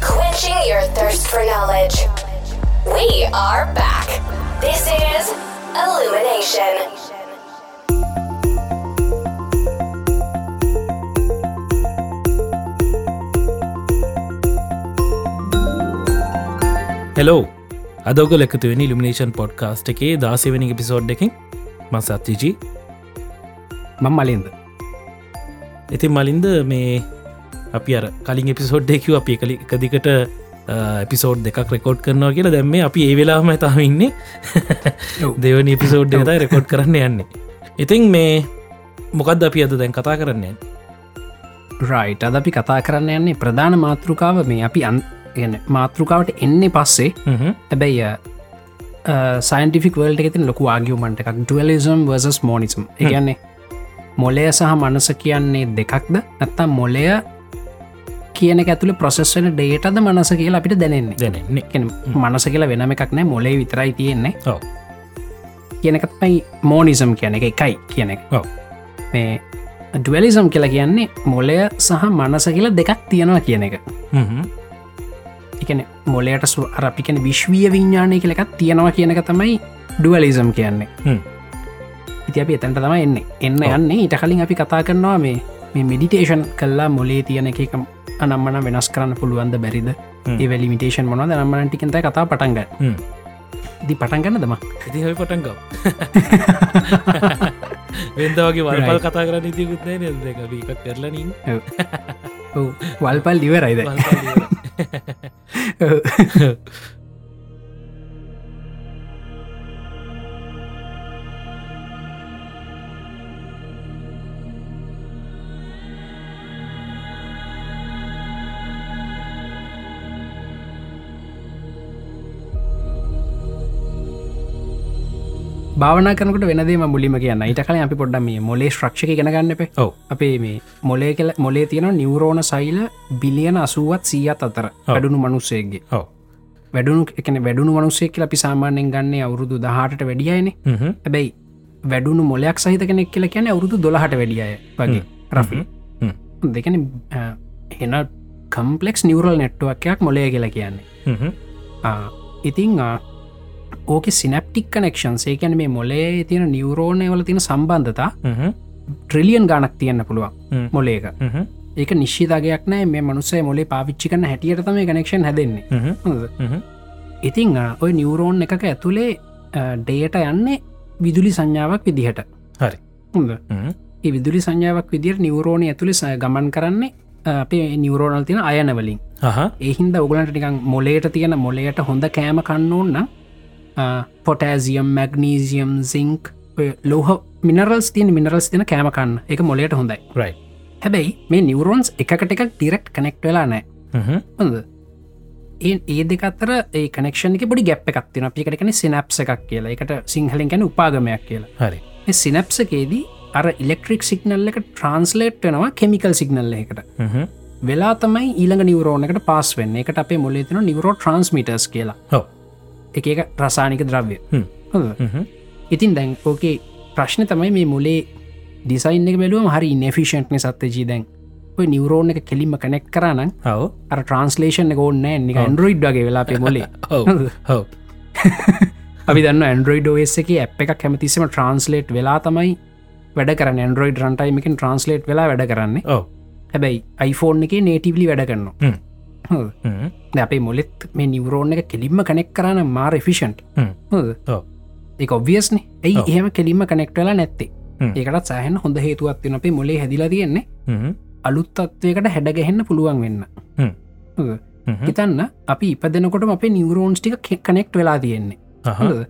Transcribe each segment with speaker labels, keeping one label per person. Speaker 1: Quenching your thirst for knowledge. We are back. This is Illumination.
Speaker 2: Hello අදෝග ලැකතුවෙනි Illumination podcast එකේ දාසවනි episode එකින් ම සත්තිජී
Speaker 3: මං මලින්ද
Speaker 2: ඉතින් මලින්ද මේ අපි අර කලින් එපිසෝඩ් එකව අපි කලි එකදිකට එපිසෝඩ් දෙකක් රෙකෝඩ් කරනවා කියලා දැම්ම අපි ඒ වෙලාම ඇතාව ඉන්නේ
Speaker 3: ඔව්.
Speaker 2: දෙවනි එපිසෝඩ් එකතයි රෙකෝඩ් කරන්න යන්නේ ඉතින් මේ මොකද අපි අද දැන් කතා කරන්නේ
Speaker 3: රයිට් අද අපි කතා කරන්න යන්නේ ප්‍රධාන මාතෘකාව මේ අපි අන් ගැන මාතෘකාවට එන්නේ පස්සේ
Speaker 2: හ්ම්.
Speaker 3: හැබැයි සයින්ටිෆික් වල්ට එකතින් ලොකු ආගියමට එකක් ඩුවලිසම් වර්සස් මෝනිසම් එකන්නේ මොලය සහ මනස කියන්නේ දෙකක්ද නැත්තම් මොලය කියන ඇතුළ ප්‍රසෙස්වන ඩේටද මනස කියලා අපිට දැනෙන්නේ
Speaker 2: දැනෙන්නේ
Speaker 3: එකන මනස කියලා වෙනම එකක් නෑ මොලේ විතරයි තියෙන්නේ
Speaker 2: ඔව
Speaker 3: කියනකත්මයි මෝනිසම් කියන එක එකයි කියන එක
Speaker 2: ඔව
Speaker 3: මේ ඩවලිසම් කියලා කියන්නේ මොලය සහ මනස කියලා දෙකක් තියෙනවා කියන එක එකන මොලයට සු අරපිකන විශ්වීය විඤ්ඥානය කලකක් තියෙනවා කියනක තමයි ඩුවලිසම් කියන්නේ
Speaker 2: හ්ම්.
Speaker 3: ඉති අපි එතැන්ට තම එන්න එන්න
Speaker 2: ඔව්.
Speaker 3: යන්නේ ඉට කලින් අපි කතා කරනවා මේ මේ මෙඩිටේෂන් කල්ලා මොලේ තියන එක අනම්මන වෙනස් කරන්න පුළුවන්ද බැරිද ඒවැලිමිටේෂන් මොනද නම්මන ටිකත කතා පටන්ග
Speaker 2: හ්ම්.
Speaker 3: දි පටන්ගන්න දම
Speaker 2: ඉතිහයි පටන්ගව වෙන්දවගේ වල්පල් කතා කරන්න ඉතිකුත්නෑ නද එකක් කරලනින්
Speaker 3: වල්පල් ඉවරයිද භාවනකට වෙනදේ මුලිම කියන්න ඉට කලින් අපි පොඩ්ඩ මේ මොලේ ශ්‍රක්ෂක ගෙනගන්න පේ
Speaker 2: ඔව
Speaker 3: අපේ මේ මොලේ කල මොලේ තියෙන නිවරෝණ සයිල බිලියන අසුවත් සීයත් අතර වැඩුණු මනුස්සේගේ
Speaker 2: ඔව
Speaker 3: වැඩුණු එකන වැඩුණු මනුසේ කියල අපි සාමාන්‍යෙන් ගන්නේ අවුරුදු දහටට වැඩියයන
Speaker 2: Mm-hmm.
Speaker 3: හැබැයි වැඩුණු මොලයක් සහිත කෙනෙක් කියල කියන අවුරුදු දොළහට වැඩියය වගේ රෆි
Speaker 2: හ්ම්.
Speaker 3: දෙකන එන කම්පලෙක්ස් නිවරල් නැට්ටුවක්යක් මොලය කියලා කියන්නේ
Speaker 2: Mm-hmm.
Speaker 3: ආ, ඉතිං ආ, ඕක සිනප්ටික් කනෙක්ෂන් සේකැන මේ මොලේ තියෙන නිවරෝණය වල තියෙන සම්බන්ධතා
Speaker 2: Mm-hmm.
Speaker 3: ට්‍රිලියන් ගානක් තියන්න පුළුවන් මොලේක ඒක නිශ්ිතගයක් නෑ මේ මනුස්සේ මොලේ පාවිච්චි කන්න හැටියට තම කනෙක්ෂන් හැදෙන්නේ
Speaker 2: Mm-hmm.
Speaker 3: හොඳද? ඉතිං අ, ඔය නිවරෝන් එක ඇතුළේ ඩේට යන්නේ විදුලි සංඥාවක් විදිහට
Speaker 2: හරි.
Speaker 3: හොඳ
Speaker 2: Mm-hmm.
Speaker 3: ඒ විදුලි සංඥාවක් විදිර නිවරෝණ ඇතුළි ගමන් කරන්නේ අ, අපේ නිවරෝණල් තින අයනවලින් එහින්ද ඔගලට නිකං මොලේට තියෙන මොලයට හොඳ කෑම කන්නඕන්න පොටෑසිියම් මැග්නීසිියම් සිංක් ඔය ලෝහ මිනරල්ස් තියන මිනරල්ස් තින කෑමකන්න එක මොලයට හොඳයි
Speaker 2: රයි
Speaker 3: හැබැයි මේ නිවරෝන්ස් එකට එකක් ඩිරෙක්් කනෙක්් වෙලා නෑ
Speaker 2: Mm-hmm.
Speaker 3: හොඳ ඒ ඒ දෙකතර ඒ කනෙක්ෂණක පොඩි ගැප් එකක් තින අපිකටකන සිනප්ස එකක් කියලා එකට සිංහලින් ගැන උපාගමයක් කියලා
Speaker 2: හරි
Speaker 3: මේ සිනප්සකේදී අර ඉලෙක්ට්‍රික් සිගනල් එක ට්‍රන්ස්ලේට් වෙනවා කෙමිකල් සිගනල්ල එකට
Speaker 2: Mm-hmm.
Speaker 3: වෙලා තමයි ඊළඟ නිවරෝණකට පස් වෙන්න එකට අපේ මොලේ තින නිවරෝ ට්‍රන්ස්මිටර්ස් කියලා
Speaker 2: ඔව
Speaker 3: එක එක රසානික ද්‍රව්‍ය
Speaker 2: හ්ම්.
Speaker 3: හොඳ
Speaker 2: Mm-hmm.
Speaker 3: ඉතින් දැන් ඕකේ ප්‍රශ්න තමයි මේ මුලේ ඩිසයින් එක බැලුවම හරි නෙෆිෂන්ට්න සත්්‍යජී දැන් ඔය නිවරෝණ එක කෙලිම කනෙක් කරන්න
Speaker 2: ඔව
Speaker 3: අර ට්‍රන්ස්ලේෂන් එක ඕන්න නික
Speaker 2: ඔව්.
Speaker 3: ඇන්ඩරෝයිඩ් වගේ වෙලා අපේ මොලේ
Speaker 2: ඔව ඔව
Speaker 3: අපි දන්න ඇන්ඩරෝයිඩ් ෝස් එක ඇප් එකක් හැමතිසම ට්‍රන්ස්ලේට් වෙලා තමයි වැඩ කර ඇන්ඩරෝයිඩ් රන්ටයිමකින් ට්‍රන්ස්ලේට් වෙලා වැඩ කරන්නේ
Speaker 2: ඔව
Speaker 3: හැබැයි අයිෆෝන් එක නේටිවලි වැඩ කරනවා හොඳ.
Speaker 2: Mm-hmm.
Speaker 3: දැන් අපේ මොලෙත් මේ නිවරෝණ එක කෙලින්ම කනෙක් කරන්න මාර ෆිෂන්ට්
Speaker 2: හ්ම්. ඔව්.
Speaker 3: එක ඔබියස්න ඇයි
Speaker 2: ඔව්.
Speaker 3: එහෙම කෙලින්ම කනෙක්ටලා නැත්තේ
Speaker 2: හ්ම්.
Speaker 3: ඒකටත් සෑහන හොඳ හේතුවත්වන අපේ මොලේ හැදිලා තියෙන්නේ
Speaker 2: Mm-hmm.
Speaker 3: අලුත්තත්වයකට හැඩගැහෙන්න පුළුවන් වෙන්න
Speaker 2: හ්ම්.
Speaker 3: හොඳ.
Speaker 2: Mm-hmm.
Speaker 3: හිතන්න අපි ඉපදනකොට අපේ නිවරෝන්ස් ටික කනෙක්් වෙලා තියෙන්නේ හොඳද?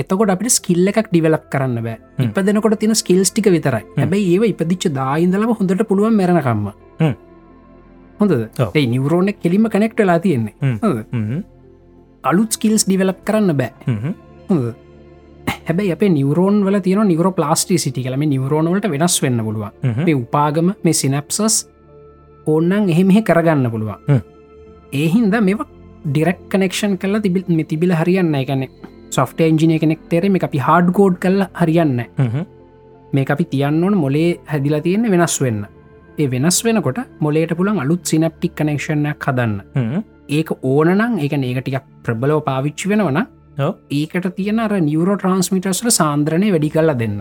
Speaker 3: එතකොට අපිට ස්කිල්ල එකක් ඩිවලක් කරන්න බෑ
Speaker 2: හ්ම්.
Speaker 3: ඉපදනකොට තින ස්කිල්ස් ටික විතරයි හැබැයි ඒව ඉපදිච්ච දායින්දලම හොඳට පුළුවන් මැරණකම්ම
Speaker 2: හ්ම්.
Speaker 3: හොඳ
Speaker 2: ඔව්.
Speaker 3: ඒ නිවරෝණ කෙලිම කනෙක්් වෙලා තියෙන්නේ
Speaker 2: හ්ම්.
Speaker 3: හොඳ. අලුත් ස්කිල්ස් ඩිවලප් කරන්න බෑ
Speaker 2: Mm-hmm.
Speaker 3: හොඳ. හැබැයි අප නිවරෝන් වල තියන නිවර ප්ලාස්ටි සිටි කලම නිවරෝණවලට වෙනස් වෙන්න පුළුවන්
Speaker 2: Mm-hmm.
Speaker 3: මේ උපාගම මේ සිනැප්සස් ඕන්නන් එහෙමෙහෙ කරගන්න පුළුවන්
Speaker 2: හ්ම්.
Speaker 3: ඒහින්ද මෙ ඩිරෙක් කනෙක්ෂන් කල තිබිත් මෙ තිබිල හරියන්න එකනෙ සොෆ්ට එන්ජිනය කෙනෙක් තෙර මේ අපි හාඩ්
Speaker 2: Mm-hmm.
Speaker 3: කෝඩ් කල්ල හරියන්න මේ අපි තියන්න ඕන මොලේ හැදිලා තියෙන්නේ වෙනස් වෙන්න ඒ වෙනස් වෙනකොට මොලේට පුළන් අලුත් සිනප්ටික් කනෙක්ෂණයක් හදන්න
Speaker 2: Mm-hmm.
Speaker 3: ඒක ඕනනම් ඒක ඒකටික ප්‍රබලෝ පාවිච්චි වෙනවන
Speaker 2: ඔව්.
Speaker 3: ඒකට තියෙන අර නිියවරෝ ට්‍රන්ස්මිටර්ස්ල සාන්ද්‍රණය වැඩි කල්ලා දෙන්න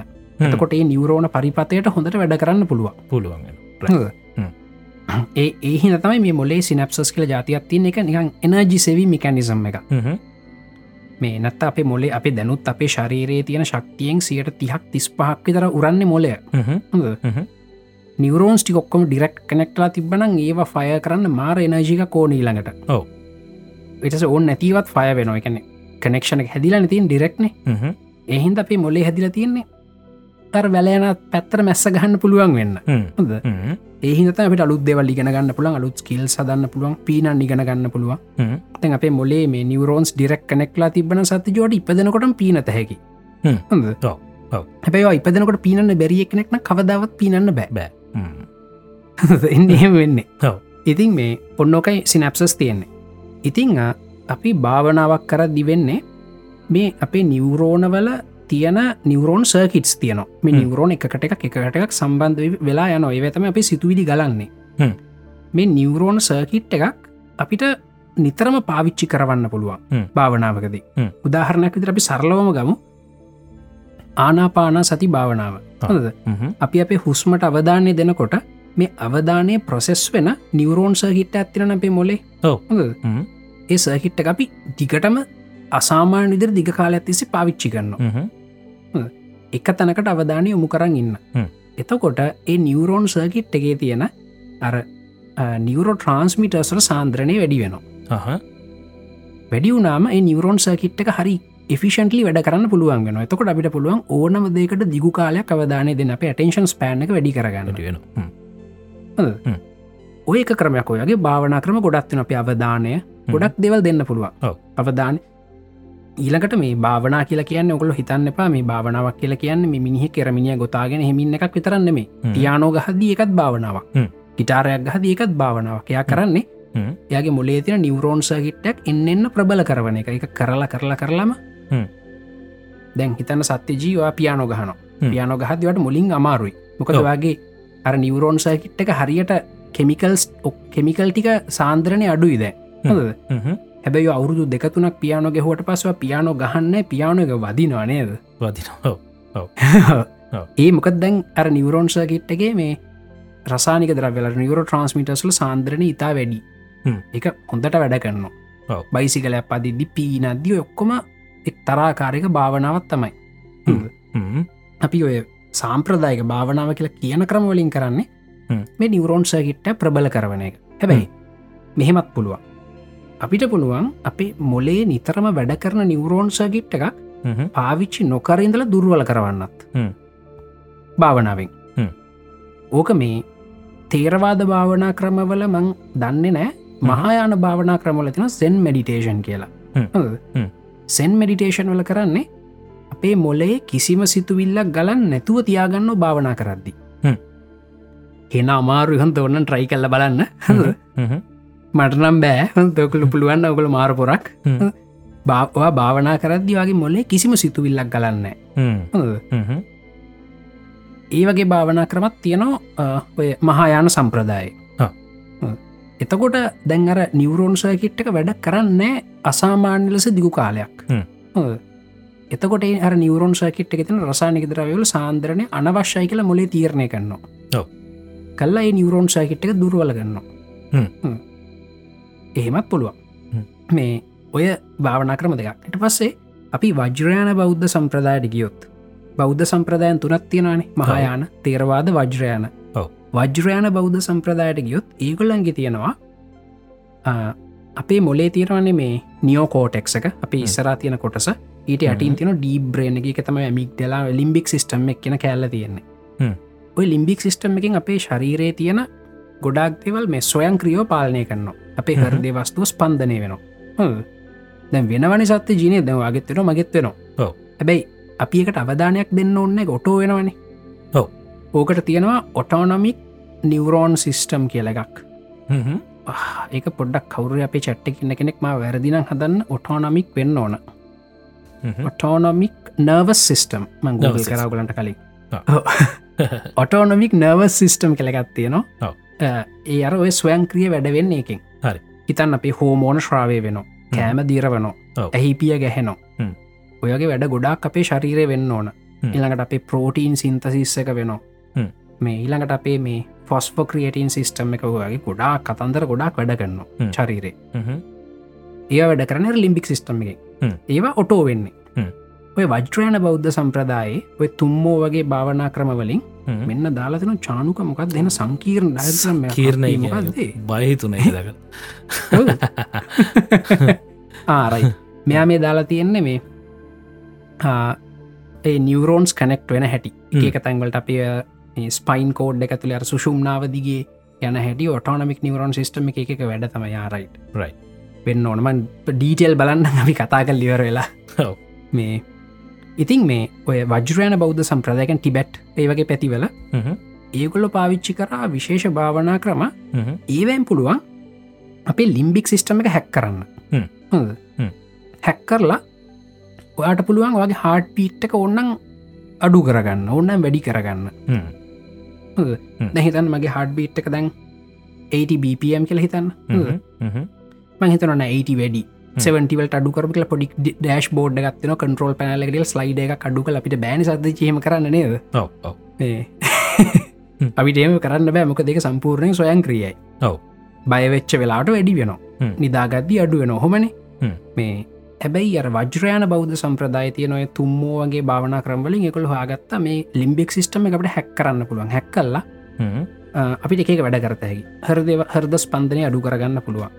Speaker 3: එතකොට ඒ නිියවරෝණ පරිපතයට හොඳට වැඩ කරන්න පුළුවන්
Speaker 2: පුළුවන් හ්ම්.
Speaker 3: ඒ ඒහි නතමයි මේ මොලේ සිනප්සස් කියල ජාතියක් තියන එක නිකන් එනජි සෙවී මිකැනිසම් එක
Speaker 2: Mm-hmm.
Speaker 3: මේ නැත්ත අප මොලේ අප දැනුත් අපේ ශරීරයේ තියෙන ශක්තියෙන් සියට තිහක් තිස් පහක් විතර උරන්න මොලය
Speaker 2: Mm-hmm. හ්ම්.
Speaker 3: නිවරෝන්ස් ටිකොක්කොම ඩිරෙක්් කනෙක්ටලා තිබන ඒව ෆය කරන්න මාර එනජික කෝනීළඟට
Speaker 2: ඔව්.
Speaker 3: එටස ඕන් නැතිවත් ෆය වෙනවා එකන කනෙක්ෂණ හැදිලා නතින් ඩිරෙක්න
Speaker 2: Mm-hmm.
Speaker 3: එහින්ද අපේ මොලේ හැදිල තියෙන්නේ තර වැලයන පැත්තර මැස්ස ගහන්න පුළුවන් වෙන්න
Speaker 2: Mm-hmm.
Speaker 3: හොඳ ඒහිත අපට අලුත්දෙවල් ඉගෙන ගන්න පුළන් අලුත් කිල් සදන්න පුළුවන් පින නිගන ගන්න පුළුවන්
Speaker 2: හ්ම්.
Speaker 3: තැන් අපේ මොලේ මේ නිවරෝන්ස් ඩිරෙක් කනෙක්ලා තිබන සති ජෝඩ ඉපදනකොට පීනත හැකි
Speaker 2: හ්ම්.
Speaker 3: හොඳ
Speaker 2: ඔව්. ඔව්.
Speaker 3: හැබැයි ඉපදනකොට පීනන්න බැරිිය කෙනෙක්න කවදාවත් පීනන්න බෑ
Speaker 2: බෑ හ්ම්.
Speaker 3: එන්න එහෙම වෙන්නේ
Speaker 2: ඔව්.
Speaker 3: ඉතින් මේ ඔන්නෝකයි සිනැප්සස් තියෙන්නේ ඉතිං අ, අපි භාවනාවක් කර දිවෙන්නේ මේ අපේ නිවරෝණවල තියන නිවරෝන් සර්කිටස් තියන මේ
Speaker 2: හ්ම්.
Speaker 3: නිවරෝණ එකට එකක් එකටක් සම්බන්ධ වෙ- වෙලා යන ඒවතම අපි සිතුවිලි ගලන්නේ
Speaker 2: හ්ම්.
Speaker 3: මේ නිවරෝණ සර්කිට් එකක් අපිට නිතරම පාවිච්චි කරවන්න පුළුවන්
Speaker 2: හ්ම්.
Speaker 3: භාවනාවකද
Speaker 2: හ්ම්.
Speaker 3: උදාහරණයක් විදිර අපි සරලවම ගමු ආනාපානා සති භාවනාව
Speaker 2: ආ.
Speaker 3: හොඳද
Speaker 2: හ්ම්.
Speaker 3: අපි අපේ හුස්මට අවධානය දෙනකොට මේ අවධානය ප්‍රොසෙස් වෙන නිවරෝන් සහිට්ට ඇතිරන අපේ මොලේ
Speaker 2: ඔව්.
Speaker 3: හොඳද?
Speaker 2: හ්ම්.
Speaker 3: ඒ සහිට්ට අපි දිගටම අසාමාන නිදර දිග කාල ඇතිසි පාවිච්චි කරන්න
Speaker 2: හ්ම්.
Speaker 3: එක තැනකට අවධානය යොමු කරන්න ඉන්න
Speaker 2: හ්ම්.
Speaker 3: එතකොට ඒ නිවරෝන් සර්කිට් එකේ තියෙන අර නිවරෝ ට්‍රන්ස්මිටර්සල සාන්ද්‍රණය වැඩි වෙන
Speaker 2: අහ.
Speaker 3: වැඩි වුනාම ඒ නිවරෝන් සර්කිට් එක හරි ෆිෂන්ටලි වැඩ කරන්න පුළුවන් වෙන එතකොට අපිට පුළුවන් ඕනම දෙකට දිගු කාලයක් අවධානය දෙන්න අප ටේන්ශන් ස්පෑන් එක වැඩි කරගන්නට
Speaker 2: වැඩි වෙනවා. හ්ම්.
Speaker 3: ඔය එක ක්‍රමයක් ඔයගේ භාවනා ක්‍රම ගොඩක්තින අප අවධානය ගොඩක් දෙවල් දෙන්න පුළුවන්
Speaker 2: ඔව්.
Speaker 3: අවධාන ඊලකට මේ භාවනා කියලා කියන්න ඔකළ හිතන්න එපා මේ භාවනාවක් කියලා කියන්න මේ මිනිහ කෙරමිනිිය ගොතාගෙන හෙමින් එකක් විතරන්න මේ
Speaker 2: හ්ම්.
Speaker 3: තියානෝ ගහදී එකත් භාවනාවක්
Speaker 2: හ්ම්.
Speaker 3: ඉටාරයක් ගහදී එකත් භාවනාවක් එයා කරන්නේ
Speaker 2: හ්ම්.
Speaker 3: යගේ මොලේ තින නිවරෝන් සහිට්ටක් එන්න එන්න ප්‍රබල කරවන එක එක කරලා කරලා කරලාම
Speaker 2: හ්ම්.
Speaker 3: දැන් හිතන්න සත්‍ය ජීවා පියානෝ ගහන
Speaker 2: හ්ම්.
Speaker 3: පියානෝ ගහදවට මුලින් අමාරුයි මොකද
Speaker 2: ඔව්.
Speaker 3: වගේ අර නිවරෝන් සහිට් එක හරියට කෙමිකල්ස් කෙමිකල් ටික සාන්ද්‍රණය අඩුයි දැ
Speaker 2: හ්ම්. හ්ම්.
Speaker 3: හැබැයි අවුරුදු දෙකතුනක් පියානො ගෙහුවට පසව පියානො ගහන්න පියානො එක වදිනවා නේද
Speaker 2: වදිනවා. ඔව්.
Speaker 3: ඒ මොකද දැන් අර නිවරෝන්සකිට්ටගේ මේ රසානික දරවල නිවරෝ ට්‍රන්ස්මිටස්ල සාන්ද්‍රණ ඉතා වැඩි
Speaker 2: හ්ම්.
Speaker 3: එක හොඳට වැඩ කරනවා
Speaker 2: ඔව්.
Speaker 3: බයිසිකල පදිදි පීනද්දි ඔක්කොම එක් තරාකාරයක භාවනාවත් තමයි
Speaker 2: හ්ම්.
Speaker 3: අපි ඔය සාම්ප්‍රදායක භාවනාව කියලා කියන ක්‍රමවලින් කරන්නේ
Speaker 2: හ්ම්.
Speaker 3: මේ නිවරෝන් සර්කිට්ට ප්‍රබල කරවන එක හැබැයි මෙහෙමත් පුළුවන් අපිට පුළුවන් අපේ මොලේ නිතරම වැඩ කරන නිවරෝන් සර්ගිට් එකක්
Speaker 2: හ්ම්.
Speaker 3: පාවිච්චි නොකරඉඳල දුර්වල කරවන්නත්
Speaker 2: හ්ම්.
Speaker 3: භාවනාවෙන්
Speaker 2: හ්ම්.
Speaker 3: ඕක මේ තේරවාද භාවනා ක්‍රමවල මං දන්නේ නෑ මහායාන භාවනා ක්‍රමවල තින සෙන් මඩිටේෂන් කියලා
Speaker 2: හ්ම්.
Speaker 3: හොඳද?
Speaker 2: හ්ම්.
Speaker 3: සෙන් මඩිටේෂන් වල කරන්නේ අපේ මොලේ කිසිම සිතුවිල්ලක් ගලන් නැතුව තියාගන්න භාවනා කරද්දි
Speaker 2: හ්ම්.
Speaker 3: හෙන අමාරු හන්ත ඔන්න ට්‍රයි කල්ල බලන්න
Speaker 2: හ්ම්. හ්ම්.
Speaker 3: මටනම් බෑ තොකළු පුළුවන් ඔකළ මාරපොරක්
Speaker 2: හ්ම්.
Speaker 3: බාවා භාවනා කරද්දි වගේ මොලේ කිසිම සිතුවිල්ලක් ගලන්න
Speaker 2: හ්ම්.
Speaker 3: හොඳද?
Speaker 2: හ්ම්.
Speaker 3: ඒ වගේ භාවනා ක්‍රමත් තියෙනවා අ, ඔය මහායාන සම්ප්‍රදාය
Speaker 2: ආ.
Speaker 3: එතකොට දැන් අර නිවරෝන් සයකිට් එක වැඩ කරන්නේ අසාමාන්‍ය ලෙස දිගු කාලයක්
Speaker 2: හ්ම්.
Speaker 3: හොඳද? එතකොට ඒ අර නිවරෝන් සයකිට් එක තින රසානිකදරවල සාන්ද්‍රණය අනවශ්‍යයි කියලා මොලේ තීරණය කරනවා
Speaker 2: ඔව්.
Speaker 3: කල්ලා ඒ නිවරෝන් සයකිට් එක දුර්වල ගන්නවා
Speaker 2: හ්ම්.
Speaker 3: හ්ම්. එහෙමත් පුළුවන්
Speaker 2: හ්ම්.
Speaker 3: මේ ඔය භාවනා ක්‍රම දෙකක් එට පස්සේ අපි වජ්‍රයාන බෞද්ධ සම්ප්‍රදායට ගියොත් බෞද්ධ සම්ප්‍රදායන් තුනත් තියෙනනේ මහායාන තේරවාද වජ්‍රයාන
Speaker 2: ඔව්.
Speaker 3: වජ්‍රයාන බෞද්ධ සම්ප්‍රදායට ගියොත් ඒගොල්ලන්ගේ තියෙනවා අ, අපේ මොලේ තීරවන්නේ මේ නියෝකෝටෙක්සක අපි
Speaker 2: හ්ම්.
Speaker 3: ඉස්සරා තියෙන කොටස ඊට
Speaker 2: හ්ම්.
Speaker 3: අටින් තින ඩීබ්‍රේන එක තම මික් ෙලා ලිම්බික් සිිටම් එක් කියන කෑල්ල තියෙන්නේ
Speaker 2: හ්ම්.
Speaker 3: ඔය ලිම්බික් සිිස්ටම් එකින් අපේ ශරීරයේ තියෙන ගොඩක්දෙවල් මේ සොයන් ක්‍රියෝ පාලනය කරනවා අපේ
Speaker 2: හ්ම්.
Speaker 3: හරදේ වස්තුව ස්පන්ධනය වෙනවා හොඳ? දැන් වෙනවනි සත්‍ය ජීනය දැන් වගත් වෙන මගෙත් වෙනවා
Speaker 2: ඔව්.
Speaker 3: හැබැයි අපි එකට අවධානයක් දෙන්න ඔන්න ගොටෝ වෙනවනේ
Speaker 2: ඔව්.
Speaker 3: ඕකට තියෙනවා ඔටෝනොමික් නිවරෝන් සිිස්ටම් කියල එකක්
Speaker 2: හ්ම්.
Speaker 3: ආ, ඒක පොඩ්ඩක් කවුර අපේ චට්ටි ඉන්න කෙනෙක් ම වැරදින හදන්න ඔටෝනොමික් වෙන්න ඕන
Speaker 2: හ්ම්. Mm-hmm.
Speaker 3: ඔටෝනොමික් නර්වස් සිිස්ටම් මං
Speaker 2: Nervous
Speaker 3: ගල්
Speaker 2: system.
Speaker 3: කරගලන්ට කලින්
Speaker 2: ආ.
Speaker 3: ඔව්. ඔටෝනොමික් නර්ව සිිස්ටම් කළගත්
Speaker 2: ඔව්.
Speaker 3: තියෙනවා ඒ අර ඔය ස්වයංක්‍රිය වැඩවෙන්නේ එකින්
Speaker 2: හරි.
Speaker 3: හිතන්න අපි හෝමෝන ශ්‍රාවය වෙනවා කෑම දීරවනෝ
Speaker 2: ඔව්.
Speaker 3: ඇහිපිය ගැහෙනෝ
Speaker 2: හ්ම්.
Speaker 3: ඔයගේ වැඩ ගොඩක් අපේ ශරීරය වෙන්න ඕන
Speaker 2: හ්ම්.
Speaker 3: ඉළඟට අපේ පෝටීන් සින්තසිස්සක වෙනවා
Speaker 2: හ්ම්.
Speaker 3: මේ ඊළඟට අපේ මේ ෆොස්පෝ ක්‍රියටන් සිිස්ටම් එක වගේ ගොඩාක් කතන්දර ගොඩක් වැඩ කරනවා
Speaker 2: හ්ම්.
Speaker 3: චරීරය
Speaker 2: හ්ම්.
Speaker 3: ඒ වැඩ කරන ලිම්බික් සිිස්ටම් එක
Speaker 2: හ්ම්.
Speaker 3: ඒවා ඔටෝ
Speaker 2: හ්ම්.
Speaker 3: වෙන්නේ ඔය වජ්‍රයන බෞද්ධ සම්ප්‍රදායේ ඔය තුම්මෝ වගේ භාවනා ක්‍රමවලින්
Speaker 2: හ්ම්.
Speaker 3: මෙන්න දාලාතින චානුක මොකක් දෙන සංකීර්ණ ඩයග්‍රාම් එකක්.
Speaker 2: කීර්ණය
Speaker 3: මේ
Speaker 2: කියන
Speaker 3: මොකක්ද ඒ?
Speaker 2: බයහිතුන හිදක
Speaker 3: ඔව්. ආරයි මෙයා මේ දාලා තියෙන්නේ මේ ආ, ඒ නිියවරෝන්ස් කනෙක්් වෙන හැටි
Speaker 2: හ්ම්.
Speaker 3: ඒක තැන්වලට අපිය ස්පයින් කෝඩ් එක තුළ අර සුෂුම්නාවදිගේ යන හැටි ඔටෝනමික් නිවරෝන් සිිටම එක එක වැඩ තම යාරයිට්
Speaker 2: Right.
Speaker 3: වෙන්න ඕනමන් ඩීටෙල් බලන්න අපි කතා කල් ලිවර වෙලා
Speaker 2: ඔව්.
Speaker 3: මේ ඉතින් මේ ඔය වජරයන බෞද්ධ සම්ප්‍රදායකන් ටිබෙට් ඒ වගේ පැතිවල
Speaker 2: Mm-hmm.
Speaker 3: ඒගොල්ල පාවිච්චි කරා විශේෂ භාවනා ක්‍රම
Speaker 2: Mm-hmm.
Speaker 3: ඒවැම් පුළුවන් අපේ ලිම්බික් සිිස්ටම එක හැක්
Speaker 2: හ්ම්.
Speaker 3: කරන්න
Speaker 2: හ්ම්.
Speaker 3: හැක් කරලා ඔයාට පුළුවන් වගේ හාට් පීට් එක ඔන්නම් අඩු කරගන්න ඔන්නම් වැඩි කරගන්න
Speaker 2: Mm-hmm.
Speaker 3: නැහිතන් මගේ හඩ් බීට් එක දැන් 80 BPM කියල හිතන්න
Speaker 2: Mm-hmm.
Speaker 3: මහිතන 80 වැඩි
Speaker 2: හ්ම්.
Speaker 3: 70වලට අඩු කරම කියලා පොඩි ඩේශ් බෝඩ් ගත්න කටරල් පැනලගෙල් ස්ලයිඩ එක අඩු කල අපිට බෑනි සද චීම කරන්න නේද
Speaker 2: ඔව් ඔව්
Speaker 3: ඒ. අපිට ඒම කරන්න බෑ මොක දෙක සම්පූර්ණය සොයන් ක්‍රියයි
Speaker 2: ඔව්.
Speaker 3: බයවෙච්ච වෙලාට වැඩි වෙනවා
Speaker 2: හ්ම්.
Speaker 3: නිදාගද්දි අඩු වෙන හොමන
Speaker 2: හ්ම්.
Speaker 3: මේ හැබැයි අර වජ්‍රයන බෞද්ධ සම්ප්‍රදායතිය නොය තුම්මෝ වගේ භාවනා කරම්වලින් එකකොළ හාගත්ත මේ ලිම්බික් සිිටම එකට හැක් කරන්න පුළුවන් හැක් කල්ලා
Speaker 2: Mm-hmm.
Speaker 3: අ, අපිට එකක වැඩ කරතයකි හරදව හරද ස්පන්දනය අඩු කරගන්න
Speaker 2: ඔව්.
Speaker 3: පුළුවන්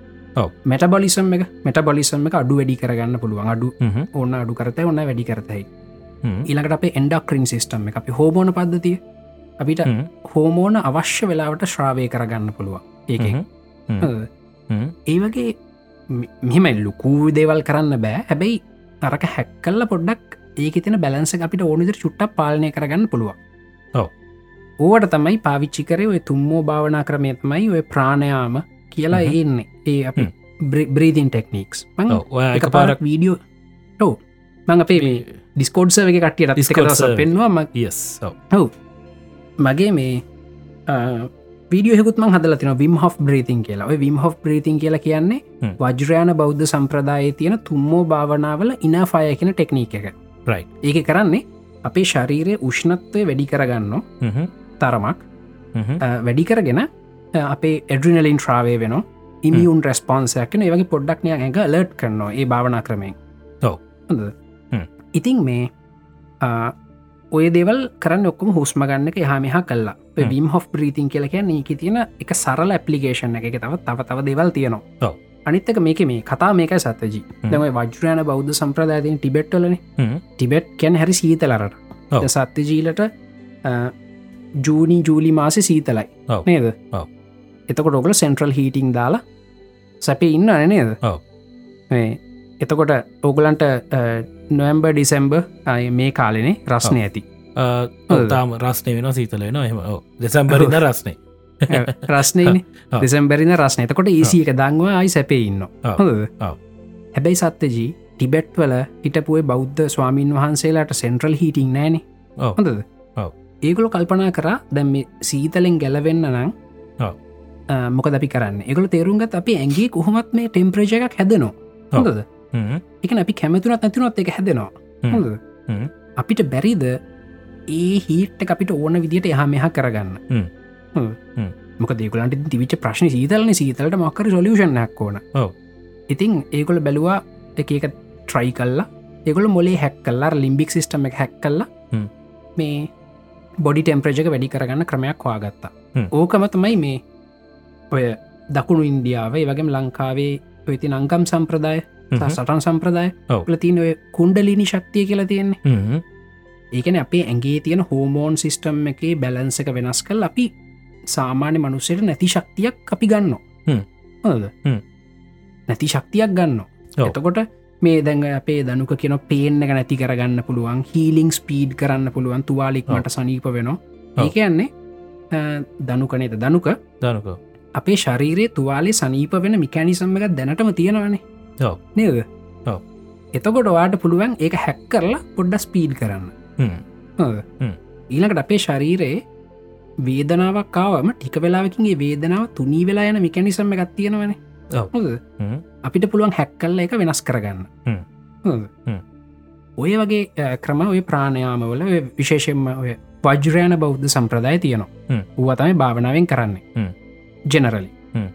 Speaker 3: මැටබොලිසම් එක මැටබොලිසම් එක අඩු වැඩි කරගන්න පුළුවන් අඩු
Speaker 2: Mm-hmm.
Speaker 3: ඕන්න අඩු කරතය ඔන්න වැඩි කරතයි ඊළඟට අපේ එන්ඩක්ක්‍රින් සිිස්ටම් එක අපි හෝබෝන පද්ධතිය අපිට
Speaker 2: Mm-hmm.
Speaker 3: හෝමෝන අවශ්‍ය වෙලාවට ශ්‍රාවය කරගන්න පුළුවන්
Speaker 2: Mm-hmm.
Speaker 3: ඒක ඒවගේ මෙම ලොකූ දේවල් කරන්න බෑ හැබැයි තරක හැක්කල්ල පොඩ්ඩක් ඒක තින බැලන්ස අපිට ඕනිදිර චුට්ට පාලනය කරගන්න පුළුවන්
Speaker 2: ඔව්.
Speaker 3: ඕවට තමයි පාවිච්චි කරේ ඔය තුම්මෝ භාවනා ක්‍රමය තමයි ඔය ප්‍රාණයාම කියලා
Speaker 2: හ්ම්.
Speaker 3: ඒන්නේ ඒ අපි බ්‍රීතින් ටෙක්නික්ස්
Speaker 2: Oh.
Speaker 3: මං
Speaker 2: එක
Speaker 3: එක පාරක්
Speaker 2: පාරක්
Speaker 3: වීඩියෝ ටෝ මං අපේ ඩිස්කෝඩ්සව එක කටියට
Speaker 2: Discord
Speaker 3: ඩිස්කරස
Speaker 2: server.
Speaker 3: පෙන්වා ම
Speaker 2: යස් ඔව්
Speaker 3: මගේ මේ පීඩියහෙකුත්ම හදල තින විම් හෝ බ්‍රීතින් කියලා ඔය විම් හෝ ප්‍රීතින් කියලා කියන්නේ
Speaker 2: හ්ම්.
Speaker 3: වජරයාන බෞද්ධ සම්ප්‍රදාය තියෙන තුම්මෝ භාවනාවල ඉනාෆාය කියෙන ටෙක්නීක එක
Speaker 2: Right.
Speaker 3: ඒක කරන්නේ අපේ ශරීරය උෂ්ණත්වය වැඩි කරගන්න
Speaker 2: හ්ම්.
Speaker 3: තරමක්
Speaker 2: හ්ම්.
Speaker 3: අ, වැඩි කරගෙන අ, අපේ එඩ්‍රිනලින් ශ්‍රාවය වෙන ඉමියුන් රෙස්පොන්සයක්න ඒවගේ පොඩ්ඩක්නය ඇඟ ලට් කරනවා ඒ භාවනා ක්‍රමයෙන්
Speaker 2: ඔව්.
Speaker 3: හොඳ
Speaker 2: හ්ම්.
Speaker 3: ඉතින් මේ අ, ඔය දෙවල් කරන්න ඔක්කම හුස්ම ගන්න එක හාමිහා කල්ලා
Speaker 2: හ්ම්.
Speaker 3: විම් හෝ ප්‍රීතින් කියලක නීක තියෙන එක සරල ඇපලිකේෂන් එක එක තව තව තව දෙවල් තියෙනවා
Speaker 2: ඔව්.
Speaker 3: අනිත්තක මේක මේ කතා මේකයි සත්තජී
Speaker 2: හ්ම්.
Speaker 3: දැමයි වජරයන බෞද්ධ සම්ප්‍රදාතින ටිබෙට්වලන
Speaker 2: හ්ම්.
Speaker 3: ටිබෙට් කැන් හැරි සීතලරට
Speaker 2: ඔව්.
Speaker 3: ද සත්‍යජීලට අ, ජූනි ජූලි මාසි සීතලයි
Speaker 2: ඔව්.
Speaker 3: නේද
Speaker 2: ඔව්.
Speaker 3: එතකොට ඔකල සෙන්ට්‍රල් හීටිං දාලා සැපේ ඉන්න අන නේද
Speaker 2: ඔව්.
Speaker 3: මේ එතකොට ඔගලන්ට නොවම්බර් ඩිසෙම්බර් අය මේ කාලනේ රස්නය ඇති
Speaker 2: අ, ඔව්, Uh, oh, තාම රස්නය වෙන සීතල වෙන එහම දෙසම්බරින්න රස්නේ
Speaker 3: රස්නයන
Speaker 2: ඔව්.
Speaker 3: දෙසම්බරින රස්න එතකොට ඒසි එක දංවා අයි සැපේ ඉන්න
Speaker 2: ඔව්.
Speaker 3: හොඳද?
Speaker 2: ඔව්.
Speaker 3: හැබැයි සත්්‍යජී ටිබෙට් වල හිටපුේ බෞද්ධ ස්වාමීන් වහන්සේලාට සෙන්ට්‍රල් හිටිං නෑන
Speaker 2: ඔව්.
Speaker 3: හොඳද
Speaker 2: ඔව්.
Speaker 3: ඒගොලො කල්පනා කරා දැම් මේ සීතලෙන් ගැලවෙන්න නම්
Speaker 2: ඔව්.
Speaker 3: අ, මොක දි කරන්න එකගල තේරුන්ගත් අපි ඇගේ කොහොමත් මේ ටෙම්ප්‍රජ එකක් හැදනවා
Speaker 2: ඔව්.
Speaker 3: හොඳද
Speaker 2: හ්ම්.
Speaker 3: එක අපි කැමතුනත් නැතිනොත් එක හැදෙනවා
Speaker 2: හ්ම්.
Speaker 3: හොඳද?
Speaker 2: හ්ම්.
Speaker 3: අපිට බැරිද ඒ හිට්ට අපිට ඕන විදිට එහා මෙහා කරගන්න
Speaker 2: හ්ම්. හ්ම්.
Speaker 3: මොක දෙකුලන්ට දිවිච ප්‍රශ්න සීතලන සීතලට මක්කර සොලියෂණයක් ඕන
Speaker 2: ඔව්.
Speaker 3: ඉතින් ඒකොල බැලවා එක එක ට්‍රයි කල්ලා එකගොල මොලේ හැක් කල්ලා ලිම්බික් සිිටම එක හැක් කල්ලා
Speaker 2: හ්ම්.
Speaker 3: මේ බොඩි ටෙම්ප්‍රජක වැඩි කරගන්න ක්‍රමයක් වාගත්තා
Speaker 2: හ්ම්.
Speaker 3: ඕකමතමයි මේ ඔය දකුණු ඉන්දියාව ඒ වගේම ලංකාවේ ඉති නංකම් සම්ප්‍රදාය සහ
Speaker 2: හ්ම්.
Speaker 3: සටන් සම්ප්‍රදාය
Speaker 2: ඔව්.
Speaker 3: ලතින් ඔය කුන්ඩලිනි ශක්තිය කියලා තියෙන්නේ
Speaker 2: හ්ම්.
Speaker 3: ඒකන අපේ ඇගේ තියෙන හෝමෝන් සිිස්ටම් එකේ බැලන්ස එක වෙනස් කල් අපි සාමාන්‍ය මනුස්සයට නැති ශක්තියක් අපි ගන්න
Speaker 2: හ්ම්.
Speaker 3: හොද
Speaker 2: හ්ම්.
Speaker 3: නැති ශක්තියක් ගන්න
Speaker 2: ඔව්.
Speaker 3: එතකොට මේ දැඟ අපේ දනුක කියෙන පේන එක නැති කරගන්න පුළුවන් හීලිං ස්පීඩ් කරන්න පුළුවන් තුවාලික්
Speaker 2: ඔව්.
Speaker 3: මට සනීප වෙනවා
Speaker 2: ඔව්.
Speaker 3: ඒකයන්නේ දනුකනේද දනුක
Speaker 2: දානකෝ
Speaker 3: අපේ ශරීරයේ තුවාලේ සනීප වෙන මිකැනිසම් එක දැනටම තියෙනවනේ
Speaker 2: ඔව්.
Speaker 3: නේද
Speaker 2: ඔව්.
Speaker 3: එතකොට වාට පුළුවන් ඒ හැක් කරලා පොඩ්ඩ ස්පීඩ් කරන්න
Speaker 2: හ්ම්.
Speaker 3: හොඳ?
Speaker 2: හ්ම්.
Speaker 3: ඊළඟට අපේ ශරීරයේ වේදනාවක් කාවම ටික වෙලාවකින්ගේ වේදනාව තුනී වෙලා යන මිකැනිසම්ම එකක් තියෙනවන
Speaker 2: ඔව්. හ්ම්.
Speaker 3: අපිට පුළුවන් හැක්කල්ල එක වෙනස් කරගන්න
Speaker 2: හ්ම්.
Speaker 3: හොඳද?
Speaker 2: හ්ම්.
Speaker 3: ඔය වගේ අ, ක්‍රම ඔය ප්‍රාණයාමවල ඔය විශේෂෙන්ම ඔය පජ්‍රයන බෞද්ධ සම්ප්‍රදාය
Speaker 2: හ්ම්.
Speaker 3: තියනවා ඌවතමයි භාවනාවෙන්
Speaker 2: හ්ම්.
Speaker 3: කරන්නේ ජෙනරලි
Speaker 2: හ්ම්.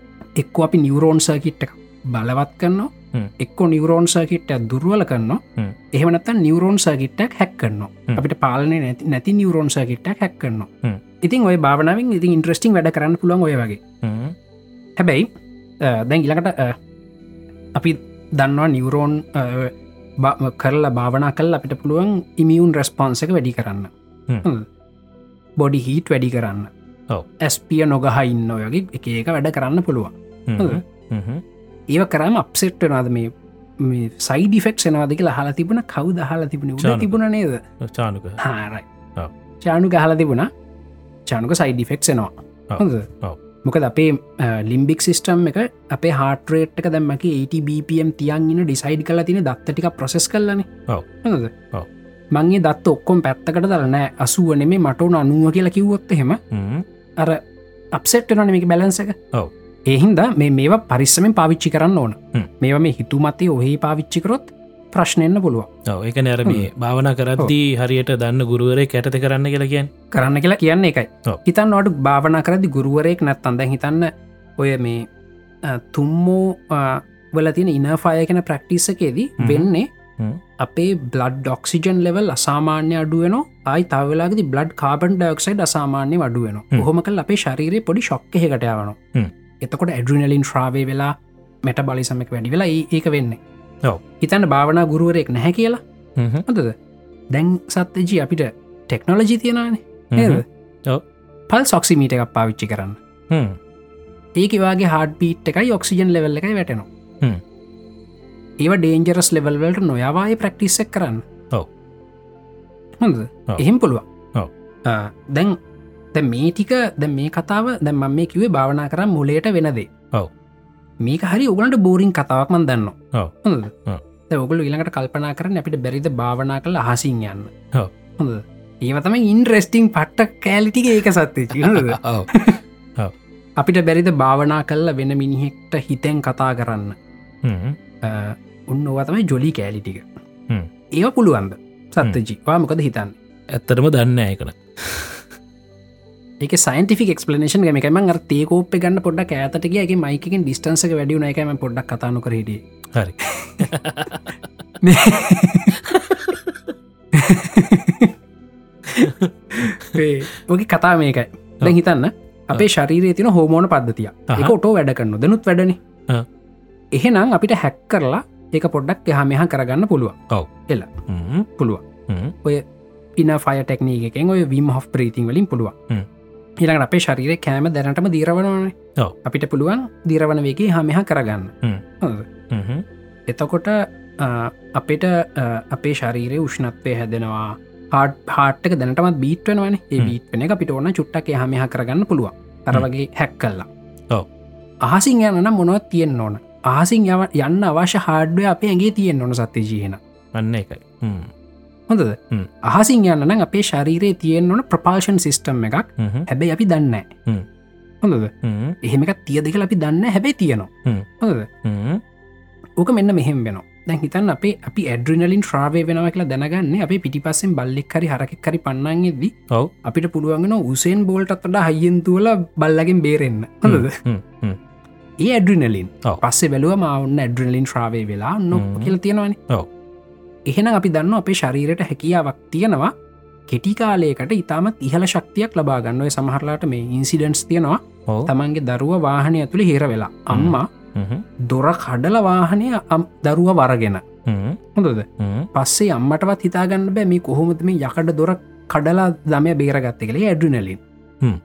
Speaker 3: එක්ක අපි නිවරෝන් සර්කිට් එක බලවත්
Speaker 2: හ්ම්.
Speaker 3: කන්න එක්ක නිවරෝන් සර්කිට්ට දුර්වල
Speaker 2: හ්ම්.
Speaker 3: කන්න එහමනත් නිවරෝන් සර්කිට්ටක් හැක්
Speaker 2: හ්ම්.
Speaker 3: කන්න අපිට පාලනය නැති- නැති නිවරෝන් සර්කිට්ටක් හැක්
Speaker 2: හ්ම්.
Speaker 3: කන්න ඉතින් ඔය භාවනාවෙන් ඉති ඉන්ට්‍රස්ටිං වැඩ කරන්න පුළුවන් ඔය වගේ
Speaker 2: හ්ම්.
Speaker 3: හැබැයි අ, දැන් ඉලකට අපි දන්නවා නිවරෝන් අ, බ- කරලා භාවනා කල් අපිට පුළුවන් ඉමියුන් රෙස්පොන්ස එක වැඩි කරන්න
Speaker 2: හ්ම්.
Speaker 3: හ්ම්. බොඩි හිීට් වැඩි කරන්න
Speaker 2: ඔව්.
Speaker 3: ඇස්පිය නොගහ ඉන්න ඔයගේ එක එක වැඩ කරන්න පුළුවන්
Speaker 2: හ්ම්. හ්ම්.
Speaker 3: ඒව කරම අප්සෙට් වෙනද මේ සයිඩිෆෙක්් එනවාදක හලා තිබුණ කවු දහලා තිබුණ උඩ
Speaker 2: චානක.
Speaker 3: තිබුණ නේද
Speaker 2: චානුක
Speaker 3: හාරයි
Speaker 2: ඔව්.
Speaker 3: චානු ගහල තිබුණ චානුක සයිඩිෆෙක්් එනවා
Speaker 2: ඔව්.
Speaker 3: හොඳ
Speaker 2: ඔව්.
Speaker 3: මොකද අපේ ලිම්බික් සිිස්ටම් එක අපේ හාටරේට්ක දැම්මක ATBPM තියන් ඉන්න ඩිසයිඩ් කලා තින දත්තටික ප්‍රසෙස් කරලන
Speaker 2: ඔව්.
Speaker 3: හොද
Speaker 2: ඔව්.
Speaker 3: මංගේ දත් ඔක්කොම් පැත්තකට දරනෑ අසුවන මේ මටවන අනුව කියලා කිව්වොත් එහෙම
Speaker 2: හ්ම්.
Speaker 3: අර අපසෙට්න මේ බැලන්ස එක
Speaker 2: ඔව්.
Speaker 3: එහින්ද මේ මේවා පරිස්සමෙන් පාවිච්චි කරන්න ඕන
Speaker 2: හ්ම්.
Speaker 3: මේවා මේ හිතුමතේ ඔහහි පාවිච්චිකරොත් ප්‍රශ්නයන්න පුළුව
Speaker 2: ඔව්, ඒක නෑර මේ භාවනා කරද්දී හරියට දන්න ගුරුවරය කැටත කරන්න කියලා කියන්
Speaker 3: කරන්න කියලා කියන්න එකයි
Speaker 2: ඔව්.
Speaker 3: හිතන් අඩු භාවනා කරදි ගුරුවරයෙක් නැත් අඳ හිතන්න ඔය මේ අ, තුම්මෝ අ, වල තියෙන ඉනෆාය කෙන ප්‍රක්ටිසකේදී
Speaker 2: හ්ම්.
Speaker 3: වෙන්නේ
Speaker 2: හ්ම්.
Speaker 3: අපේ බ්ලඩ් ඩොක්සිජන් ලෙවල් අසාමාන්‍ය අඩුවන ආයි තවලාගේ බ්ලඩ් කාබන් ඩක්සයිඩ් අසාමාන්‍ය වඩුවන
Speaker 2: හ්ම්.
Speaker 3: හොම කල් අපේ ශරීරය පොඩි ශක්්කහකටයවන
Speaker 2: හ්ම්.
Speaker 3: එතකොට ඇඩ්‍රිනලින් ශ්‍රාවය වෙලා මෙට බලිසමක් වැඩි වෙලා ඒ- ඒක වෙන්නේ
Speaker 2: ඔව්.
Speaker 3: හිතන්න භාවනා ගුරුවරයෙක් නැහැ කියලා
Speaker 2: හ්ම්. හ්ම්.
Speaker 3: හොඳද දැන් සත්්‍යජී අපිට ටෙක්නොලජි තියෙනන නේද
Speaker 2: ඔව්.
Speaker 3: පල් සොක්සිමීට එකක් පාවිච්චි කරන්න
Speaker 2: හ්ම්.
Speaker 3: ඒකවාගේ හඩ පීට් එකයි ඔක්සිජන් ලෙවල් එකයි වැටනවා
Speaker 2: හ්ම්.
Speaker 3: ඒව ඩේන්ජරස් ලෙවල්වලට නොයවාය ප්‍රක්ටිස්සක් කරන්න
Speaker 2: ඔව්.
Speaker 3: හොඳ
Speaker 2: ඔව්.
Speaker 3: එහෙම පුළුවන්
Speaker 2: ඔව්.
Speaker 3: ආ, දැන් දැ මේටික දැ මේ කතාව දැ මම මේ කිවේ භාවනා කරම් මුලේට වෙනදේ
Speaker 2: ඔව්.
Speaker 3: මේක හරි ඔගලට බෝරිං කතාවක් මන් දන්න
Speaker 2: ඔව්. ඔව්.
Speaker 3: ඔගල ඉළඟට කල්පනා කරන අපිට බැරිද භාවනා කළ හසින් යන්න
Speaker 2: ඔව්.
Speaker 3: හොඳ ඒවතම ඉන්ට්‍රෙස්ටිං පට්ට කෑලිටික ඒක සත්්‍යචි හොද
Speaker 2: ඔව්.
Speaker 3: අපිට බැරිද භාවනා කල්ල වෙන මිනිහෙක්ට හිතෙන් කතා කරන්න
Speaker 2: හ්ම්.
Speaker 3: අ, උන්න ඕවතමයි ජොලි කෑලිටික
Speaker 2: හ්ම්.
Speaker 3: ඒව පුළුවන්ද සත්්‍යජීවා මොකද හිතන්න
Speaker 2: ඇත්තටම දන්න ඒකන
Speaker 3: එක සයින්ටික ක්ස්පලනේෂන් ගමකම අර තේකෝප්ප ගන්න පොඩක් ඇතටගේ මයිකින් ඩිස්ටන්සක වැඩියුන එකම පොඩක් කතානු කරහිට
Speaker 2: හරි
Speaker 3: ඔගේ කතා මේකයි දැ හිතන්න අපේ ශරීරය තින හෝමෝන පද්ධතිය
Speaker 2: අහහ.
Speaker 3: එක ඔටෝ වැඩ කරන්න දනුත් වැඩන
Speaker 2: ආ.
Speaker 3: එහෙනම් අපිට හැක් කරලා එක පොඩ්ඩක් එහා මෙහා කරගන්න පුළුව
Speaker 2: ඔව්.
Speaker 3: එල්ල
Speaker 2: හ්ම්.
Speaker 3: පුළුව
Speaker 2: හ්ම්.
Speaker 3: ඉන ෆය ටෙක්නී එකෙන් ඔය වීම හෝ ප්‍රීතින් වලින් පුළුව
Speaker 2: හ්ම්.
Speaker 3: හිළඟ අපේ ශරීරය කෑම දැනටම දීරවනවන
Speaker 2: ඔව්.
Speaker 3: අපිට පුළුවන් දීරවන වේගේ හා මෙහා කරගන්න
Speaker 2: හ්ම්.
Speaker 3: හොඳද?
Speaker 2: හ්ම්.
Speaker 3: එතකොට අ, අපිට අ, අපේ ශරීරය උෂ්ණත්වය හැදෙනවා හාට් හාට්ක දැනටමත් බීට්වනවන ඒ
Speaker 2: හ්ම්.
Speaker 3: බීට්වන එක අපිට ඕන චුට්ටක් හමහ කරගන්න පුළුවන් තරවගේ හැක් කල්ලා
Speaker 2: ඔව්.
Speaker 3: අහසින් යනනම් මොනවත් තියෙන් ඕන ආසින් යව යන්න අවශ්‍ය හාඩ්ුව අපේ ඇගේ තියෙන් ඕන සත්‍ය ජීහෙන
Speaker 2: අන්න එකයි හ්ම්.
Speaker 3: හොඳද
Speaker 2: හ්ම්.
Speaker 3: අහසින් යන්නනම් අපේ ශරීරයේ තියෙන් ඕන ප්‍රපාර්ෂන් සිිස්ටම් එකක්
Speaker 2: හ්ම්.
Speaker 3: හැබැයි අපි දන්න
Speaker 2: හ්ම්.
Speaker 3: හොඳද
Speaker 2: හ්ම්.
Speaker 3: එහෙමක් තිය දෙක අපි දන්න හැබැයි තියනවා
Speaker 2: හ්ම්.
Speaker 3: හොඳද
Speaker 2: හ්ම්.
Speaker 3: ඕක මෙන්න මෙහෙම වෙන දැන් හිතන් අපේ අපි ඇඩ්‍රිනලින් ශ්‍රාවය වෙනව කියලා දැනගන්න අපේ පිටිපස්සෙන් බල්ලෙක්කරි හරකෙක්කරි පන්නන්ගෙදී
Speaker 2: ඔව්.
Speaker 3: අපිට පුළුවන්ගෙන උසෙන් බෝල්ටත් වඩ හයියෙන්තුවල බල්ලගෙන් බේරෙන්න හොඳද
Speaker 2: හ්ම්. හ්ම්.
Speaker 3: ඒ ඇඩ්‍රිනලින්
Speaker 2: ඔව්.
Speaker 3: පස්සේ බැලුව මවන්න ඇඩ්‍රිනලින් ශ්‍රාවය වෙලා නොක්
Speaker 2: හ්ම්.
Speaker 3: කියල තියෙනවන
Speaker 2: ඔව්.
Speaker 3: එහෙන අපි දන්න අපේ ශරීරයට හැකියාවක් තියෙනවා කෙටිකාලයකට ඉතාමත් ඉහල ශක්තියක් ලබාගන්නව සමහරලාට මේ ඉන්සිඩන්ස් තියෙනවා
Speaker 2: ඔව්.
Speaker 3: තමන්ගේ දරුව වාහනය ඇතුළි හිර වෙලා අම්මා
Speaker 2: හ්ම්.
Speaker 3: දොර කඩල වාහනය අම්- දරුව වරගෙන
Speaker 2: හ්ම්.
Speaker 3: හොඳද
Speaker 2: හ්ම්.
Speaker 3: පස්සේ අම්මටවත් හිතාගන්න බෑ මේ කොහොමද මේ යකඩ දොර කඩලා දමය බේරගත්ත කළේ ඇඩුනලින්
Speaker 2: හ්ම්.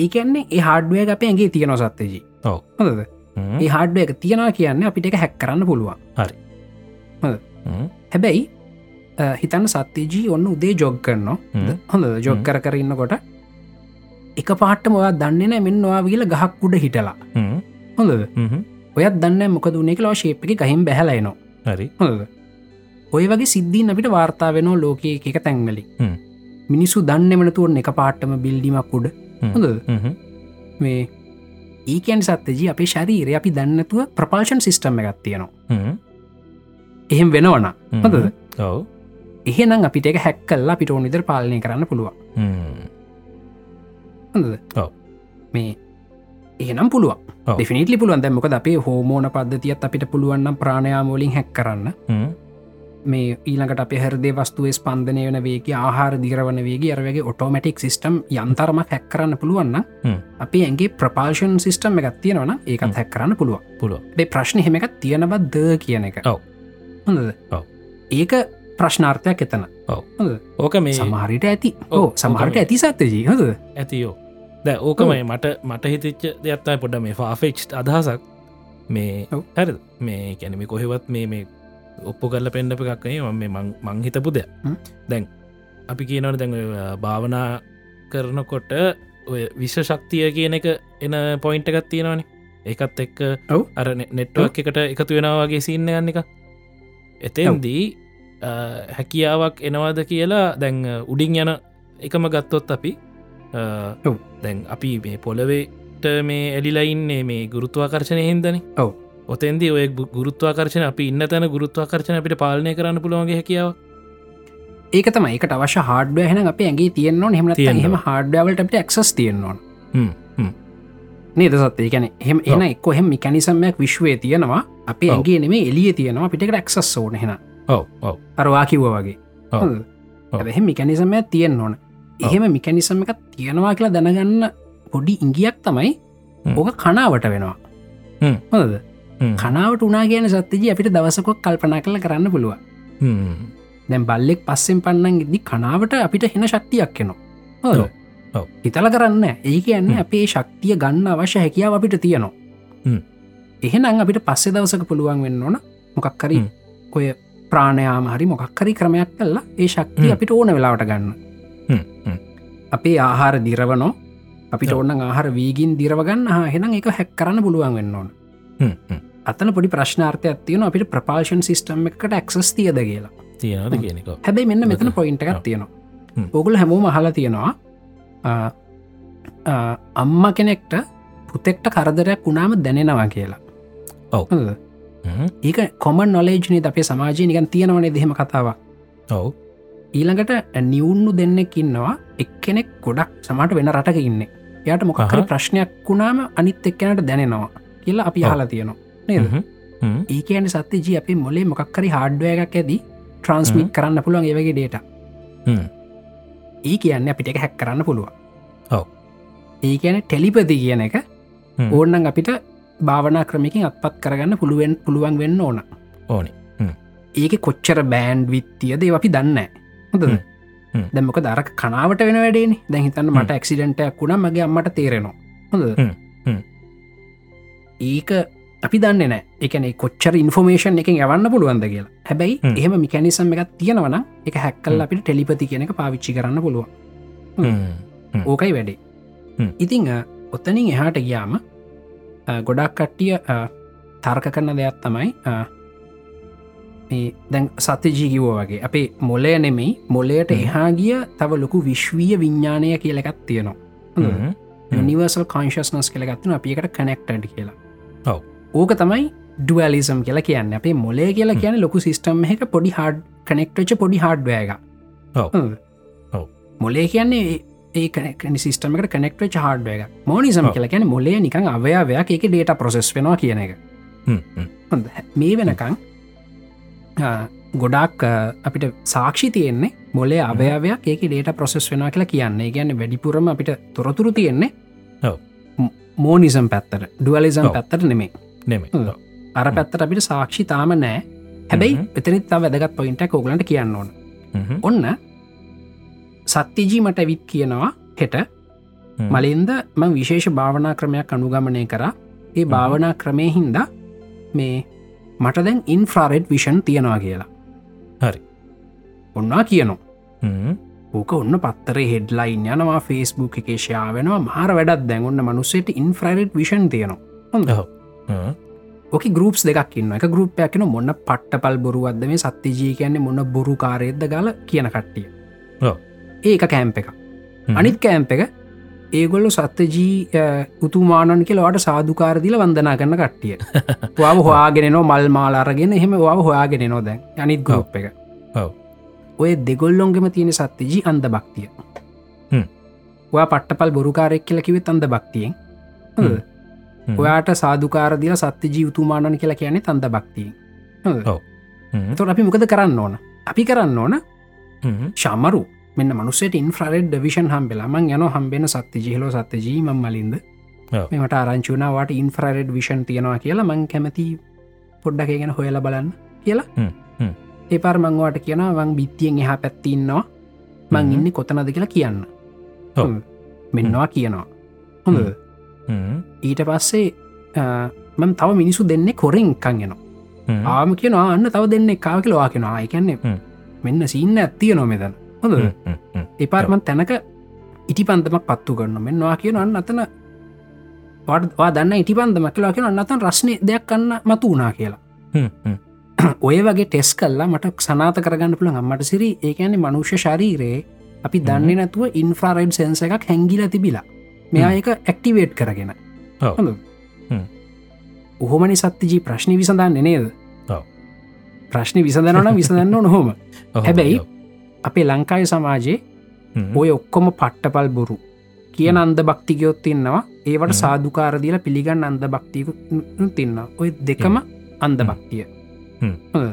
Speaker 3: ඒකන්නේ ඒ හාඩුවය අප ඇගේ තියෙන සත්තේජී
Speaker 2: ඔව්.
Speaker 3: හොඳද
Speaker 2: හ්ම්.
Speaker 3: ඒ හාඩුව එක තියෙනවා කියන්න අපිට එක හැක් කරන්න පුළුවන්
Speaker 2: හරි.
Speaker 3: හොඳ.
Speaker 2: හ්ම්.
Speaker 3: හැබැයි අ, හිතන්න සත්‍යජී ඔන්න උදේ ජොග්
Speaker 2: හ්ම්.
Speaker 3: කරනවා හොඳ ජොග්
Speaker 2: හ්ම්.
Speaker 3: කර කරන්න කොට එක පාට්ටම ඔයා දන්නේන මෙන්නවා කියලා ගහක් උඩ හිටලා
Speaker 2: හ්ම්.
Speaker 3: හොඳද
Speaker 2: හ්ම්.
Speaker 3: ඔයත් දන්න මොකද වනේ කලා ශේප්ි ගහිම් බැහලයිනවා
Speaker 2: හරි
Speaker 3: හොඳද ඔය වගේ සිද්ධීන් අපිට වාර්තා වෙනෝ ලෝකයේ එක තැන්වලි
Speaker 2: හ්ම්.
Speaker 3: මිනිස්සු දන්න එමනතුවන් එක පාට්ටම බිල්ඩිමක් උඩ හොඳ මේ ඒකන් සත්තජී අපේ ශරීරය අපි දන්නතුව ප්‍රපල්ෂන් සිිස්ටම් එකක් තියෙනවා එහෙම වෙනවන හොඳ
Speaker 2: ඔව
Speaker 3: එහෙනම් අපිට එක හැක් කල්ලා පිට ඕනිදර පාලනය කරන්න පුළුවන් හොඳද
Speaker 2: ඔව්.
Speaker 3: මේ එහෙනම් පුළුව
Speaker 2: ඔව්.
Speaker 3: ිනිටලි පුළුවන් දැමකද අපේ හෝමෝන පද්ධතියත් අපිට පුළුවන්නම් ප්‍රාණයාමෝලින් හැක් කරන්න මේ ඊළඟට අප හරදේ වස්තුවේ ස්පන්ධනය වන වේගේ ආහාර දිරවන වේගේ අරවගේ ඔටෝමටික් සිිටම් යන්තරම හැක් කරන්න පුළුවන්න
Speaker 2: හ්ම්.
Speaker 3: අපේ ඇගේ ප්‍රපාර්ෂන් සිිටම් එකත් තියෙනවන ඒකත් හැක් කරන්න පුළුව
Speaker 2: පුළුව
Speaker 3: මේ ප්‍රශ්න හෙමක් තියෙනවද කියන එක
Speaker 2: ඔව්.
Speaker 3: හොඳද
Speaker 2: ඔව්.
Speaker 3: ඒක ප්‍රශ්නාර්ථයක් එතන
Speaker 2: ඔව්.
Speaker 3: හොඳ
Speaker 2: ඕක මේ
Speaker 3: සමහරිට ඇති
Speaker 2: ඔව්,
Speaker 3: ඕ
Speaker 2: ඕක
Speaker 3: සමහරට
Speaker 2: මේ.
Speaker 3: ඇති සත්‍යජී හොද
Speaker 2: ඇතියෝ දැ ඕකමයි මට මට හිතච්ච දෙයක්ත්තයි පොඩ මේ ෆාෆෙක්් අදහසක් මේ
Speaker 3: ඔව්.
Speaker 2: හැර මේ කැනෙමි කොහෙවත් මේ මේ ඔප්පු කරල පෙන්ඩප එකක්නේ මේ මං- මං හිතපු දෙයක්
Speaker 3: හ්ම්.
Speaker 2: දැන් අපි කියනවට දැන් ඔය භාවනා කරනකොට ඔය විශ්ව ශක්තිය කියන එක එන පොයින්ට එකත් තියෙනවානේ ඒකත් එක්ක
Speaker 3: ඔව්.
Speaker 2: අර නෙට්ුවක් එකට එකතු වෙනවාගේ සින්න යන්න එක එතෙන්දී අ, හැකියාවක් එනවාද කියලා දැන් උඩින් යන එකම ගත්තොත් අපි අ,
Speaker 3: ඔව්.
Speaker 2: දැන් අපි මේ පොළවේට මේ එලිලයින්නේ මේ ගුරුත්වාකර්ශණය හින්දන
Speaker 3: ඔව්.
Speaker 2: ඔතන්දි ඔය ගු- ගුරුත්වාකර්ශණ අපි ඉන්න තැන ගුරුත්වාකර්ශණ අපිට පාලනය කරන්න පුළුවන්ගේ හැකියාව
Speaker 3: ඒක තම එක අවශ හාඩ හන අප ඇගේ තියන හෙම
Speaker 2: තියෙනවා.
Speaker 3: හෙම හාඩවලට එක්සස් තියෙන්නවා
Speaker 2: හ්ම්, හ්ම්.
Speaker 3: නේද සත්ේ ගැන හෙම එන එක් කොහෙම මිකැනිසම්මයක් විශ්වය තියෙනවා අප
Speaker 2: ඔව්.
Speaker 3: ඇගේ නෙම එලිය තියෙනවා පිට එක්සස් ඕන හෙන
Speaker 2: ඔව් ඔව්
Speaker 3: අරවා කිව්ව වගේ
Speaker 2: ඔව්. ඔව්.
Speaker 3: ඇහ මිකැනිසමය තියෙන් ඕන එහෙම මිකැනිසම එකක් තියෙනවා කියලා දැනගන්න පොඩි ඉංගියක් තමයි
Speaker 2: හ්ම්.
Speaker 3: ඕක කනාවට වෙනවා
Speaker 2: හ්ම්.
Speaker 3: හොද
Speaker 2: හ්ම්.
Speaker 3: කනාවට උනා කියන සත්තිජී අපිට දවසකොක් කල්පනා කළ කරන්න පුළුව
Speaker 2: හ්ම්.
Speaker 3: දැම් බල්ලෙක් පස්සෙන් පන්නන් ඉදි කනාවට අපිට හෙන ශක්තියක් කෙනවා
Speaker 2: ඔව්. ඔව්.
Speaker 3: හිතල කරන්න ඒ කියන්නේ
Speaker 2: හ්ම්.
Speaker 3: අපේ ශක්තිය ගන්න අවශ්‍ය හැකියාව අපිට තියනවා
Speaker 2: හ්ම්.
Speaker 3: එහෙනම් අපිට පස්සෙ දවසක පුළුවන් වෙන්න ඕන මොකක්කරි
Speaker 2: හ්ම්.
Speaker 3: ඔය ප්‍රාණයාම හරි මොකක්කරි ක්‍රමයක් කල්ලා ඒ ශක්තිය
Speaker 2: හ්ම්.
Speaker 3: අපිට ඕන වෙලාවට ගන්න
Speaker 2: හ්ම්. හ්ම්.
Speaker 3: අපේ ආහාර දිරවනෝ අපිට
Speaker 2: ඔව්.
Speaker 3: ඔන්න ආහාර වීගින් දිරවගන්න හා හෙනම් එක හැක් කරන්න පුළුවන් වෙන්න ඕන
Speaker 2: හ්ම්. හ්ම්.
Speaker 3: අතන පොඩි ප්‍රශ්නාර්ථයක් තියෙන අපිට ප්‍රපාර්ෂන් සිිස්ටම් එකට ඇක්සස් තියද කියලා
Speaker 2: තියෙනවද කියනෙකෝ
Speaker 3: හැබැයි මෙන්න මෙතන
Speaker 2: මෙතන.
Speaker 3: පොයින්ට එකක්
Speaker 2: ඔව්.
Speaker 3: තියෙනවා
Speaker 2: හ්ම්.
Speaker 3: ඔගුල හැමෝම හලා තියෙනවා අ, අ, අම්ම කෙනෙක්ට පුතෙක්ට කරදරයක් වුණාම දැනෙනවා කියලා
Speaker 2: ඔව්.
Speaker 3: හොඳද? ඒක කොමන් නොලේජ්නේ අපේ සමාජයනිකන් තියෙනවනේ දෙහෙම කතාව
Speaker 2: ඔව්
Speaker 3: ඊළඟට නිවුන්නු දෙන්නෙක් ඉන්නවා එක්කෙනෙක් ගොඩක් සමට වෙන රටක ඉන්න යට මොකහරි
Speaker 2: අහහ.
Speaker 3: ප්‍රශ්නයක් වුණාම අනිත් එක්කෙනට දැනෙනවා කියලා අපි
Speaker 2: ඔව්.
Speaker 3: හලා තියෙනවා නේද
Speaker 2: හ්ම්.
Speaker 3: ඒකන සත්‍යජී අපේ මොලේ මොකක්කරි හාඩ්ුව එකක් ඇදි ට්‍රන්ස්මික් කරන්න පුළුවන් ඒවගේ ඩේට
Speaker 2: හ්ම්.
Speaker 3: ඒ කියන්න අපිට එක හැක් කරන්න පුළුව
Speaker 2: ඔව්.
Speaker 3: ඒ කියන ටෙලිපති කියන එක
Speaker 2: හ්ම්.
Speaker 3: ඕන්නන් අපිට භාවනා ක්‍රමිකින් අත්පත් කරගන්න පුළුවෙන් පුළුවන් වෙන්න ඕන
Speaker 2: ඕනි. හ්ම්.
Speaker 3: ඒක කොච්චර බෑන්ඩ් විත්තියද ඒ අපි දන්න හොඳ
Speaker 2: හ්ම්. හ්ම්.
Speaker 3: දැමක දරක් කනාවට වෙන වැඩේ දැහිතන්න මට ඇක්සිඩෙන්ටයක් වුණ මගේ අම්මට තේරෙනවා හොඳ
Speaker 2: හ්ම්. හ්ම්.
Speaker 3: ඒක අපි දන්න නෑ එකන කොච්චර ඉන්ෆෝමේෂන් එක යවන්න පුළුවන්ද කියලා හැබැයි
Speaker 2: හ්ම්.
Speaker 3: එහෙම මිකැනිසම් එකක් තියෙනවන එක හැක්කල්
Speaker 2: හ්ම්.
Speaker 3: අපිට ටෙලිපති කෙනක පාවිච්චි කරන්න පුළුව
Speaker 2: හ්ම්.
Speaker 3: ඕකයි වැඩේ
Speaker 2: හ්ම්.
Speaker 3: ඉතිං අ, ඔත්තනින් එහාට ගියාම අ, ගොඩක් කට්ටිය අ, තර්ක කරන දෙයක් තමයි අ, මේ දැන් සත්‍ය ජීකිවෝ වගේ අපේ මොලය නෙමෙයි මොලයට
Speaker 2: හ්ම්.
Speaker 3: එහා ගිය තව ලොකු විශ්වීය විඤ්ඥානය කියලකත් තියෙනවා හොඳද?
Speaker 2: හ්ම්.
Speaker 3: නිවර්සල් කොන්ශස්නස් කළගත්න අපිකට කනෙක්ටඩ් කියලා
Speaker 2: ඔව්.
Speaker 3: ඕක තමයි ඩුවලිසම් කියලා කියන්න අපේ මොලේ කියලා
Speaker 2: Hmm.
Speaker 3: කියන ලොකු සිිස්ටම් එක පොඩි හඩ් කනෙක්ටච පොඩි හඩ්වයග
Speaker 2: ඔව්. ඔව්.
Speaker 3: මොලේ කියන්නේ ඒ- ඒ කනෙක්න සිිටමට කනෙක්ට හඩ්වයක මෝනිසම්
Speaker 2: ඔව්.
Speaker 3: කියලා කියන මොලේ නිකං අවයාවයක් එක ඩේට ප්‍රසෙස් වෙනවා කියන එක
Speaker 2: හ්ම්. හ්ම්.
Speaker 3: හොඳ මේ වෙනකං අ, ගොඩක් අ, අපිට සාක්ෂි තියෙන්නේ මොලේ අවයවයක් ඒක ඩේට ප්‍රොසෙස් වෙන කියලා කියන්නේ ගැන වැඩිපුරම අපිට තොරතුරු තියෙන්නේ
Speaker 2: ඔව්.
Speaker 3: ම්- මෝනිසම් පැත්තර ඩුවලිසම්
Speaker 2: ඔව්.
Speaker 3: පැත්තට නෙමේ
Speaker 2: නෙමේ
Speaker 3: හ්ම්.
Speaker 2: ඔව්.
Speaker 3: අර පැත්තට අපිට සාක්ෂි තාම නෑ හැබැයි
Speaker 2: හ්ම්.
Speaker 3: එතනිත් තම වැදගත් පොයින්ටක් ඕගලන්ට කියන්න ඕන
Speaker 2: හ්ම්.
Speaker 3: ඔන්න සත්‍යජී මට ඇවිත් කියනවා හෙට
Speaker 2: හ්ම්.
Speaker 3: මලින්ද මං විශේෂ භාවනා ක්‍රමයක් අනුගමනය කරා ඒ භාවනා ක්‍රමය හින්දා මේ මට දැන් ඉන්ෆ්‍රාරෙඩ් විෂන් තියෙනවා කියලා
Speaker 2: හරි.
Speaker 3: ඔන්නා කියනවා
Speaker 2: හ්ම්.
Speaker 3: ඕක ඔන්න පත්තරේ හෙඩ්ලයින් යනවා ෆස්බුක් එකේෂයා වෙනවා මහර වැඩත් දැන් ඔන්න මනුස්සේට ඉන්ෆ්‍රරෙඩ් විෂන් තියෙනවා හොඳ
Speaker 2: ඔව්. හ්ම්.
Speaker 3: ඕක ගරුප්ස් දෙකක් ඉන්න එක ගරුප්යක්න මොන්න පට්ටපල් බොරුවද මේ සත්‍යජී කියන්නේ මොන්න බොරු කාරයද්ද ගල කියන කට්ටිය
Speaker 2: ඔව්.
Speaker 3: ඒක කෑම්ප එක අනිත් කෑම්ප එක ඒගොල්ලු සත්‍යජී උතුමානන් කියලවාට සාධකාරදිල වන්දනා කරන්න කට්ටිය වාව හොයාගෙනනෝ මල් මාල් අරගෙන එහෙම වාව හොයාගෙන නො දැන් අනිත් ගොප් එක
Speaker 2: ඔව්.
Speaker 3: ඔය දෙගොල්ලොන්ගෙම තියෙන සත්‍යජී අන්ද භක්තිය
Speaker 2: හ්ම්.
Speaker 3: ඔයා පට්ටපල් බොරුකාරෙක් කියල කිවෙත් අන්ද භක්තියෙන් හොඳද?
Speaker 2: හ්ම්.
Speaker 3: ඔයාට සාධකාරදිල සත්‍යජී උතුමානන් කියලා කියන්නේ අන්ද භක්තියෙන් හොඳද?
Speaker 2: ඔව්. හ්ම්.
Speaker 3: එතකොට අපි මොකද කරන්න ඕන අපි කරන්න ඕන
Speaker 2: හ්ම්.
Speaker 3: ශමරු මෙන්න මනුසට ඉන්ෆ්‍රරෙඩ් විෂන් හම්බෙලාමන් යන හම්බෙන සත්ති ජිහලෝ සත්‍ය ජීම මලින්ද
Speaker 2: ඔව්.
Speaker 3: මෙමට ආරංචුනාවට ඉන්ෆ්‍රරෙඩ් විෂන් තියෙනවා කියලා මං කැමති පොඩ්ඩක ගැන හොයල බලන්න කියලා
Speaker 2: හ්ම්, හ්ම්.
Speaker 3: ඒ පාර මංවාට කියනවා වං බිත්තියෙන් එහා පැත්තින්නවා මං
Speaker 2: හ්ම්.
Speaker 3: ඉන්න කොතනද කියලා කියන්න
Speaker 2: ඔව්.
Speaker 3: හ්ම්. මෙන්නවා කියනවා හොඳ
Speaker 2: හ්ම්.
Speaker 3: ඊට පස්සේ අ, මං තව මිනිසු දෙන්නේ කොරෙන්කං එනවා
Speaker 2: හ්ම්.
Speaker 3: ආම කියනවා අන්න තව දෙන්නේ කාව කියලවා කෙනවා කියන්නේ
Speaker 2: හ්ම්.
Speaker 3: මෙන්න සින්න ඇත්තිය නොමෙදන හොඳ
Speaker 2: හ්ම්. හ්ම්. හ්ම්.
Speaker 3: එපාර්මන් තැනක ඉටි පන්දමක් පත්තු කරන්න මෙන්නවා කියන අන්න අතන පඩවා දන්න ඉටි පන්දමක් කියලා කියෙන අන්නතන් රශ්නය දෙයක් කන්න මතු වුණා කියලා
Speaker 2: හ්ම්. හ්ම්.
Speaker 3: ඔය වගේ ටෙස් කල්ලා මට සනාත කරගන්න පුළ අම්මට සිරි ඒකන්නේ මනුෂ්‍ය ශරීරයේ අපි දන්නේ නැතුව ඉන්ෆ්‍රරයිඩ් සෙන්ස එකක් හැංගිල තිබිලා මෙයා එක ඇක්ටිවේට් කරගෙන
Speaker 2: ඔව්.
Speaker 3: හොඳ.
Speaker 2: හ්ම්.
Speaker 3: ඔහොමනි සත්තිජී ප්‍රශ්නි විසඳන්න නේද
Speaker 2: ඔව්.
Speaker 3: ප්‍රශ්නි විසඳනන විසඳන්න නොහොම
Speaker 2: ඔහොමයි,
Speaker 3: හැබැයි
Speaker 2: ඔව්.
Speaker 3: අපේ ලංකාය සමාජයේ
Speaker 2: හ්ම්.
Speaker 3: ඔය ඔක්කොම පට්ටපල් බොරු කියන අන්ද භක්තිකයොත් තින්නවා ඒවට
Speaker 2: හ්ම්.
Speaker 3: සාධකාරදිල පිළිගන්න අන්ද භක්තිකු තින්න ඔය දෙකම අන්ද භක්තිය
Speaker 2: හ්ම්.
Speaker 3: හොඳ.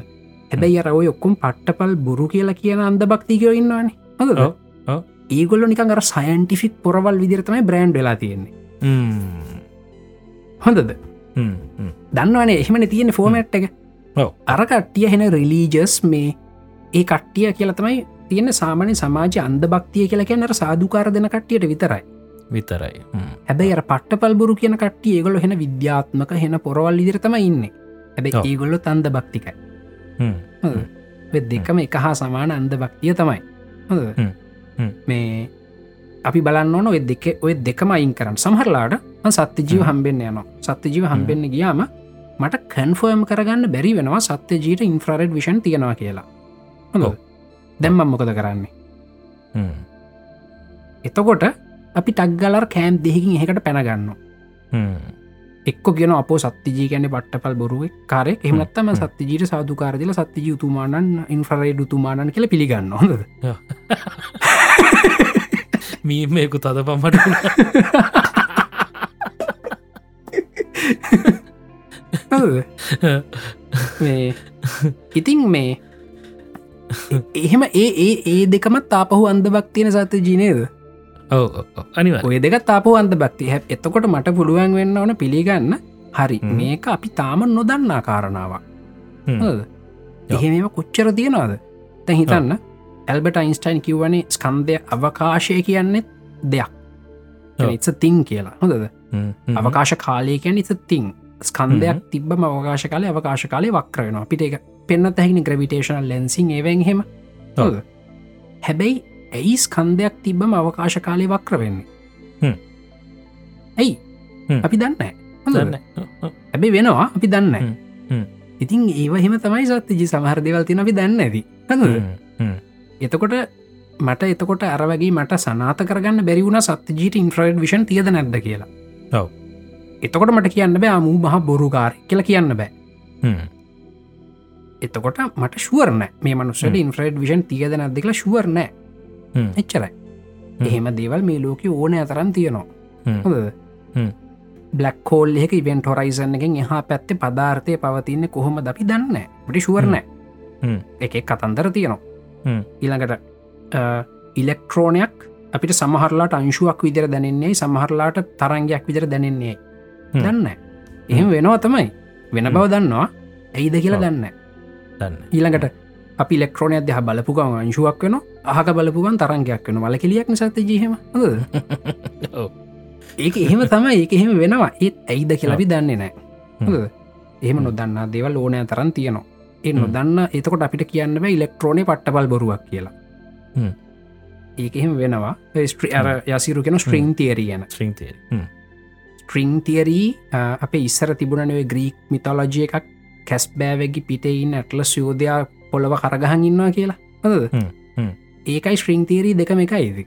Speaker 3: හැබැයි අර ඔය ඔක්කුම් පට්ටපල් බොරු කියලා කියන අන්ද භක්තිකයෝ ඉන්නවානේ හොඳ
Speaker 2: ඔව්, ඔව්.
Speaker 3: ඒගොල්ල නිකන් අර සයින්ටිෆික් පොරවල් විදිරතමයි බ්‍රන්් වෙලා තියෙන්නේ
Speaker 2: හ්ම්.
Speaker 3: හොඳද
Speaker 2: හ්ම්. හ්ම්.
Speaker 3: දන්නවනේ එහෙමන තියෙන ෆෝමට් එක
Speaker 2: ඔව්.
Speaker 3: අර කට්ටිය හෙන රිලීජස් මේ ඒ කට්ටිය කියලා තමයි තියෙන සාමාන්‍ය සමාජ අන්ද භක්තිය කියලා කියන්නට සාධකාර දෙන කට්ටියට විතරයි
Speaker 2: විතරයි හ්ම්.
Speaker 3: හැබැයි අර පට්ටපල් බොරු කියන කට්ටිය ඒගොල හෙන විද්‍යාත්මක හෙන පොරවල් ඉදිරිතම ඉන්න හැබැයි
Speaker 2: ඔව්.
Speaker 3: ඒගොල්ලො තන්ද භක්තිකයි
Speaker 2: හ්ම්.
Speaker 3: හොඳද? ඔය දෙකම එක හා සමාන අන්ද භක්තිය තමයි හොඳද?
Speaker 2: හ්ම්. හ්ම්.
Speaker 3: මේ අපි බලන්න ඕන ඔය දෙක ඔය දෙකම අයින් කරන්න සමහරලාට මං සත්‍ය ජීව
Speaker 2: හ්ම්.
Speaker 3: හම්බෙන්න්න යනවා සත්‍ය ජීව හම්බෙන්න්න ගියාම මට කැන්ෆෝයම් කරගන්න බැරි වෙනවා සත්‍ය ජීට ඉන්ෆ්‍රරෙඩ් විෂන් තියෙනවා කියලා හොඳ
Speaker 2: ඔව්.
Speaker 3: දැම්මම් මොකද කරන්නේ
Speaker 2: හ්ම්.
Speaker 3: එතකොට අපි ටක්ගලර් කෑම් දෙහකින් එහකට පැනගන්න
Speaker 2: හ්ම්.
Speaker 3: එක්ක කියන අප සත්තිජී කියන පට්ටපල් බොරුව කාරෙ එමනත්තම
Speaker 2: හ්ම්.
Speaker 3: සත්තිජීට සාධකාරදිල සත්තිජී උතුමානන් ඉන්ෆරයිඩ් උතුමානන් කියල පිළිගන්න හොඳද
Speaker 2: මීමයකු තද පම්මට
Speaker 3: හොඳද? මේ ඉතින් මේ එහෙම ඒ ඒ ඒ දෙකමත් ආපහු අන්දභක් තියෙන සත්‍ය ජීනයද
Speaker 2: ඔව අනිව
Speaker 3: ඔය දෙක තාපහු අන්ද භක්ති හැ එතකොට මට පුළුවන් වෙන්න ඕන පිළිගන්න හරි
Speaker 2: හ්ම්.
Speaker 3: මේක අපි තාම නොදන්නා කාරණාව හොඳද?
Speaker 2: ඔව්.
Speaker 3: එහෙම කොච්චර තියෙනවාද තැ හිතන්න ඇල්බට අයින්ස්ටයින් කිව්වනේ ස්කන්දය අවකාශය කියන්නේ දෙයක්
Speaker 2: ඔව්.
Speaker 3: ඉස තිං කියලා හොඳද අවකාශ කාලය කියන ඉස තිං ස්කන්දයක් තිබම අවකාශ කාලය අවකාශ කාලය වක්‍ර වෙන අපිට එක පෙන්න්න තැහිනි ග්‍රවිටේශන ලැන්සින් ඒවන් හෙම
Speaker 2: ඔව්.
Speaker 3: හැබැයි ඇයි ස්කන්දයක් තිබම අවකාශ කාලය වක්‍ර වෙන්නේ
Speaker 2: හ්ම්.
Speaker 3: ඇයි
Speaker 2: හ්ම්.
Speaker 3: අපි දන්න හොඳ හැබේ වෙනවා අපි
Speaker 2: හ්ම්.
Speaker 3: දන්න
Speaker 2: හ්ම්.
Speaker 3: ඉතින් ඒවහෙම තමයි සත්තිජි සමහරදවල් තින අපි දන්න ඇති හඳ එතකොට මට එතකොට අරවගේ මට සනාත කරගන්න බැරි වුණ සත්තිජීට ඉන්ෆ්‍රයිඩ් විෂන් තියද නැද්ද කියලා
Speaker 2: ඔව්.
Speaker 3: එතකොට මට කියන්න බෑ ආ, මූ මහ බොරුකාර කියලා කියන්න බෑ එතකොට මට ශුවරන මේ මනුස්සට
Speaker 2: හ්ම්.
Speaker 3: ඉන්ෆ්‍රයිඩ් විෂන් තියද නැදකලා ශුවරනෑ
Speaker 2: හ්ම්.
Speaker 3: එච්චරයි
Speaker 2: හ්ම්.
Speaker 3: එහෙම දේවල් මේ ලෝක ඕන අතරන් තියනවා
Speaker 2: හ්ම්.
Speaker 3: හොඳද?
Speaker 2: හ්ම්.
Speaker 3: බ්ලක් කෝල් එක ඉවෙන්ට හොරයිසන් එකෙන් එහා පැත්තේ පදාර්ථය පවතින්න කොහොම දපි දන්න පටි ශුවරනෑ
Speaker 2: හ්ම්.
Speaker 3: එක කතන්දර තියනවා
Speaker 2: හ්ම්.
Speaker 3: ඊළඟට ඉලෙක්ට්‍රෝනයක් අපිට සමහරලාට අංශුවක් විදිර දැනෙන්නේ සමහරලාට තරංගයක් විදිර දැනෙන්නේ
Speaker 2: හ්ම්.
Speaker 3: දන්න එහෙම වෙනවා තමයි වෙන බව දන්නවා ඇයිද කියලා
Speaker 2: ඔව්.
Speaker 3: දන්න ඊළඟට අපි ලෙක්ට්‍රෝනයක් දෙහ බලපු ගම අංශුවක් වෙන අහක බලපුගන් තරංගයක් වෙන වල කෙලියක් සත ජීහම ඒක එහෙම තමයි ඒක එහෙම වෙනවා ඒත් ඇයිද කියලබි දන්නේ නෑ
Speaker 2: හ්ම්.
Speaker 3: හොඳද? එහෙම නොදන්න දෙවල් ඕනෑ තරන් තියනවා ඒ
Speaker 2: හ්ම්.
Speaker 3: නොදන්න එතකොට අපිට කියන්න බෑ ඉලෙක්ට්‍රෝනේ පට්ටබල් බොරුවක් කියලා
Speaker 2: හ්ම්.
Speaker 3: ඒක එහෙම වෙනවා ස්ට්‍රී අර යසිරු කෙන ස්ට්‍රීන් තිේරියන
Speaker 2: ශ්‍රීන්තේ
Speaker 3: ස්ට්‍රිං තිරී අප uh, ඉස්සර තිබුණනවේ ග්‍රීක් මිතලජිය එකක් කැස් බෑවැගි පිටයින් ඇටල සයෝධයා පොළව කරගහන් ඉන්නවා කියලා හොඳද?
Speaker 2: හ්ම්, හ්ම්.
Speaker 3: ඒකයි ශ්‍රීංතීරී දෙකම එකයිද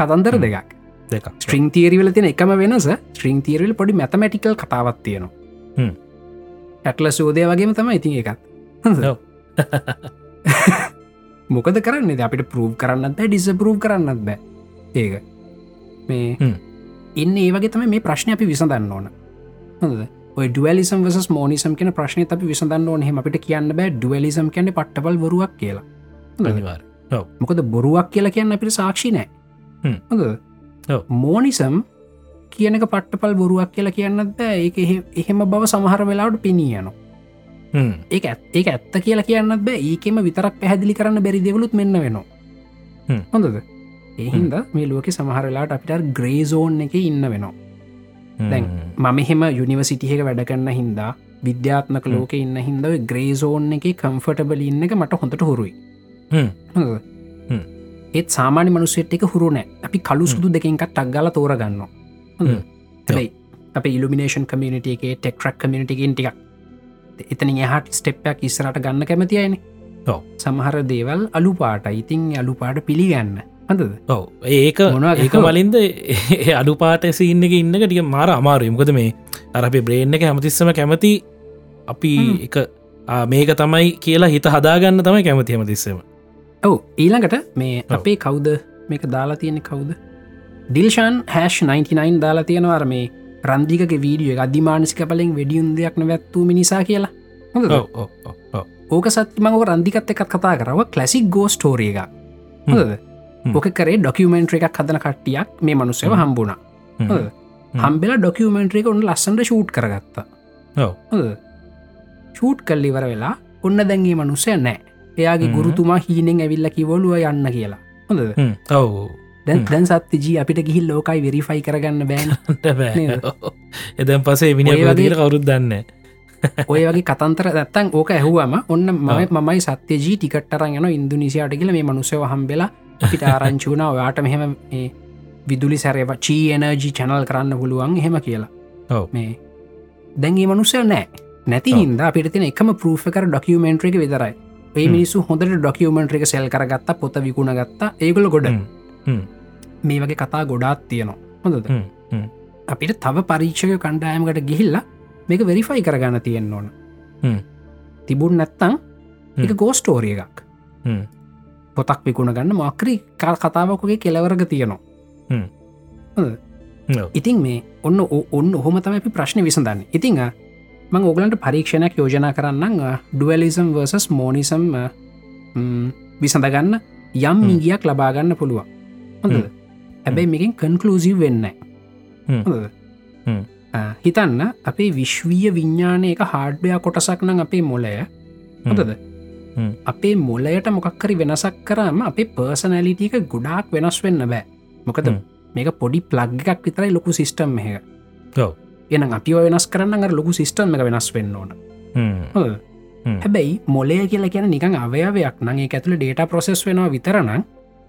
Speaker 3: කතන්දර
Speaker 2: හ්ම්.
Speaker 3: දෙකක්
Speaker 2: දෙකක්
Speaker 3: ශ්‍රීං තීරවල තින එකම වෙනස ශ්‍රීං තීරවල පොඩි මැතමැටිකල් කතාවත් තියෙනවා
Speaker 2: හ්ම්.
Speaker 3: ඇටල සෝදය වගේම තම ඉතින් එකත් හොඳද?
Speaker 2: ඔව්.
Speaker 3: මොකද කරන්නේ දැන් අපිට ප්‍රූව් කරන්නත් ඩිස්පරූ් කරන්නත් බෑ ඒක මේ
Speaker 2: හ්ම්.
Speaker 3: එන්න ඒවගේ තම මේ ප්‍රශ්න අපි විසඳන්න ඕන හොඳද ඔය ඩුවලිසම් වස මෝනිසම් කියෙන ප්‍රශ්නය අපි විසඳන්න ඕනෙම අපිට කියන්න බෑ ඩුවලිසම් කියන්නේ පට්ටබල් වරුවක් කියලා හොඳද?
Speaker 2: අනිවාර්
Speaker 3: මොකද බොරුවක් කියලා කියන්න අපිට සාක්ෂි නෑ
Speaker 2: හ්ම්.
Speaker 3: හොඳ
Speaker 2: ඔව්.
Speaker 3: මෝනිසම් කියනක පට්ටපල් බොරුවක් කියලා කියන්නත් බෑ ඒක එහෙ- එහෙම බව සමහර වෙලාවට පිණියන ඒ ඇත් ඒක ඇත්ත කියලා කියන්න බෑ ඒකෙම විතරක් පැහැදිලි කරන්න බැරි දෙවලුත් මෙන්න වෙනවා
Speaker 2: හ්ම්.
Speaker 3: හොඳද එහින්ද මේ ලෝක සමහරලාට අපිට ග්‍රේසෝන් එක ඉන්න වෙනවා දැන් මම එහෙම යුනිවසිටිහක වැඩ කරන්න හින්දා විද්‍යාත්මක
Speaker 2: හ්ම්.
Speaker 3: ලෝක ඉන්න හින්දව ග්‍රේසෝන් එක කම්ෆටබල ඉන්න එක මට හොඳට හුරුයි
Speaker 2: හ්ම්.
Speaker 3: හොඳද?
Speaker 2: හ්ම්.
Speaker 3: ඒත් සාමාන්‍ය මනුස්සෙට් එක හුරු නෑ අපි කලු සුදු දෙකෙන්කත් ටක්ගල තෝරගන්න
Speaker 2: හ්ම්.
Speaker 3: හැයි අප ඉල්ිනේෂන් කමියනිට එක ටෙක්රක් කමියනිටගෙන් ටික් එතන එහට ස්ටෙප්යක් ඉස්සරට ගන්න කැමතියන
Speaker 2: ඔව්.
Speaker 3: සමහර දේවල් අලු පාට ඉතිං අලු පාට පිළිගන්න හඳද
Speaker 2: ඔව ඒක
Speaker 3: මොනවා
Speaker 2: ඒක
Speaker 3: ගැහුවා?
Speaker 2: මලින්ද අඩු පාට සින්න එක ඉන්න ටිය මාර අමාරුයමකද මේ අරපේ බ්‍රේන් එක හැමතිස්සම කැමති අපි
Speaker 3: හ්ම්.
Speaker 2: එක ආ, මේක තමයි කියලා හිත හදාගන්න තමයි කැමති හැමතිස්සම
Speaker 3: ඔව ඊළඟට මේ
Speaker 2: ඔව්.
Speaker 3: අපේ කවුද මේක දාලා තියෙන කවුද ඩිල්ෂාන් හැෂ් 99 දාලා තියෙනවර මේ රන්දිකගේ වීඩිය අධිමානසික පලින් වැඩියුන් දෙයක් නැවැත්වූ මිනිසා කියලා හොඳද?
Speaker 2: ඔව්, ඔව්, ඔව්, ඔව්.
Speaker 3: ඕක සත්තිමව රන්දිකත් එකත් කතා කරව කලසික් ගෝස්ටෝරිය එක
Speaker 2: හ්ම්.
Speaker 3: හොද
Speaker 2: හ්ම්.
Speaker 3: ඕක කරේ ඩොකියමෙන්ට්‍ර එකක් හදන කට්ටියක් මේ මනුස්සව
Speaker 2: හ්ම්.
Speaker 3: හම්බුණා
Speaker 2: හ්ම්.
Speaker 3: හොඳ?
Speaker 2: හ්ම්.
Speaker 3: හම්බෙලා ඩොකියමෙන්ට්‍රේක ඔන්න ලස්සට ෂූට් කරගත්තා
Speaker 2: ඔව්.
Speaker 3: ෂූට් කල්ලිවර වෙලා ඔන්න දැන්ගේ මනුස්සය නෑ එයාගේ
Speaker 2: හ්ම්.
Speaker 3: ගුරුතුමා හීනෙන් ඇවිල්ල කිවොලුව යන්න කියලා හොඳද
Speaker 2: හ්ම්. ඔව්.
Speaker 3: දැන්
Speaker 2: හ්ම්.
Speaker 3: දැන් සත්තිජී අපිට ගිහිල් ලෝකයි වෙරිෆයි කරගන්න බෑන
Speaker 2: බෑ.
Speaker 3: නේද?
Speaker 2: එදැන් පසේ
Speaker 3: ඔය
Speaker 2: විනි
Speaker 3: වගේ-
Speaker 2: වැදිල කවරුත් දන්න
Speaker 3: ඔය වගේ කතන්තර ඇත්තන් ඕක ඇහුවම ඔන්න මම මයි සත්‍යජී ටිකට්ටරන් යන ඉන්දුනිසියාට කියල මේ මනුසය හම්බෙලා පිට ආරංචුණ ඔයාට මෙහෙම මේ විදුලි සැරව චී එනජී චැනල් කරන්න පුළුවන් එහෙම කියලා
Speaker 2: ඔව්.
Speaker 3: මේ දැන්ගේ මනුසය නෑ නැති
Speaker 2: ඔව්.
Speaker 3: හින්ද අපිට තින එකම ප්‍රූ්කර ඩොකියමෙන්ට්‍ර එක විතරයි ඒ
Speaker 2: හ්ම්.
Speaker 3: මිනිස්සු හොඳට ඩොකියමෙන්ට්‍ර එක සෙල් කරගත්ත පොත විකුණ ගත්තා ඒගොල ගොඩ
Speaker 2: හ්ම්. හ්ම්.
Speaker 3: මේ වගේ කතා ගොඩාත් තියනවා හොඳද
Speaker 2: හ්ම්. හ්ම්.
Speaker 3: අපිට තව පරීක්ෂක කණ්ඩායමකට ගිහිල්ලා මේක වෙරිෆයි කරගන්න තියෙන් ඕන
Speaker 2: හ්ම්.
Speaker 3: තිබුන් නැත්තං එක
Speaker 2: හ්ම්.
Speaker 3: ගෝස්ටෝරිය එකක්
Speaker 2: හ්ම්.
Speaker 3: පොතක් විකුණ ගන්න මක්‍රී කල් කතාවකගේ කෙලවරග තියනවා
Speaker 2: හ්ම්.
Speaker 3: හොඳද?
Speaker 2: ඔව්.
Speaker 3: ඉතින් මේ ඔන්න ඔ- ඔන්න ඔහොම තම අපි ප්‍රශ්න විසඳන්න ඉතිං අ, මං ඔගලන්ට පරීක්ෂණයක් යෝජනා කරන්න ඩුවලිසම් වර්සස් මෝනිසම් අ, ම්, විසඳගන්න යම්
Speaker 2: හ්ම්.
Speaker 3: ඉගියක් ලබාගන්න පුළුවන් හොඳද හැබැයි මේකින් කන්කලූසිව් වෙන්න
Speaker 2: හ්ම්.
Speaker 3: හොඳද?
Speaker 2: හ්ම්.
Speaker 3: අ, හිතන්න අපේ විශ්වීය විඤ්ඥානය එක හාඩ්බයා කොටසක් නම් අපේ මොලය හොඳද
Speaker 2: හ්ම්.
Speaker 3: අපේ මොලයට මොකක්කරි වෙනසක් කරම අපේ පර්සනැලිටක ගොඩාක් වෙනස් වෙන්න බෑ මොකද
Speaker 2: හ්ම්.
Speaker 3: මේක පොඩි ප්ලග් එකක් විතරයි ලොකු සිිස්ටම් එක
Speaker 2: ඔව්.
Speaker 3: එන අපි ඔය වෙනස් කරන්න අර ලොකු සිිස්ටම් එක වෙනස් වෙන්න ඕන
Speaker 2: හ්ම්.
Speaker 3: හොඳද?
Speaker 2: හ්ම්.
Speaker 3: හැබැයි මොලය කියලා කියන නිකං අවයවයක් නගේ ඇතුළ ඩේට ප්‍රසෙස් වෙනවා විතරනම්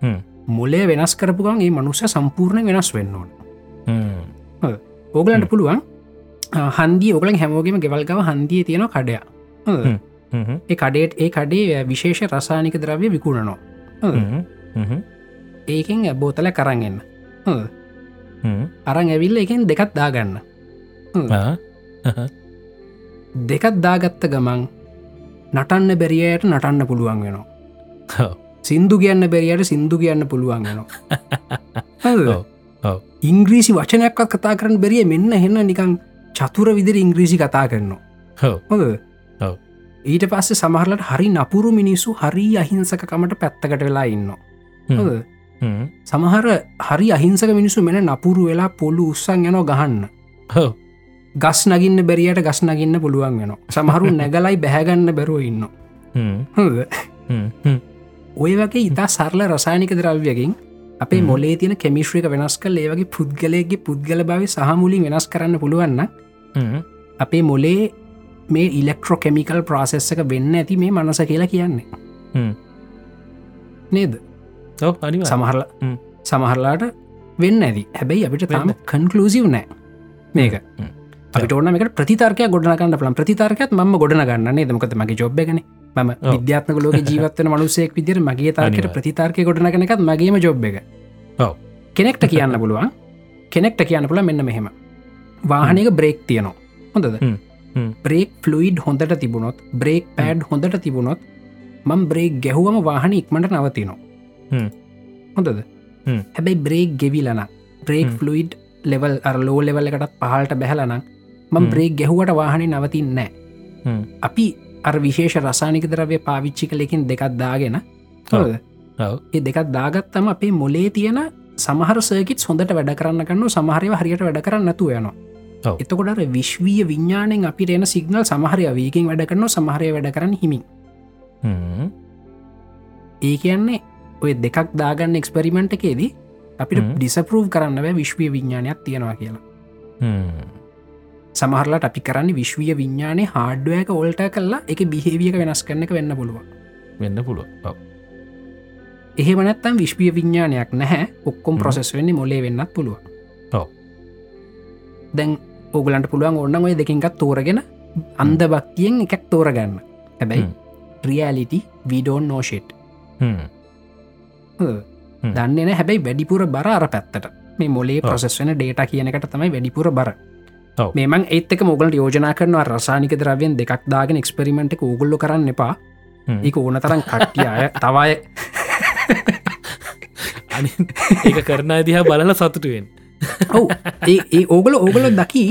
Speaker 2: හ්ම්.
Speaker 3: මොලය වෙනස් කරපුගන් ඒ මනුස්ස සම්පූර්ණ වෙනස් වෙන්න ඕන
Speaker 2: හ්ම්.
Speaker 3: ඕගලන්ට පුළුවන් අ, හන්දිය ඔගලන් හැමෝගෙම ගෙවල්ගව හන්දිය තියෙන කඩය
Speaker 2: හ්ම්.
Speaker 3: ඒ කඩේට ඒ කඩේ විශේෂ රසානික ද්‍රව්‍ය විකුණනවා හොඳද?
Speaker 2: හ්ම්. හ්ම්.
Speaker 3: ඒකෙන් බෝතල කරගන්න
Speaker 2: හ්ම්.
Speaker 3: අරං ඇවිල්ල එකෙන් දෙකත් දාගන්න
Speaker 2: ආ.
Speaker 3: දෙකත් දාගත්ත ගමන් නටන්න බැරියට නටන්න පුළුවන් වෙනවා
Speaker 2: ඔව්.
Speaker 3: සින්දු කියන්න බැරියට සින්දු කියන්න පුළුවන් වෙනවා
Speaker 2: ඔව්. ඔව්.
Speaker 3: ඉංග්‍රීසි වචනයක් කතා කරන්න බැරිය මෙන්න හෙන්න නිකං චතුර විදිර ඉංග්‍රීසි කතා කරනවා
Speaker 2: ඔව්.
Speaker 3: හොද
Speaker 2: ඔව්.
Speaker 3: ඊට පස්සේ සමහරලට හරි නපුරු මිනිස්සු හරි අහිංසකමට පැත්තකට වෙලා ඉන්න
Speaker 2: හ්ම්.
Speaker 3: හොද
Speaker 2: හ්ම්.
Speaker 3: සමහර හරි අහිංසක මිනිසු මෙන නපුරු වෙලා පොළු උත්සන් යනෝ ගහන්න
Speaker 2: ඔව්.
Speaker 3: ගස් නගින්න බැරියට ගස් නගින්න පුළුවන් වෙන සමහරු නැගලයි බැහැගන්න බැරුව ඉන්න
Speaker 2: හ්ම්.
Speaker 3: හොඳද?
Speaker 2: හ්ම්. හ්ම්.
Speaker 3: ඔය වගේ ඉතා සරල රසායනික ද්‍රව්‍යකින් අපේ
Speaker 2: හ්ම්.
Speaker 3: මොලේ තින කෙමිශ්‍රික වෙනස් කල් ඒවගේ පුද්ගලයගේ පුද්ගල භව සහමුලින් වෙනස් කරන්න පුළුවන්න
Speaker 2: හ්ම්.
Speaker 3: අපේ මොලේ මේ ඉලෙක්ට්‍රෝ කෙමිකල් ප්‍රසෙස්සක වෙන්න ඇති මේ මනස කියලා කියන්නේ
Speaker 2: හ්ම්.
Speaker 3: නේද
Speaker 2: ඔව්. අනිවා
Speaker 3: සමහරල
Speaker 2: හ්ම්.
Speaker 3: සමහරලාට වෙන්න ඇති හැබැයි අපිට තාම
Speaker 2: වෙන්න.
Speaker 3: කන්කලසිව් නෑ මේක
Speaker 2: හ්ම්.
Speaker 3: අපිට ඕනමට ප්‍රතිතර්ක ගොඩනගන්න පලම් ප්‍රතිතර්කත් ම ගොඩනගන්න නේදමකත මගේ ජොබ්ගන ම විද්‍යාත්මක ලෝක ජීවත්වන මනුසෙක් විදිර මගේ තාර්කට ප්‍රතිතාර්කය ගොඩන කනකත් මගේම ජොබ් එක කෙනෙක්ට කියන්න පුළුවන් කෙනෙක්ට කියන්න පුළ මෙන්න මෙහෙම වාහනක බ්‍රේක් තියනවා හොඳද බ්‍රේක් ෆලුයිඩ් හොඳට තිබුණොත් බ්‍රේක් පෑඩ් හොඳට තිබුණොත් මං බ්‍රේක් ගැහුවම වාහන ඉක්මට නවතිනවා හොඳද හැබැයි බ්‍රේක් ගෙවිලන බ්‍රේක් ෆලුයිඩ් ලෙවල් අරලෝ ලෙවල්ලකටත් පහල්ට බැහලනම් මං බ්‍රේක් ගැහුවට වාහනේ නවතින් නෑ අපි අර විශේෂ රසානික දරවය පාවිච්චි කලෙකින් දෙකක් දාගෙන ඒ දෙකක් දාගත්තම අපේ මොලේ තියෙන සමහර සයකිත් හොඳට වැඩ කරන්න කන්නු සමහරය හරියට වැඩ කරන්න නැතු යනවා එතකොටර විශ්වීය විඤ්ඥාණයෙන් අපි රෙන සිගනල් සමහරය වීකින් වැඩ කරනවා සමහරය වැඩ කරන්න හිමි ඒ කියන්නේ ඔය දෙකක් දාගන්න එක්ස්පරිමෙන්ට් එකේදී අපිට ඩිසපරූ් කරන්න බෑ විශ්වය විඤ්ඥානයක් තියෙනවා කියලා සමහරලට අපි කරන්න විශ්වය විඤ්ඥානය හාඩුවයක ඔල්ට කල්ලා එක බිහේවියක වෙනස් කරනක වෙන්න පුළුව
Speaker 2: වෙන්න පුළුව
Speaker 3: එහෙම නැත්තම් විශ්පිය විඤ්ඥානයක් නැහැ ඔක්කොම් ප්‍රසෙස් වෙන්නේ මොලේ වෙන්නත් පුළුව දැන් ඔගලන්ට පුළුවන් ඔන්න ඔය දෙකින්කත් තෝරගෙන අන්ද භක්තියෙන් එකක් තෝරගන්න හැබැයි රියලිටි විඩෝන් නෝෂෙට් දන්නන හැබැයි වැඩිපුර බර අර පැත්තට මේ මොලේ ප්‍රසෙස් වෙන ඩේට කියනකට තමයි වැඩිපුර බර මෙමන් ඒත්තක මුගලට යෝජනා කරනවා රසානික ද්‍රවයෙන් දෙකක් දාගෙන එක්ස්පරිමෙන්ට් ඕගොල්ල කරන්න එපා ඒක ඕන තරම් කට්ටිය අය තවය
Speaker 2: ඒක කරන දිහා බලල සතුටුවෙන්
Speaker 3: ඔව ඒ ඕගල ඕගොලො දකි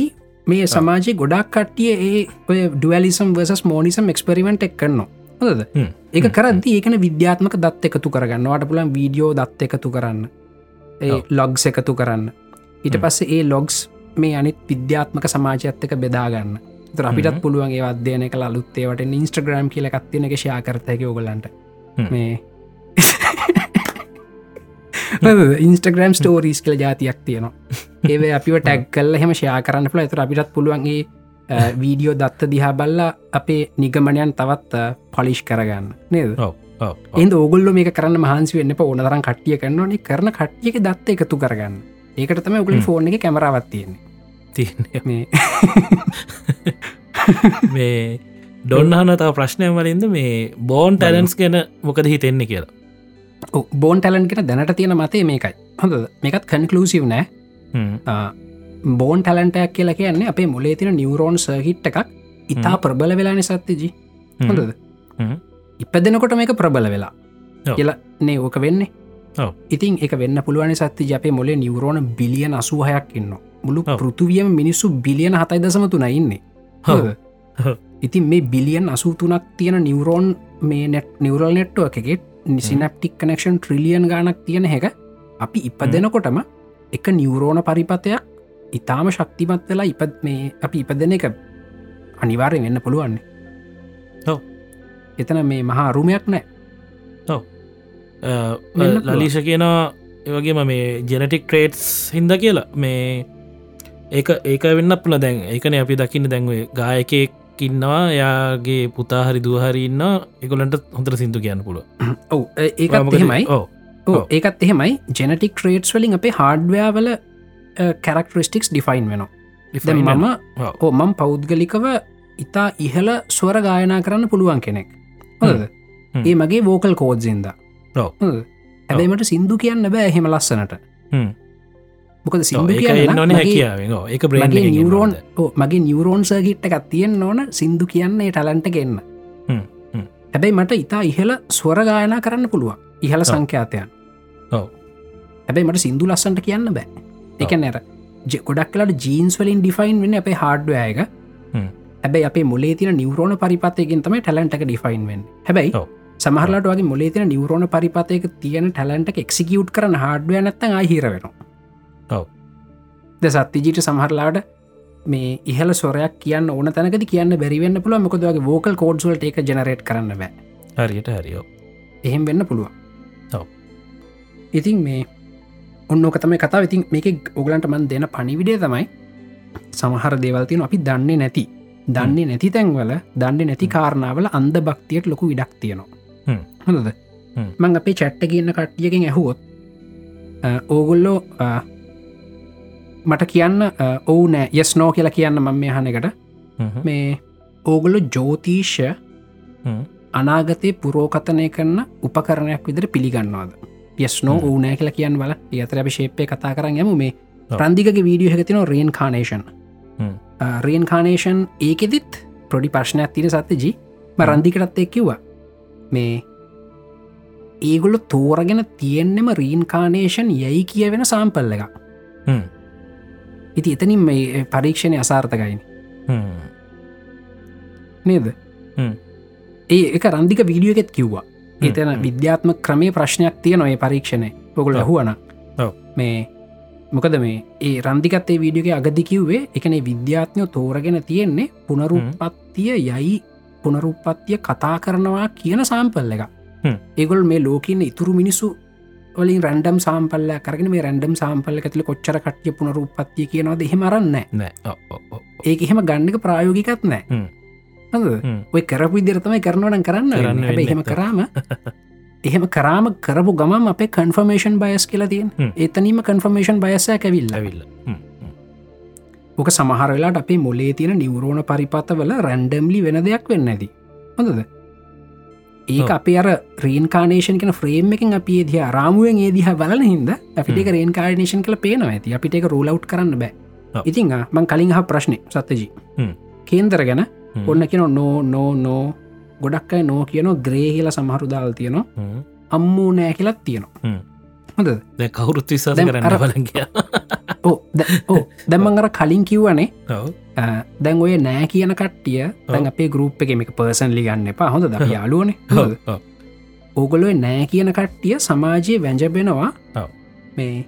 Speaker 3: මේ සමාජය ගොඩක් කට්ටිය ඒ ඔය ඩුවලිසම් වසස් මෝනිසම් එක්ස්පරිමෙන්ට් එක් කරනවා හොද ඒක කරද ඒකන විද්‍යාත්මක දත් එකතු කරගන්නවාට පුළන් වීඩියෝ දත් එකතු කරන්න ඒ ලොග්ස් එකතු කරන්න ඊට පස්සේ ඒ ලොග්ස් මේ අනිත් විද්‍යාත්මක සමාජත්තක බෙදාගන්න ්‍රපිටත් පුළුවන්ගේ අධ්‍යයන කළ අලුත්තේවට ඉන්ස්ට්‍රග්‍රම් කියල එකක්තින එක ශාකරතයක ඔගලන්ට මේ ඉන්ස්ටග්‍රම් ස්ටෝරීස් කළ ජාතියක් තියෙනවා ඒව අපි ටැක් කල්ල හෙම ශයා කරන්න පුළ ඇතු අපිටත් පුළුවන්ගේ වීඩියෝ දත්ත දිහා බල්ල අපේ නිගමනයන් තවත් පොලිෂ් කරගන්න නේද එන් ඔගුල්ල මේ කරන්න මහන්සි වන්න ඕනතරන් කට්ටිය කරන්නනේ කරන කට්ටියක දත්ත එකතු කරගන්න ඒකට තම ඔගුල ෆෝන් එක කැමරාවත් තියෙන්නේ
Speaker 2: තියන්නේ මේ ඩොන්නහන තව ප්‍රශ්නය වලින්ද මේ බෝන් ටැලන්ස් ගැන මොකද හිතෙන්නේ කියලා
Speaker 3: බෝන් ටලන් කෙන දැනට තියෙන මතේ මේකයි හොඳ මේකත් කන්කලූසිව නෑ බෝන් ටලන්ටයක් කියලා කියන්නේ අපේ මුලේ තින නිවරෝන් සහිට් එකක් ඉතා ප්‍රබල වෙලානි සත්්‍යජී හොඳද ඉපදෙනකොට මේක ප්‍රබල වෙලා කියලා නේ ඕක වෙන්නේ ඉතින් එක වෙන්න පුළුවන් සත්ති ජපේ මොලේ නිවරෝණ බිලියන අසූහයක් ඉන්න මුළු පෘතුවියම මිනිස්සු බිලියන හතයි දසමතුන ඉන්නේ ඉතින් මේ බිලියන් අසූතුනක් තියෙන නිවරෝන් මේ නැට් නිවරල් නෙට්ව එකගේ නිසිනප්ටික් කනෙක්ෂන් ට්‍රිලියන් ගානක් තියෙන හැක අපි ඉප දෙනකොටම එක නිවරෝණ පරිපතයක් ඉතාම ශක්තිමත් වෙලා ඉපත් මේ අපි ඉප දෙන එක අනිවාරය වෙන්න පුළුවන්නේ එතන මේ මහා අරුමයක් නෑ
Speaker 2: ලලිෂ කියනවා ඒවගේම මේ ජෙනටික් ට්‍රේට්ස් හින්ද කියලා මේ ඒක ඒක වෙන්න පුල දැන් ඒකන අපි දකින්න දැන්වේ ගායකෙක් ඉන්නවා යාගේ පුතා හරි දුහරින්න එකොලන්ට හොඳර සිින්දු කියන්න පුල
Speaker 3: ඔව ඒමයි ඒකත් එහෙමයි ජෙනටික් ට්‍රේට්ස් වලින් අපේ හාඩ්වයාවල කැරක්ටරිස්ටික්ස් ඩිෆයින් වෙනවා මම ඕ මම් පෞද්ගලිකව ඉතා ඉහල ස්වර ගායනා කරන්න පුළුවන් කෙනෙක් ඒ මගේ වෝකල් කෝඩ්සින්දා හැබැයිමට සින්දු කියන්න බෑ හෙම ලස්සනට මොකද සිදු කියන්න නිවරෝන් මගේ නිවරෝන් සර්ගිට්ට එකක් තියෙන් ඕන සින්දු කියන්නේ ටලන්ට ගන්න හැබැයි මට ඉතා ඉහල ස්වරගායනා කරන්න පුළුවන් ඉහල සංඛ්‍යාතයන් හැබැයි මට සින්දු ලස්සන්ට කියන්න බෑ එක නැර ගොඩක්ලට ජීන්ස් වලින් ඩිෆයින් වෙන අපේ හාඩ්යක හැබැයි අප මුලේ තින නිවරෝණ පරිපතයකින් තම ටලන්ට එක ඩිෆයින් වෙන් හැබැයි සමහරලාට වගේ මොලේ තින නිවරෝණ පරිපතයක තියෙන ටැලන්ට එක්සිකියුට් කරන හාඩුව නැත්තන් අහිර වෙනවා ද සත්තිජීට සමහරලාට මේ ඉහල සොරයක් කියන්න ඕන තැනකද කියන්න බැරිවෙන්න පුළුව මොකදගේ වෝකල් කෝඩ්සල්ට එක ජනරට් කරන්න බෑ
Speaker 2: හරියට හරිෝ
Speaker 3: එහෙම වෙන්න පුළුවන් ඉතින් මේ ඔන්නෝක තමයි කතා ඉතින් මේක ඔගලන්ට මන් දෙන පනිවිඩේ තමයි සමහර දේවල්තියන අපි දන්නේ නැති දන්නේ නැති තැන්වල දන්නේ නැති කාරණාවල අන්ද භක්තියට ලොකු ඉඩක් තියෙනවා හොඳද මං අපේ චැට්ට කියන්න කට්ටියකින් ඇහුවොත් ඕගොල්ලෝ මට කියන්න ඔවු නෑ යස් නෝ කියලා කියන්න මම මේ හනකට මේ ඕගොල්ලො ජෝතිීෂ අනාගතය පුරෝකතනය කරන්න උපකරණයක් විදිර පිළිගන්නවාද යස්නෝ ඕනෑ කියලා කියන් වල අතර අපි ශේපය කතා කරන්න යම මේ
Speaker 2: ඔව්.
Speaker 3: ප්‍රන්දික වීඩියෝ හැතින රේන් කානේෂන්
Speaker 2: හ්ම්.
Speaker 3: රේන් කානේෂන් ඒකෙදිත් පොඩි ප්‍රශ්නයක් තින සත්්‍යජී මරන්දිකටත් එක්කිව්වා මේ ඒගොල්ලො තෝරගෙන තියෙන්නෙම රීන් කානේෂන් යැයි කියවෙන සාම්පල්ල එක
Speaker 2: හ්ම්.
Speaker 3: ඉති එතනින් මේ පරීක්ෂණය අසාර්ථකයින්
Speaker 2: හ්ම්.
Speaker 3: නේද
Speaker 2: හ්ම්.
Speaker 3: ඒ එක රන්දික වීඩියෝ එකෙත් කිව්වා
Speaker 2: හ්ම්.
Speaker 3: එතන
Speaker 2: හ්ම්.
Speaker 3: විද්‍යාත්ම ක්‍රමේ ප්‍රශ්නයක් තිය නොය පරීක්ෂණය පොකුල්
Speaker 2: ඔව්.
Speaker 3: ලහුවන
Speaker 2: ඔව්.
Speaker 3: මේ මොකද මේ ඒ රන්දිකත්තේ වීඩියෝගේ අගදි කිව්වේ එකනේ විද්‍යාත්මයෝ තෝරගෙන තියෙන්නේ පුනරුපත්තිය යයි පුනරුපත්තිය කතා කරනවා කියන සාම්පල් එක
Speaker 2: හ්ම්.
Speaker 3: ඒගොල් මේ ලෝකන්න ඉතුරු මිනිසු වලින් රැන්ඩම් සාම්පල්ල කරගෙන මේ රැන්ඩම් සාම්පල්ල ඇතුල කොච්චර කට්ිය පුනරුපත්තිය කියනවාද හෙමරන්න
Speaker 2: නෑ ඔ- ඔ- ඔ- ඔ.
Speaker 3: ඒක එහෙම ගන්නක ප්‍රායෝගිකත් නෑ
Speaker 2: හ්ම්.
Speaker 3: හද
Speaker 2: හ්ම්.
Speaker 3: ඔය කරපු ඉදිරතමයි කරනවන කරන්න
Speaker 2: කරන්න
Speaker 3: වෙන්නේ. හැබැයි
Speaker 2: වෙන්නේ
Speaker 3: එහෙම
Speaker 2: නැත්තම්.
Speaker 3: කරාම එහෙම කරාම කරපු ගමන් අපේ කන්ෆර්මේෂන් බයස් කියලා තියෙන්
Speaker 2: හ්ම්.
Speaker 3: එතනීම කන්ෆර්මේෂන් බයසය ඇවිල්ල
Speaker 2: ඇවිල්ල හ්ම්. හ්ම්.
Speaker 3: ඕක සමහරවෙලාට අපේ මොලේ තියෙන නිවරෝණ පරිපතවල රැන්ඩම්ලි වෙන දෙයක් වෙන්න ඇති හොඳද ඒක
Speaker 2: ඔව්.
Speaker 3: අපි අර රේන්කානේෂන් කෙන ෆ්‍රේම් එකින් අපි දිහ රාමුවෙන් ඒ දිහ බලන හිද අපිට රේන්කාඩනේෂන් කළ පේනවා ඇති අපිට එක රූලවට් කරන්න බෑ
Speaker 2: ඔව්.
Speaker 3: ඉතින් ආ, මං කලින් හ ප්‍රශ්නය සත්තජී
Speaker 2: හ්ම්.
Speaker 3: කේන්දර ගැන
Speaker 2: හ්ම්.
Speaker 3: ඔන්න කියන නෝ නෝ නෝ ගොඩක් අයි නෝ කියන ග්‍රේහිල සමහරු දාල් තියනවා
Speaker 2: හ්ම්.
Speaker 3: අම්මූ නෑ කියලත් තියනවා
Speaker 2: හ්ම්.
Speaker 3: හොඳ
Speaker 2: දැන් කවුරුත් විශවාස
Speaker 3: දැන්
Speaker 2: කරන්න
Speaker 3: අර-
Speaker 2: බලගිය
Speaker 3: ඕ ද- ඕ දැම්මන් අර කලින් කිව්වනේ
Speaker 2: ඔව
Speaker 3: අ, දැන් ඔය නෑ කියන කට්ටිය
Speaker 2: ඔව්.
Speaker 3: තැන් අපේ ගරුප් එක එක පර්සන් ලිගන්න එපා හොඳ ද
Speaker 2: ඔව
Speaker 3: යාලුවනේ
Speaker 2: ඔව
Speaker 3: ඕගොලො නෑ කියන කට්ටිය සමාජයේ වැජබෙනවා
Speaker 2: ඔව්.
Speaker 3: මේ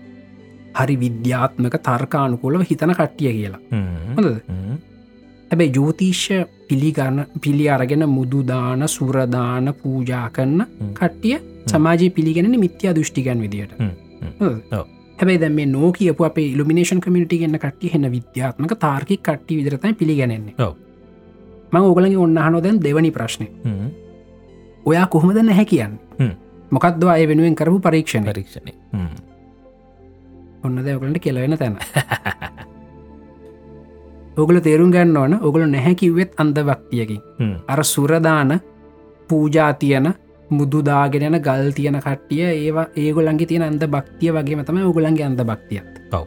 Speaker 3: හරි විද්‍යාත්මක තර්කානුකොලව හිතන කට්ටිය කියලා
Speaker 2: හ්ම්.
Speaker 3: හොඳද
Speaker 2: හ්ම්.
Speaker 3: හැබැයි ජෝතිශ්‍ය පිළිගන්න පිළි අරගෙන මුදුදාන සුරදාන පූජා කන්න කට්ටිය සමාජය පිළිගෙන මිත්‍යා දෘෂ්ටිකන් විදිට
Speaker 2: හ්ම්.
Speaker 3: හොඳ?
Speaker 2: ඔව්.
Speaker 3: හැබැයි දැම නෝ කියපු අප ඉල්ිනේෂන් කමිටි ගන්න කට්ටි හෙන විද්‍යාත්මක තාර්කි කට්ටි විදරතයි පිළිගැනෙන්නේ
Speaker 2: ඔව්.
Speaker 3: මං ඔගලගේ ඔන්නහනො දැන් දෙවනි ප්‍රශ්නය
Speaker 2: හ්ම්.
Speaker 3: ඔයා කොහොමද නැහැ කියන්න
Speaker 2: හ්ම්.
Speaker 3: මොකක්ද අය වෙනුවෙන් කරපු පරීක්ෂණ
Speaker 2: පරීක්ෂණය හ්ම්.
Speaker 3: ඔන්න දැවකලට කෙලවෙන තැන ඔගල තේරුම් ගන්න ඕන ඔගල නැහැ කිව්වෙත් අන්ද වක්තියකි
Speaker 2: හ්ම්.
Speaker 3: අර සුරදාන පූජාතියන මුදුදාගෙනන ගල් තියන කට්ටිය ඒවා ඒගොලන්ගේ තියෙන අන්ද භක්තිය වගේ තම ඔගලන්ගේ අන්ද භක්තියත්
Speaker 2: ඔව්.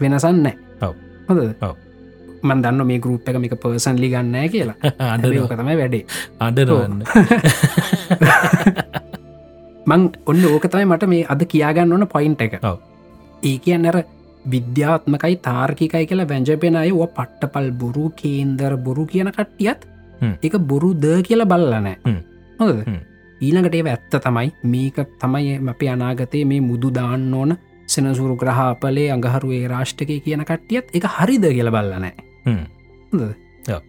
Speaker 3: වෙනසන්න
Speaker 2: ඔව්.
Speaker 3: හොද
Speaker 2: ඔව්.
Speaker 3: මන්දන්න මේ ගරුප් එක මේ පර්සන් ලිගන්න කියලා
Speaker 2: අඬනවා.
Speaker 3: ඕකතම වැඩේ
Speaker 2: අඩරන්න
Speaker 3: මං ඔන්න ඕකතයි මට මේ අද කියාගන්න ඕන පොයින්ට එක
Speaker 2: ඔව්.
Speaker 3: ඒ කියන්න අර විද්‍යාත්මකයි තාර්කිකයි කියලා වැැජපෙන අය ඔ පට්ටපල් බොරු කේන්දර බොරු කියන කට්ටියත්
Speaker 2: හ්ම්.
Speaker 3: එක බොරු ද කියලා බල්ලනෑ
Speaker 2: හ්ම්.
Speaker 3: හොද
Speaker 2: හ්ම්.
Speaker 3: ඊළඟට ඒ ඇත්ත තමයි මේක තමයි අපි අනාගතයේ මේ මුදු දාන්න ඕන සෙනසුරු ග්‍රහාපලේ අඟහරුවේ රාෂ්ටකය කියන කට්ටියත් එක හරිද කියල බල්ලනෑ
Speaker 2: හ්ම්. ඔව්.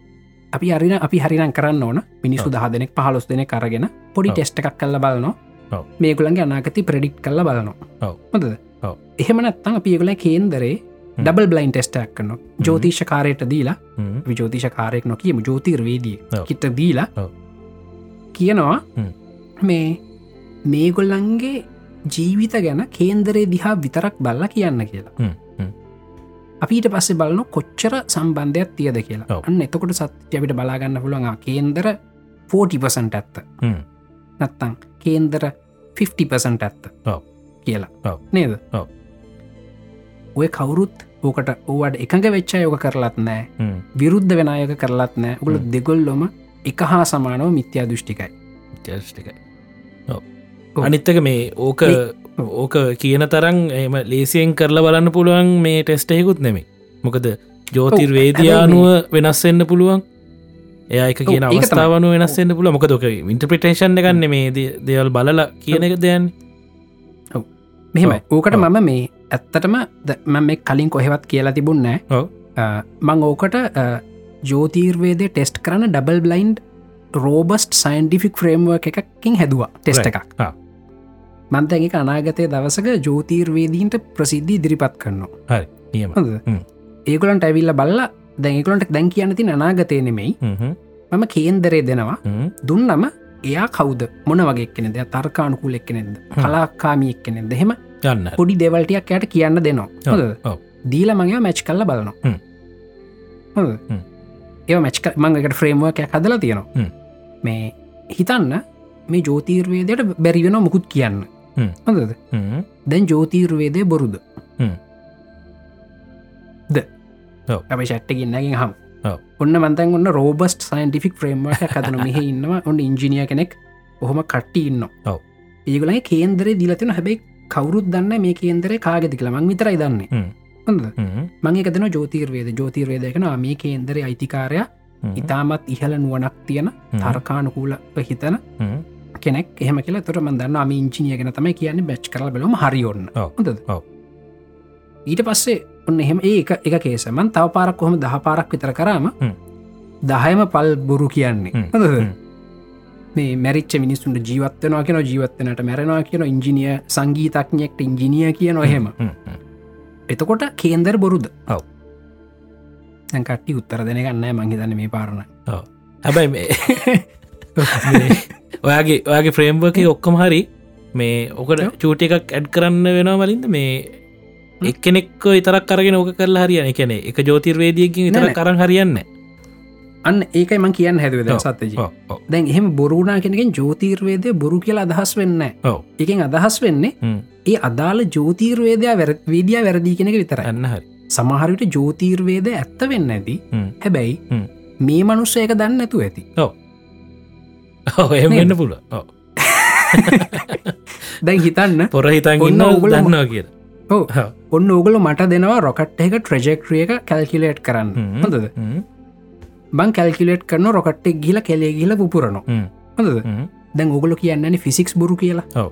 Speaker 3: අපි අරින අපි හරිනම් කරන්න ඕන මිනිස්සු දහ දෙනෙක් පහලොස් දෙන කරගෙන පොඩි
Speaker 2: ඔව්.
Speaker 3: ටෙස්ට එකක් කල්ල බලනවා
Speaker 2: ඔව්.
Speaker 3: මේකුළන්ගේ අනාගති ප්‍රඩික්් කල්ල බලනවා
Speaker 2: ඔව්.
Speaker 3: හොද
Speaker 2: ඔව්.
Speaker 3: එහෙමනත්තං අපියගුල කේන්දරේ
Speaker 2: හ්ම්.
Speaker 3: ඩබල් බ්ලයින් ටෙස්ටක් කන්න ජෝතිෂකාරයට දීලා
Speaker 2: හ්ම්.
Speaker 3: විජෝතිෂකාරයෙක් නො කියම ජෝතිර්වේදී
Speaker 2: ඔව්.
Speaker 3: කිට දීලා
Speaker 2: ඔව්.
Speaker 3: කියනවා
Speaker 2: හ්ම්.
Speaker 3: මේ මේගොල්ලන්ගේ ජීවිත ගැන කේන්දරේ දිහා විතරක් බල්ල කියන්න කියලා
Speaker 2: හ්ම්. හ්ම්.
Speaker 3: අපිට පස්සේ බලන කොච්චර සම්බන්ධයක් තියද කියලා
Speaker 2: ඔව්.
Speaker 3: අන්න එතකොට සත්‍ය අපිට බලාගන්න පුළුවන් ආ කේන්දර 40පසට ඇත්ත
Speaker 2: හ්ම්.
Speaker 3: නැත්තං කේන්දර 50පසට ඇත්ත
Speaker 2: ඔව්.
Speaker 3: කියලා
Speaker 2: ඔව්.
Speaker 3: නේද
Speaker 2: ඔව්.
Speaker 3: ඔය කවුරුත් ඕකට ඕවට එකඟ වෙච්චා යෝක කරලත් නෑ
Speaker 2: හ්ම්.
Speaker 3: විරුද්ධ වෙනයක කරලත් නෑ ගොල
Speaker 2: හ්ම්.
Speaker 3: දෙගොල්ලොම එක හා සමානව මිත්‍යා දෘෂ්ටිකයි
Speaker 2: ජස්ටිකයි
Speaker 3: ඔව්.
Speaker 2: අනිත්තක මේ ඕක
Speaker 3: ඔව්.
Speaker 2: ඕක කියන තරම් එම ලේසියෙන් කරලා බලන්න පුළුවන් මේ ටෙස්ටයකුත් නෙමේ මොකද
Speaker 3: හැබැයි මේ-
Speaker 2: ජෝතිර්වේදයානුව වෙනස්වෙන්න පුළුවන් එයා එක
Speaker 3: ඔව්,
Speaker 2: කියන
Speaker 3: ඒක තමයි.
Speaker 2: අවස්ථාවන වෙනස්වෙන්න පුළ මොකදොක ඉන්ටපිටේෂන් එකන්න මේ දේ- දේවල් බලලා කියන එක දයන්
Speaker 3: මෙහෙමයි ඕකට
Speaker 2: ඔව්.
Speaker 3: මම මේ ඇත්තටම ද- මම මේ කලින් කොහෙවත් කියලා තිබුන්න
Speaker 2: ඔව්.
Speaker 3: මං ඕකට අ, ජෝතීර්වේදය ටෙස්ට් කරන double blind robust scientific framework එකකින් හැදවා ටෙස්ට
Speaker 2: Right.
Speaker 3: එකක්
Speaker 2: ආ.
Speaker 3: මන්තැගේ අනාගතය දවසක ජෝතීර්වේදීන්ට ප්‍රසිද්ධි ඉදිරිපත් කරනවා
Speaker 2: නියම
Speaker 3: හොඳ
Speaker 2: හ්ම්.
Speaker 3: ඒකොලන්ට ඇවිල්ල බල්ල දැන්කොලට දැන් කියන්න ති අනාගතය නෙමෙයි
Speaker 2: හ්ම්.
Speaker 3: මම කේන්දරේ දෙනවා
Speaker 2: හ්ම්.
Speaker 3: දුන්නම එයා කවුද මොන වගේ කෙනෙද තර්කානුකුල එක්කනෙද කලාකාමියක් කෙනෙද හෙම
Speaker 2: ගන්න
Speaker 3: පොඩි දෙවල්ටියක් යට කියන්න දෙනවා හොඳ?
Speaker 2: ඔව්.
Speaker 3: දීල මගේ මැච් කල්ල බලනවා
Speaker 2: හ්ම්.
Speaker 3: හොඳ?
Speaker 2: හ්ම්.
Speaker 3: ඒ මැච් මංගකට ෆ්‍රේමුවක් හදලා
Speaker 2: හ්ම්.
Speaker 3: තියෙනවා මේ හිතන්න මේ ජෝතීර්වේදයට බැරිවෙන මොකුත් කියන්න
Speaker 2: හ්ම්.
Speaker 3: හොඳද දැන් ජෝතීර්වේදය බොරුද
Speaker 2: හ්ම්.
Speaker 3: ද
Speaker 2: ඔව්.
Speaker 3: අපේ ශට්ටකින්නකින් හම්
Speaker 2: ඔව්.
Speaker 3: ඔන්න මන්තන් ඔන්න රෝබස්ට සයින්ටිෆික් ්‍රේම්ම කතන මෙහ ඉන්නවා ඔන්න ඉංජිනිය කෙනෙක් ඔහොම කට්ටි ඉන්න
Speaker 2: ඔව්.
Speaker 3: ඒගලයි කේන්දරේ දීලතින හැබැයි කවරුත් දන්න මේ කේන්දරේ කාගෙතිකල මං විතරයි දන්නේ
Speaker 2: හ්ම්.
Speaker 3: හොඳ මගේ කතන ජෝතීර්වේද ජෝතීර්වේදයකන මේ කේන්දරේ අයිතිකාරය ඉතාමත් ඉහල නුවනක් තියෙන තර්කානුකූල හිතන කෙනෙක් එහම කියල තොට මදන්න අම ඉංචිනිය ගෙන තමයි කියන්නේ බැච් කර බලම හරිියන්න
Speaker 2: ඔව්.
Speaker 3: හොඳද
Speaker 2: ඔව්.
Speaker 3: ඊට පස්සේ ඔන්න එහෙම ඒ එක- එක කේසමන් තව පාරක් කොහොම දහ පාරක් විතර කරාම
Speaker 2: හ්ම්.
Speaker 3: දහයම පල් බොරු කියන්නේ
Speaker 2: හ්ම්.
Speaker 3: හොඳද?
Speaker 2: හ්ම්.
Speaker 3: මේ මැරිච් මිනිස්සුන්ට ජීවත්වනවා කියෙන ජීවත්වනට මැරෙනවා කියන ඉංජිනිය සංගීතක්ඥෙක්ට ඉංජිනිය කියන ඔහෙම එතකොට කේන්දර බොරුද
Speaker 2: ඔව්.
Speaker 3: කට්ටි උත්තර දෙනගන්න මංහිතන්න මේ පාරණ
Speaker 2: හැබැයි මේ මේ ඔයාගේ ඔයාගේ ෆ්‍රේම්වක ඔක්කම හරි මේ ඕකට චූටි එකක් ඇඩ් කරන්න වෙනවා මලින්ද මේ එක්කෙනෙක් ඉතරක් කරගෙන ඕක කරලා හරියන කැනෙ එක ජෝතිර්වේදියකින්
Speaker 3: නෑ
Speaker 2: ඉතර
Speaker 3: නෑ.
Speaker 2: කරන්න හරියන්න
Speaker 3: අන්න ඒකයි මං කියන්න හැදවද
Speaker 2: ඔව්.
Speaker 3: සත්තජ දැන් එහෙම බොරුණා කෙනකින් ජෝතීර්වේදය බොරු කියලා අදහස් වෙන්න
Speaker 2: ඔව්.
Speaker 3: එකෙන් අදහස් වෙන්නේ
Speaker 2: හ්ම්.
Speaker 3: ඒ අදාළ ජෝතීර්වේදයා වැර වේදියා වැරදි කෙනෙක විතරයි
Speaker 2: ඇන්න හරි
Speaker 3: සමහරවිට ජෝතීර්වේද ඇත්ත වෙන්න ඇති
Speaker 2: හ්ම්.
Speaker 3: හැබැයි
Speaker 2: හ්ම්.
Speaker 3: මේ මනුස්සයක දන්න ඇතු ඇති
Speaker 2: ඔව්, එහෙම
Speaker 3: නේද?
Speaker 2: වෙන්න පුල
Speaker 3: දැන් හිතන්න
Speaker 2: පොර හිතන්
Speaker 3: ඔන්න
Speaker 2: ඉන්න
Speaker 3: ඔයගොල්ලෝ
Speaker 2: දන්නවා කියල
Speaker 3: ඔව්. ඔන්න ඕගල මට දෙනවා රොකට් එක ට්‍රජෙක්්‍රිය එක කැල්කිලේට් කරන්න
Speaker 2: හ්ම්.
Speaker 3: හොඳද බං කැල්කිලේට් කරන රොකට්ටෙක් ගිල කෙලේ ගිල පුරන
Speaker 2: හ්ම්.
Speaker 3: හොඳද දැන් ඔගොල කියන්නේ ෆිසික්ස් බොරු කියලා
Speaker 2: ඔව්.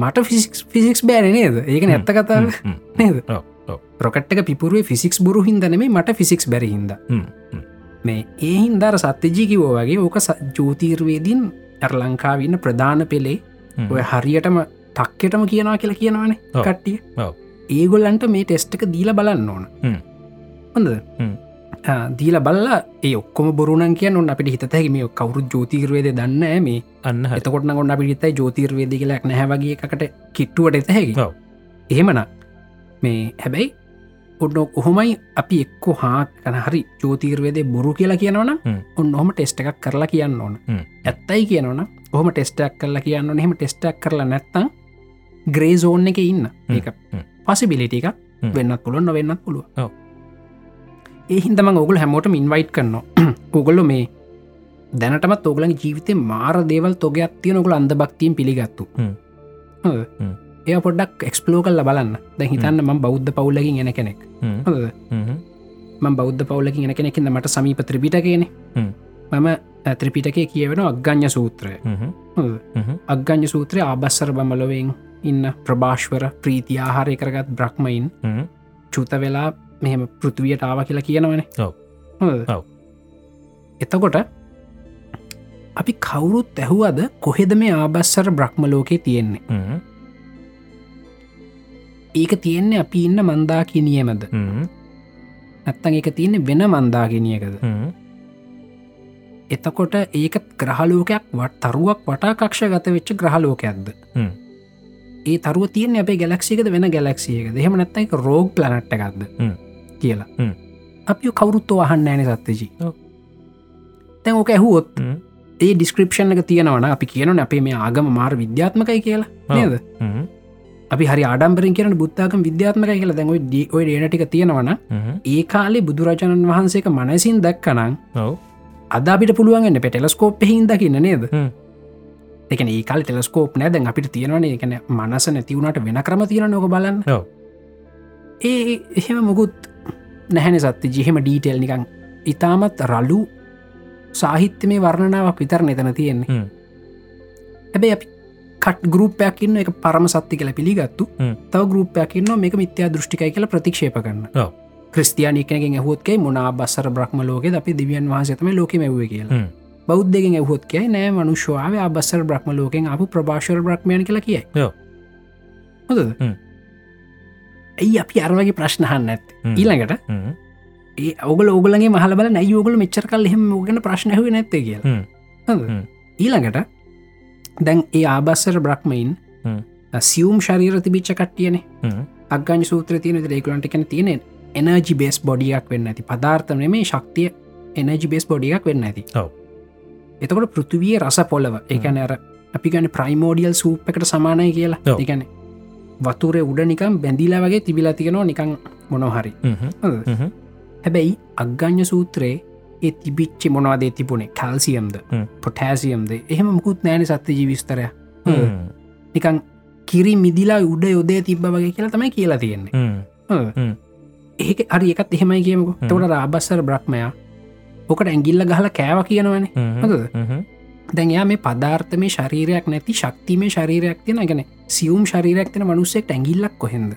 Speaker 3: මට ෆිසික්ස් ෆිසික්ස් බෑන නේද ඒක
Speaker 2: හ්ම්.
Speaker 3: නැත්ත කතාව නේද
Speaker 2: ඔව්, ඔව්.
Speaker 3: රොකට් එක පිපුරුවේ ෆිසික්ස් බොරු හිදනේ මට ෆිසික්ස් බැරිහින්ද මේ ඒහින්දර සත්‍යජීකිවෝ වගේ ඕක ස- ජෝතීර්වේදීන් ඇර ලංකාවන්න ප්‍රධාන පෙළේ ඔය හරියටම තක්කටම කියනවා කියලා කියනවානේ
Speaker 2: ඔව්.
Speaker 3: කට්ටිය
Speaker 2: ඔව්.
Speaker 3: ඒගොල්ලන්ට මේ ටෙස්ට් එක දීල බලන්න ඕන
Speaker 2: හ්ම්.
Speaker 3: හොඳ
Speaker 2: හ්ම්.
Speaker 3: දීල බල්ලා ඒ ඔක්කොම බොරුණන් කිය ඔන්න අපිට හිතැහි මේ කවරු ජෝතීර්වේද දන්න මේ
Speaker 2: අන්න හරි
Speaker 3: එතකොට ගොන්න අපි ිතයි ජෝතීර්වේද කියලක් නැහැවගේ එකට කිට්ටුවට එතහැකි
Speaker 2: ඔව්.
Speaker 3: එහෙමන මේ හැබැයි ඔන්න ඔහොමයි අපි එක්කෝ හාකන හරි ජෝතීර්වේදේ බොරු කියලා කියනවන
Speaker 2: හ්ම්.
Speaker 3: ඔන්න හොම ටෙස්ට එකක් කරලා කියන්න ඕන
Speaker 2: හ්ම්.
Speaker 3: ඇත්තයි කියනවන හොම ටෙස්ටක් කරලා කියන්න හෙම ටෙස්ටක් කරලා නැත්තං ග්‍රේ සෝන් එක ඉන්න ඒක
Speaker 2: හ්ම්.
Speaker 3: පසිබිලිට එකක්
Speaker 2: හ්ම්.
Speaker 3: වෙන්නත් පුළුව නොවෙන්නත් පුළුව
Speaker 2: ඔව්.
Speaker 3: ඒහින්දම ඔගුල් හැමෝටම ඉන්වයිට් කරනවා ඔගොල්ලො මේ දැනටමත් ඔගලන් ජීවිතය මාර දේවල් තොගයක් තිය නොකළ අන්ද භක්තියෙන් පිළිගත්තු
Speaker 2: හ්ම්.
Speaker 3: හොඳ?
Speaker 2: හ්ම්.
Speaker 3: එය පොඩ්ඩක් එක්ස්පලෝ කල්ල බලන්න දැ හිතන්න ම බෞද්ධ පවුලකින් එන කෙනෙක්
Speaker 2: හ්ම්.
Speaker 3: හොඳ?
Speaker 2: හ්ම්.
Speaker 3: මං බෞද්ධ පවුලකින් එන කෙනෙකින්ද මට සමීප ත්‍රිපිට කියෙනෙ
Speaker 2: හ්ම්.
Speaker 3: මම අ, ත්‍රිපිටකය කියවෙන අග්ඥ සූත්‍රය
Speaker 2: හ්ම්.
Speaker 3: හොඳ?
Speaker 2: හ්ම්.
Speaker 3: අග්ඥ සූත්‍රය ආබස්සර බමලොවෙන් ඉන්න ප්‍රභාශ්වර ප්‍රීති ආහාරය කරගත් බ්‍රහ්මයින්
Speaker 2: හ්ම්.
Speaker 3: චුත වෙලා මෙහෙම පෘතිවයට ආව කියලා
Speaker 2: ඔව්.
Speaker 3: කියනවනේ
Speaker 2: ඔව්.
Speaker 3: එතකොට අපි කවුරුත් ඇහුවද කොහෙද මේ ආබස්සර බ්‍රහ්ම ලෝකයේ තියෙන්නේ
Speaker 2: හ්ම්.
Speaker 3: ඒක තියෙන්නේ අපි ඉන්න මන්දා කිනියමද
Speaker 2: හ්ම්.
Speaker 3: නැත්තන් එක තියන්නේ වෙන මන්දා ගෙනියකද
Speaker 2: හ්ම්.
Speaker 3: එතකොට ඒක ග්‍රහලෝකයක් වට තරුවක් වටාකක්ෂ ගත වෙච්ච ග්‍රහලෝකයක්ද
Speaker 2: හ්ම්.
Speaker 3: ඒ තරුව තියන අපේ ගැලක්සිකද වෙන ගැලක්සියකද එහෙම නැත්තයි රෝග් ප්ලනට් එකක්ද
Speaker 2: හ්ම්.
Speaker 3: කියලා
Speaker 2: හ්ම්.
Speaker 3: අපි කවුරුත්තු අහන්න ෑන සත්තජී
Speaker 2: ඔව්.
Speaker 3: තැන් ඕක ඇහුවොත්
Speaker 2: හ්ම්.
Speaker 3: ඒ ඩිස්ක්‍රපෂන් එක තියෙනවන අපි කියනන අපේ මේ ආගම මාර විද්‍යාත්මකයි
Speaker 2: ඔව්.
Speaker 3: කියලා නේද
Speaker 2: හ්ම්.
Speaker 3: අපි හරි ආඩම්බරින් කියන බුද්ධාකම විද්‍යාත්මකයි කියලා දැන්යි ඩෝයි ඩේනටික තියෙනවන
Speaker 2: හ්ම්.
Speaker 3: ඒ කාලේ බුදුරජාණන් වහන්සේක මනසින් දක්කනං
Speaker 2: ඔව්.
Speaker 3: අදාපිට පුළුවන්න්න පෙටෙලස්කෝප් හින් දකින්න නේද
Speaker 2: හ්ම්.
Speaker 3: එකන ඒකාල් ටෙලස්කෝප් නෑ දැන් අපිට තියෙනවන එකන මනස නැතිවුණට වෙන ක්‍රම තියෙන නොක බලන්න
Speaker 2: ඔව්.
Speaker 3: ඒ එහෙම මොකුත් නැහැන සත්ති ජිහෙම ඩීටෙල් නිකං ඉතාමත් රලු සාහිත්‍ය මේ වර්ණනාවක් විතර නතන තියෙන්නේ
Speaker 2: හ්ම්.
Speaker 3: හැබැ අපි කට් ගරුපයක් ඉන්න එක පරම සත්ති කල පිළිගත්තු
Speaker 2: හ්ම්.
Speaker 3: තව ගරුපයක් ඉන්න මේක මිත්‍යා දෘෂ්ටිකයි කියල ප්‍රතික්ෂේප කරන්න
Speaker 2: ඔව්.
Speaker 3: ක්‍රස්තියානිකනගෙන් හොත්කේ මුණනා බස්සර බ්‍රහ්ම ලෝකෙද අපි දිවියන් වහසතම ලෝක මැව්ව කියලා
Speaker 2: හ්ම්.
Speaker 3: බෞද්ධගෙන් ඇහොත් කියයි නෑ මනුෂ්‍යාව අබස්සර බ්‍රහ්ම ලෝකෙන් අප ප්‍රභාශර බ්‍රහ්මයන් කළ කියයි
Speaker 2: ඔව්.
Speaker 3: හොඳද
Speaker 2: හ්ම්.
Speaker 3: ඇයි අපි අරවගේ ප්‍රශ්නහන්න ඇත්
Speaker 2: හ්ම්.
Speaker 3: ඊළඟට
Speaker 2: හ්ම්.
Speaker 3: ඒ ඔගල ඔගලගේ මහලබල නයෝගල මෙච්චර කල් හෙම ෝගෙන ප්‍රශ්නහව නැත්ත කියලා
Speaker 2: හ්ම්.
Speaker 3: හොඳද?
Speaker 2: හ්ම්.
Speaker 3: ඊළඟට දැන් ඒ ආබස්සර බ්‍රහ්මයින්
Speaker 2: හ්ම්.
Speaker 3: සියම් ශරීර තිබිච්ච කට්ටියනේ
Speaker 2: හ්ම්.
Speaker 3: අගන් සූත්‍ර තියන රේකුලන්ට කැන තියෙන එනජි බේස් බොඩියක් වෙන්න ඇති පදාර්ථන මේ ශක්තිය එනජි බේස් බොඩියක් වෙන්න ඇති
Speaker 2: ඔව්.
Speaker 3: එතකොට පෘතිවිය රස පොලව එකන අර අපි ගැන ප්‍රයිමෝඩියල් සූප් එකට සමානය කියලා
Speaker 2: ඔව්.
Speaker 3: එකන වතුරේ උඩ නිකම් බැඳීලා වගේ තිබිලා තිගෙනවා නිකං මොනොහරි හැබැයි අග්ගඥ සූත්‍රයේ ඒ තිබිච්චි මොනවාදේ තිබුණේ කල්සියම්ද
Speaker 2: හ්ම්.
Speaker 3: පොටෑසියම්ද එහෙම මුකුත් නෑන සත්‍ය ජීවිස්තරය නිකං කිරි මිදිලා උඩ යොදය තිබ්බ වගේ කියලා තමයි කියලා තියෙන්නේ
Speaker 2: හ්ම්.
Speaker 3: ඒක හරි එකත් එහෙමයි කියමකු
Speaker 2: හ්ම්.
Speaker 3: තවට රාබස්සර බ්‍රක්්මයා ඕකට ඇගිල්ල ගහල කෑව කියනවන දැන් එයා මේ පධාර්ථ මේ ශරීරයක් නැති ශක්තිමේ ශරීරයක් තියෙන ගැන සියුම් ශරීරයක් තින මනුස්සෙක් ඇගිල්ලක් කොහෙද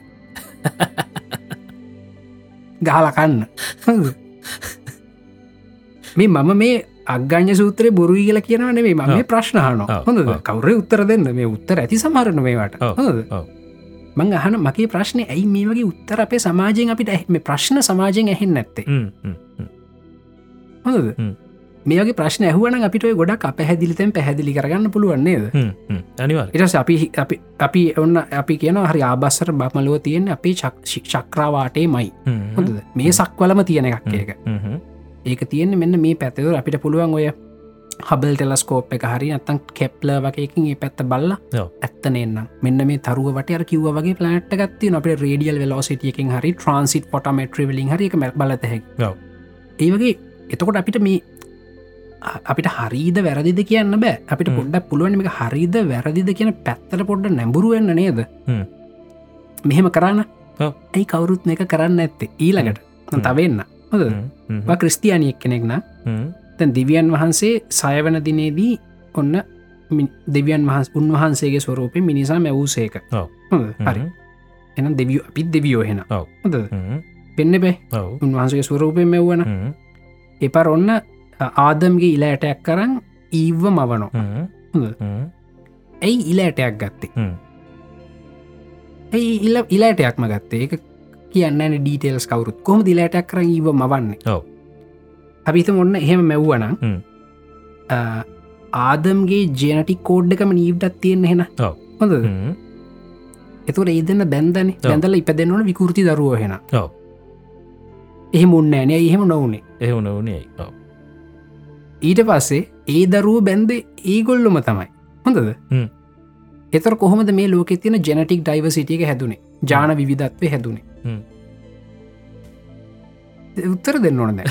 Speaker 3: ගහලකන්න මේ මම මේ අග්‍ය්‍ය සූත්‍රය බොරුයි කියලා කියනවන මේ මම මේ
Speaker 2: ඔව්.
Speaker 3: ප්‍රශ්නහනෝ
Speaker 2: ඔව්,
Speaker 3: හොඳ
Speaker 2: ඔව්.
Speaker 3: කවරේ උත්තර දෙන්න මේ උත්තර ඇති සමහරණ මේවට
Speaker 2: ඔව්,
Speaker 3: හොඳද?
Speaker 2: ඔව්.
Speaker 3: මං අහන මගේ ප්‍රශ්නය ඇයි මේ වගේ උත්තර අපේ සමාජයෙන් අපිට ඇහ- මේ ප්‍රශ්න සමාජයෙන් ඇහෙන් නැත්තේ හොඳද
Speaker 2: හ්ම්.
Speaker 3: මේගේ ප්‍රශ්න ඇහුවන අපිට ඔය ගොඩක් පැහැදිලිතෙන් පැහැදිලි කරගන්න පුළුවන්නේද
Speaker 2: අනිවර්
Speaker 3: ඉටස අපි හි- අපි- අපි ඔන්න අපි කියන හරි ආබස්සර බමලුව තියෙන අපේ චක්- ශි- චක්‍රවාටේ මයි හොඳද මේ සක්වලම තියෙන එකක් ඒක ඒක තියෙන මෙන්න මේ පැතවර අපිට පුළුවන් ඔය හබල් ටෙලස්කෝප් එක හරි අත්තන් කෙප්ල වගේකින් ඒ පැත්ත බල්ල
Speaker 2: ඔව්.
Speaker 3: ඇත්තනෙන්නම් මෙන්න මේ තරුවට අර කිව්ව වගේ පලනට් ගත්ති අපේ රේඩියල් වෙලෝසිටියකින් හරි ට්‍රන්සිට පොටමට්‍රවලින් හරි එක මැ බලතහැක්
Speaker 2: ඔව්.
Speaker 3: ඒවගේ එතකොට අපිට මේ අ- අපිට හරිද වැරදිද කියන්න බෑ අපිට
Speaker 2: හ්ම්.
Speaker 3: පොඩ්ඩක් පුළුවන් මේ හරිද වැරදිද කියන පැත්තර පොඩ්ඩ නැඹුරුවන්න නේද
Speaker 2: හ්ම්.
Speaker 3: මෙහෙම කරන්න
Speaker 2: ඔව්.
Speaker 3: ඇයි කවුරුත් මේ එක කරන්න ඇත්තේ ඊළඟට
Speaker 2: හ්ම්.
Speaker 3: තවෙන්න හොද ක්‍රස්තියානියක් කෙනෙක්න තැන් දිවියන් වහන්සේ සයවන දිනේදී ඔන්න මි- දෙවියන් වහස් උන්වහන්සේගේ ස්වරූපය මිනිසා මැවූසේක
Speaker 2: ඔව්.
Speaker 3: හොඳ? හරි එන දෙවිය අපිත් දෙවියෝ හෙන
Speaker 2: ඔව්.
Speaker 3: හොද පෙන්න බේ උන්වහන්සගේ ස්වරූපය මෙව්වන එපර ඔන්න ආදම්ගේ ඉලෑටයක් කරන්න ඊව මවනෝ ඇයි ඉලෑටයක් ගත්තේ
Speaker 2: හ්ම්.
Speaker 3: ඇයි ඉල්ල ඉලෑටයක්ම ගත්තේ එක කියන්න ඩීටේල්ස් කවරුත් කොම දිලෑටයක් කර ඉව මවන්නේ
Speaker 2: ඔව්.
Speaker 3: අපිත ඔන්න එහෙම මැව්වනම්
Speaker 2: හ්ම්.
Speaker 3: අ, ආදම්ගේ ජනටි කෝඩ් එකම නීව්ටත් තියෙන්න්න හෙන
Speaker 2: ඔව්.
Speaker 3: හොඳ එතුර ඒදන්න බැන්දන
Speaker 2: ඔව්.
Speaker 3: බැඳල ඉපදෙන්වන විකෘති දරුව හෙන
Speaker 2: ඔව්.
Speaker 3: එහෙම උන්නෑනය එහෙම නොවනේ
Speaker 2: එහුන වනේ
Speaker 3: ඊට පස්සේ ඒ දරුව බැන්ද ඒගොල්ලොම තමයි හොඳද
Speaker 2: හ්ම්.
Speaker 3: එතර කොහොමද මේ ලෝක තින ජනටික් ඩයිව සිටියක හැදුනේ ජාන විධත්වය හැදුනේ
Speaker 2: හ්ම්.
Speaker 3: උත්තර දෙන්න ඕනද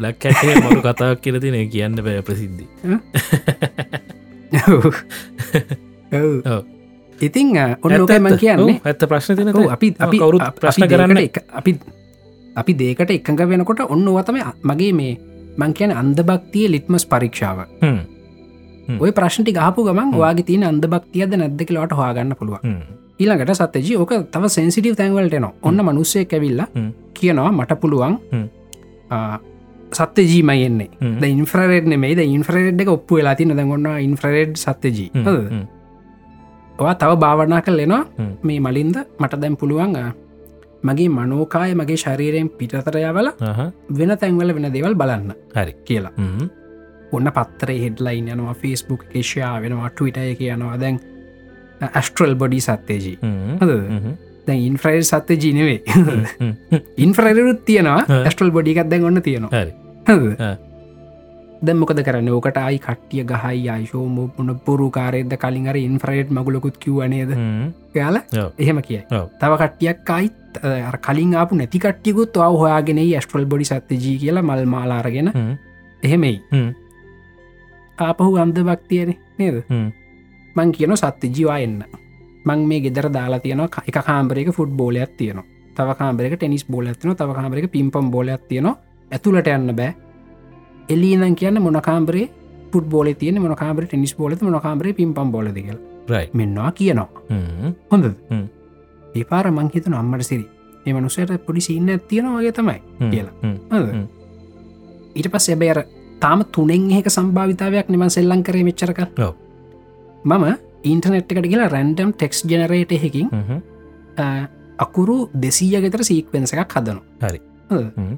Speaker 2: බ්ලක් ඇටේ මරු කතාවක් කියරතින කියන්න බෑ ප්‍රසිද්ධි ඔව්.
Speaker 3: ඉතින් අ, ඔන්න ලෝකයි මං කියන්නේ
Speaker 2: ඇත්ත ප්‍රශ්න තින
Speaker 3: ඔව්, අපි අපි
Speaker 2: කවුරුත්
Speaker 3: අප-
Speaker 2: ප්‍රශ්න
Speaker 3: අපි
Speaker 2: කරන්න.
Speaker 3: දෙයකට එක- අපි අපි දේකට එකඟ වෙනකොට ඔන්න වතම මගේ මේ මං කියන අන්දභක්තිය ලිට්මස් පරීක්ෂාව ඔය ප්‍රශ්ටි ගහපු ගමන්
Speaker 2: හ්ම්.
Speaker 3: වාගේ තින අන්දභක්තියද නැද්ද කියලාට හවාගන්න පුළුව ඊළඟට සත්තජි ඕක තව සෙන්සිටව තැන්වලට න ඔන්න මනුස්සේ කැවිල්ල
Speaker 2: හ්ම්.
Speaker 3: කියනවා මට පුළුවන්
Speaker 2: හ්ම්.
Speaker 3: සත්‍ය ජීමයෙන්නේ ද ඉන්ෆරෙඩ් නෙමේ ද ඉන්ෆරෙඩ් එක ඔප්පු වෙලා තින දැගොන්න ඉන්ෆරෙඩ් සත්‍යජී ඔවා තව භාවනා කලෙනවා
Speaker 2: හ්ම්.
Speaker 3: මේ මලින්ද මට දැම් පුළුවන් අ, මගේ මනෝකාය මගේ ශරීරයෙන් පිටතරයවල වෙන තැන්වල වෙන දේවල් බලන්න
Speaker 2: හරි.
Speaker 3: කියලා ඔන්න පත්තරේ හෙඩ්ලයින් යනවා ෆිස්බුක් ේෂයා වෙනවා ටවිටය කියනවා දැන් ඇස්ට්‍රල් බොඩි සත්‍යජී හද දැන් ඉන්ෆ්‍රයිල් සත්‍ය ජීනවේ ඉන්ෆ්‍රයිරුත් තියෙනවා
Speaker 2: හ්ම්.
Speaker 3: ඇස්ටල් බොඩිකක් දැන් ඔන්න තියෙනවා
Speaker 2: හරි.
Speaker 3: හරිද?
Speaker 2: හ්ම්.
Speaker 3: දැන් මොකද කරන්න ඕකට අයි කට්ටිය ගහයි අයිශෝම පුන පුරු කාරයද කලින් අර ඉන්ෆ්‍රයිට් මගුලකුත් කිවනේද යාල
Speaker 2: ඔව්.
Speaker 3: එහෙම කියයි
Speaker 2: ඔව්.
Speaker 3: තව කටියක් අයිත් අර කලින් අපපු නැතිකට්ිකුත් අව හොයාගෙන ඇස්ට්‍රල් බොඩි සත්‍යජී කියලා මල් මාලාරගෙන එහෙමයි
Speaker 2: හ්ම්.
Speaker 3: ආපහු අන්ද භක්තියන නේද
Speaker 2: හ්ම්.
Speaker 3: මං කියන සත්‍ය ජීවා එන්න මං මේ ගෙදර දාලා තියනවා එක කාම්බරක ෆුට් බෝලයක් තියනවා තව කාම්බරක ටෙනිස් බෝලඇතින තව කාම්බරක පිම්පම් බෝලයක් තියනවා ඇතුළට යන්න බෑ එල්ලීනම් කියන්න මොනකාම්බරේ පුට බෝල තියන මොනකාම්බර ටෙනිස් බෝලත මොනකාම්බරේ පිම්පම් බෝලදගල
Speaker 2: රයි
Speaker 3: මෙන්නවා කියනවා හොඳ
Speaker 2: හ්ම්.
Speaker 3: ඒපාර මංහිතන අම්මට සිරි ඒ මනුසයට පොඩි සින්න ඇතියෙනවාගේ තමයි හරිද?
Speaker 2: හ්ම්.
Speaker 3: ඊට පස් එබැර තාම තුනෙන් ඒක සම්භාවිතාවයක් නිම සෙල්ලං කරේ මෙච්චරක
Speaker 2: ඔව්.
Speaker 3: මම ඉන්ටනෙට් එකට කියලා රැන්ඩම් ටෙක්ස් ජනරේට හෙකින් අ, අකුරු දෙසීය ගෙතර සීක්වෙන්ස එකක් හදනු
Speaker 2: හරි. හ්ම්.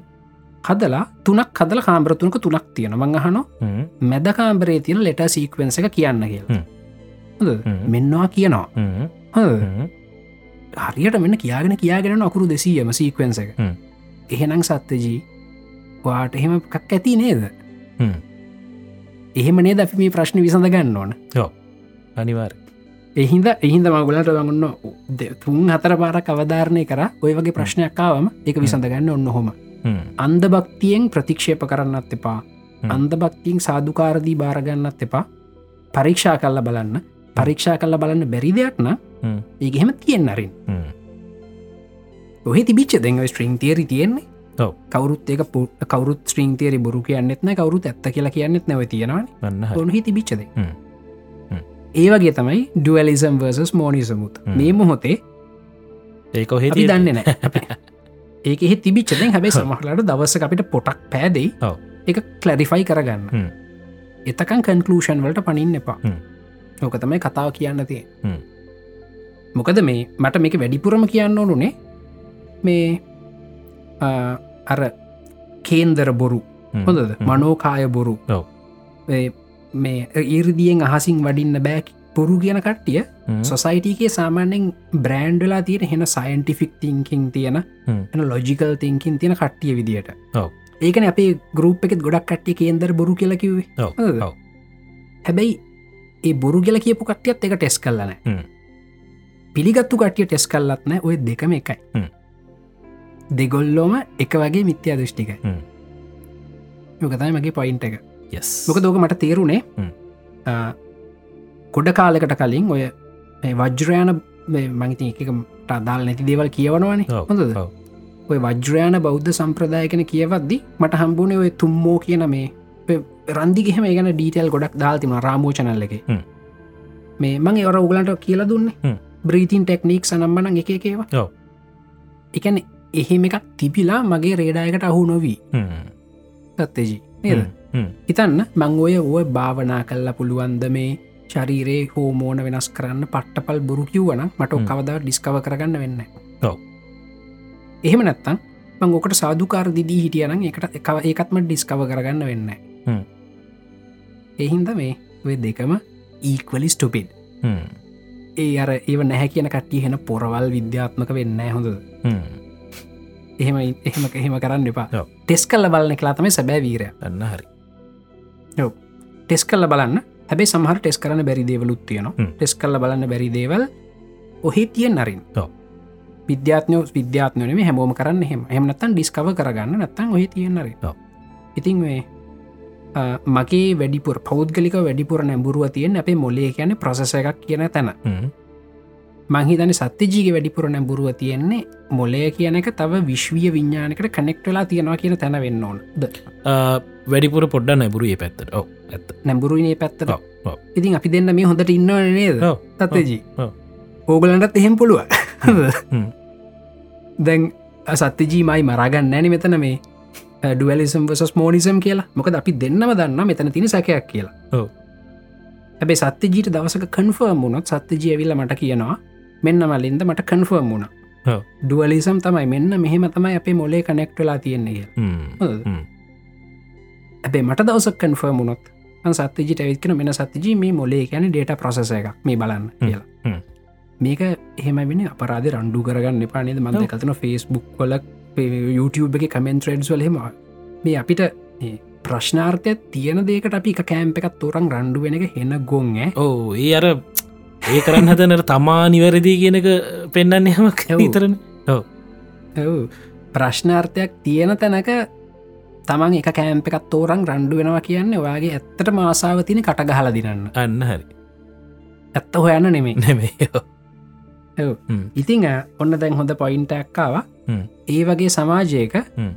Speaker 3: හදලා තුනක් කදල කාම්රතුනක තුනක් තියෙන මංහන මැද කාම්බරේ තියෙන ලෙට සීක්වෙන්ස එක කියන්න කියලා
Speaker 2: හ්ම්.
Speaker 3: හොඳ? මෙන්නවා කියනවා හොඳ? හරියට මෙන්න කියාගෙන කියාගෙන අකුරු දෙසීයම සීක්වෙන්ස එක
Speaker 2: හ්ම්.
Speaker 3: එහෙනම් සත්‍යජී වාට එහෙම එකක් ඇති නේද එහෙමනේ ද අපි මේ ප්‍රශ්න විසඳ ගන්න ඕන
Speaker 2: අනිවාර්
Speaker 3: එහින්ද එහින්ද මගලට වගන්න තුන් හතර පාර කවධාරණය කර ඔය වගේ ප්‍රශ්නයක්කාවම එක විසඳ ගන්න ඔන්න හොම අන්ද භක්තියෙන් ප්‍රතික්ෂේප කරන්නත් එපා
Speaker 2: හ්ම්.
Speaker 3: අන්ද භක්තියෙන් සාධකාරදී භාරගන්නත් එපා පරීක්ෂා කල්ල බලන්න පරීක්ෂා කල්ල බලන්න බැරි දෙයක්න
Speaker 2: හ්ම්.
Speaker 3: ඒගෙහෙම තියෙන් අරින් ඔහෙ තිබිච්ච දෙව ස්ට්‍රීං තේරි තියෙන්නේ
Speaker 2: ඔව්.
Speaker 3: කවරුත් ඒක පුට කවරුත් ස්ට්‍රීං තේරි බොරු කියන්නෙත්න කවරුත් ඇත්ත කියලා කියන්නෙත් නැව තියෙනවා
Speaker 2: ගන්න
Speaker 3: ඔොහි තිබිච්චද
Speaker 2: හ්ම්. හ්ම්.
Speaker 3: ඒවගේ තමයි ඩුවලිසම් වර්සස් මෝනිසමුත්
Speaker 2: හ්ම්.
Speaker 3: මේ මොහොතේ
Speaker 2: ඒක ඔහෙ
Speaker 3: අපි දන්න නෑ ඒක එහෙ තිබිච්චදෙන් හැබේ සමහලට දවස අපිට පොටක් පෑදයි
Speaker 2: ඔව්.
Speaker 3: එක කලරිෆයි
Speaker 2: හ්ම්.
Speaker 3: කරගන්න එතකන් කන්කලූෂන් වලට පනින්න එපා
Speaker 2: හ්ම්.
Speaker 3: ඕක තමයි කතාව කියන්න තිය
Speaker 2: හ්ම්.
Speaker 3: මොකද මේ මට මේක වැඩිපුරම කියන්න ඕනුනේ මේ අ, අර කේන්දර බොරු හොඳද
Speaker 2: Mm.
Speaker 3: මනෝකාය බොරු
Speaker 2: ඔව්.
Speaker 3: මේ- මේ ඒරදියෙන් අහසින් වඩින්න බෑක් බොරු කියන කට්ටිය
Speaker 2: Mm.
Speaker 3: සොසයිටගේ සාමාන්‍යෙන් බ්‍රෑන්්ඩලා තියෙන හෙන සයින්ටිෆික් තිංකින් තියෙන එන ලොජිකල් තිංකින් තියෙන කට්ටිය විදිට
Speaker 2: ඔව්.
Speaker 3: ඒකන අපේ ගරුප් එකෙත් ගොඩක් කට්ටිය කේන්දර බොරු කියලකිවේ හොඳද? හැබැයි ඒ බොරු කියල කියපු කට්ටියත් එක ටෙස් කල්ලන
Speaker 2: හ්ම්.
Speaker 3: පිළිගත්තු කටිය ටෙස් කල්ලත්න ඔය දෙකම එකයි
Speaker 2: හ්ම්.
Speaker 3: දෙගොල්ලෝම එක වගේ මිත්‍යා දෘෂ්ටිකයි
Speaker 2: හ්ම්.
Speaker 3: යොකතයි මගේ පොයින්ට එක මොක
Speaker 2: මොක
Speaker 3: දෝක මට තේරුණේ
Speaker 2: හ්ම්.
Speaker 3: අ, කොඩ කාලකට කලින් ඔය මේ වජ්‍රයාන මේ මංති එකකට අදාල් නැති දේවල් කියවනවානේ
Speaker 2: ඔව්,
Speaker 3: හොඳද
Speaker 2: ඔව්.
Speaker 3: ඔය වජ්‍රයාන බෞද්ධ සම්ප්‍රදාය කෙන කියවද්දි මට හම්බුණේ ඔය තුම්මෝ කියන මේ ඔය රන්දිගෙහම ගැන ඩීටල් ගොඩක් දාල්තිම රාමෝචනල්ල එක
Speaker 2: හ්ම්.
Speaker 3: මේ මං ඒවර උගලන්ට කියලා දුන්නේ
Speaker 2: හ්ම්.
Speaker 3: බ්‍රීතින් ටෙක්නික් සනම්බන එක එකේවා
Speaker 2: ඔව්.
Speaker 3: එකන එහෙම එකක් තිබිලා මගේ රේඩායකට අහු නොවී
Speaker 2: Mm.
Speaker 3: ගත්තේජී නේද හිතන්න මංගෝය ඕය භාවනා කල්ලා පුළුවන්ද මේ ශරීරයේ හෝමෝන වෙනස් කරන්න පට්ටපල් බොරු කිව්වන මට
Speaker 2: හ්ම්.
Speaker 3: කවදා ඩිස්කව කරගන්න වෙන්න
Speaker 2: ඔව්.
Speaker 3: එහෙම නැත්තම් මංගෝකට සාධකාර දිදී හිටියන එකට එක ඒකත්ම ඩිස්කව කරගන්න වෙන්න
Speaker 2: හ්ම්.
Speaker 3: එහින්ද මේ ඔය දෙකම ඊක්වලි ස්ටුපිඩ්
Speaker 2: Mm.
Speaker 3: ඒ අර ඒව නැහැ කියන කට්ටිය හෙන පොරවල් විද්‍යාත්මක වෙන්න හොඳ
Speaker 2: Mm.
Speaker 3: එහෙම එහෙම එහෙම කරන්න එපා
Speaker 2: ඔව්.
Speaker 3: ටෙස් කල්ල බලන කලාතම සැබෑ වීරය
Speaker 2: ගන්න හරි
Speaker 3: ටෙස් කල්ල බලන්න හැබේ සහර ටෙස් කරන බැරි දේවලුත් තියන
Speaker 2: හ්ම්.
Speaker 3: ටෙස් කල්ල බලන්න බැරි දේවල් ඔහේ තියෙන් නරින්
Speaker 2: ඔව්.
Speaker 3: විද්‍යාත්නය විද්‍යාත්නයනේ හැමෝම කරන්න හෙම හමනත්තන් ඩිස්කව කරගන්න නත්තන් ඔහ තියෙන්නර
Speaker 2: ඔව්.
Speaker 3: ඉතින් මේ අ, මගේ වැඩිපුර පෞද්ගලික වැඩිපුර නැඹුරුව තියෙන් අපේ මොලේ කියන ප්‍රසස එකක් කියන තැන මංහිතන සත්‍යජීගේ වැඩිපුර නැඹුරුව තියෙන්නේ මොලය කියන එක තව විශ්වීය විඤ්ඥානකට කනෙක්ටලා තියෙනවා කියන තැන වෙන්න ඕන ද
Speaker 2: Uh, වැඩිපුර පොඩ්ඩ නැබුරු ඒ පැත්තට ඔව ඇත්ත
Speaker 3: නැඹුරුනේ පැත්තට
Speaker 2: ඔව්, ඔව්.
Speaker 3: ඉතින් අපි දෙන්න මේ හොඳට ඉන්නව නේද
Speaker 2: ඔව්,
Speaker 3: තත්තජී
Speaker 2: ඔව්.
Speaker 3: ඕගලන්ටත් එහෙම් පුළුව
Speaker 2: හ්ම්.
Speaker 3: දැන් සත්‍යජීමයි මරාගන්න ෑන මෙතන මේ ඩුවලිසම් වසස් මෝනිසම් කියලා මොකද අපි දෙන්නම දන්න මෙතන තිනි සැකයක් කියලා
Speaker 2: ඔව්.
Speaker 3: ඇැබේ සත්‍යජීට දවසක කන්ෆර්ම් වුණොත් සත්‍යජීඇවිල්ල මට කියනවා මෙන්න මලින්ද මට කන්ෆර්ම් වුණ
Speaker 2: ඔව්.
Speaker 3: ඩුවලිසම් තමයි මෙන්න මෙහෙම තමයි අපේ මොලේ කනෙක්ටලා තියෙන්නේ කියලා හොඳද?
Speaker 2: හ්ම්.
Speaker 3: ඇබේ මට දවසක් කන්ෆර්ම් වුණොත් සත්තිජි ඇවිත්කන මෙන සත්තිජී මේ මොලේ කියන ඩේට ප්‍රසස එකක් මේ බලන්න
Speaker 2: හ්ම්,
Speaker 3: කියලා
Speaker 2: හ්ම්.
Speaker 3: මේක එහෙම වෙන අපරාධ රණ්ඩු කරගන්න පානද මද
Speaker 2: ඔව්.
Speaker 3: කතන ෆෙස්බුක් වල YouTube එක කමෙන්ට්‍රේඩ්ස් වලහෙමවා මේ අපිට ඒ ප්‍රශ්නාර්ථය තියෙන දේකට අපි එක කෑම්ප එකත් තෝරන් රණ්ඩු වෙන එක හෙන ගොන් ඇ
Speaker 2: ඕ ඒ අර ඒ කරන්න හදනට තමා නිවැරදි කියනක පෙන්න්න හමක්
Speaker 3: ඔව්.
Speaker 2: විතරන
Speaker 3: ඔව්. ප්‍රශ්නාර්ථයක් තියෙන තැනක තමන් එක කෑම්ප එකත් තෝරන් රණ්ඩු වෙනවා කියන්නේ ඔයාගේ ඇත්තට මාසාාව තින කටගහල දිනන්න
Speaker 2: අන්න හරි
Speaker 3: ඇත්ත හොයන්න නෙමේ
Speaker 2: නැමේ
Speaker 3: ඉතිං අ, ඔන්න දැන් හොඳ පොයින්ටක්කාව
Speaker 2: හ්ම්.
Speaker 3: ඒ වගේ සමාජයක
Speaker 2: හ්ම්.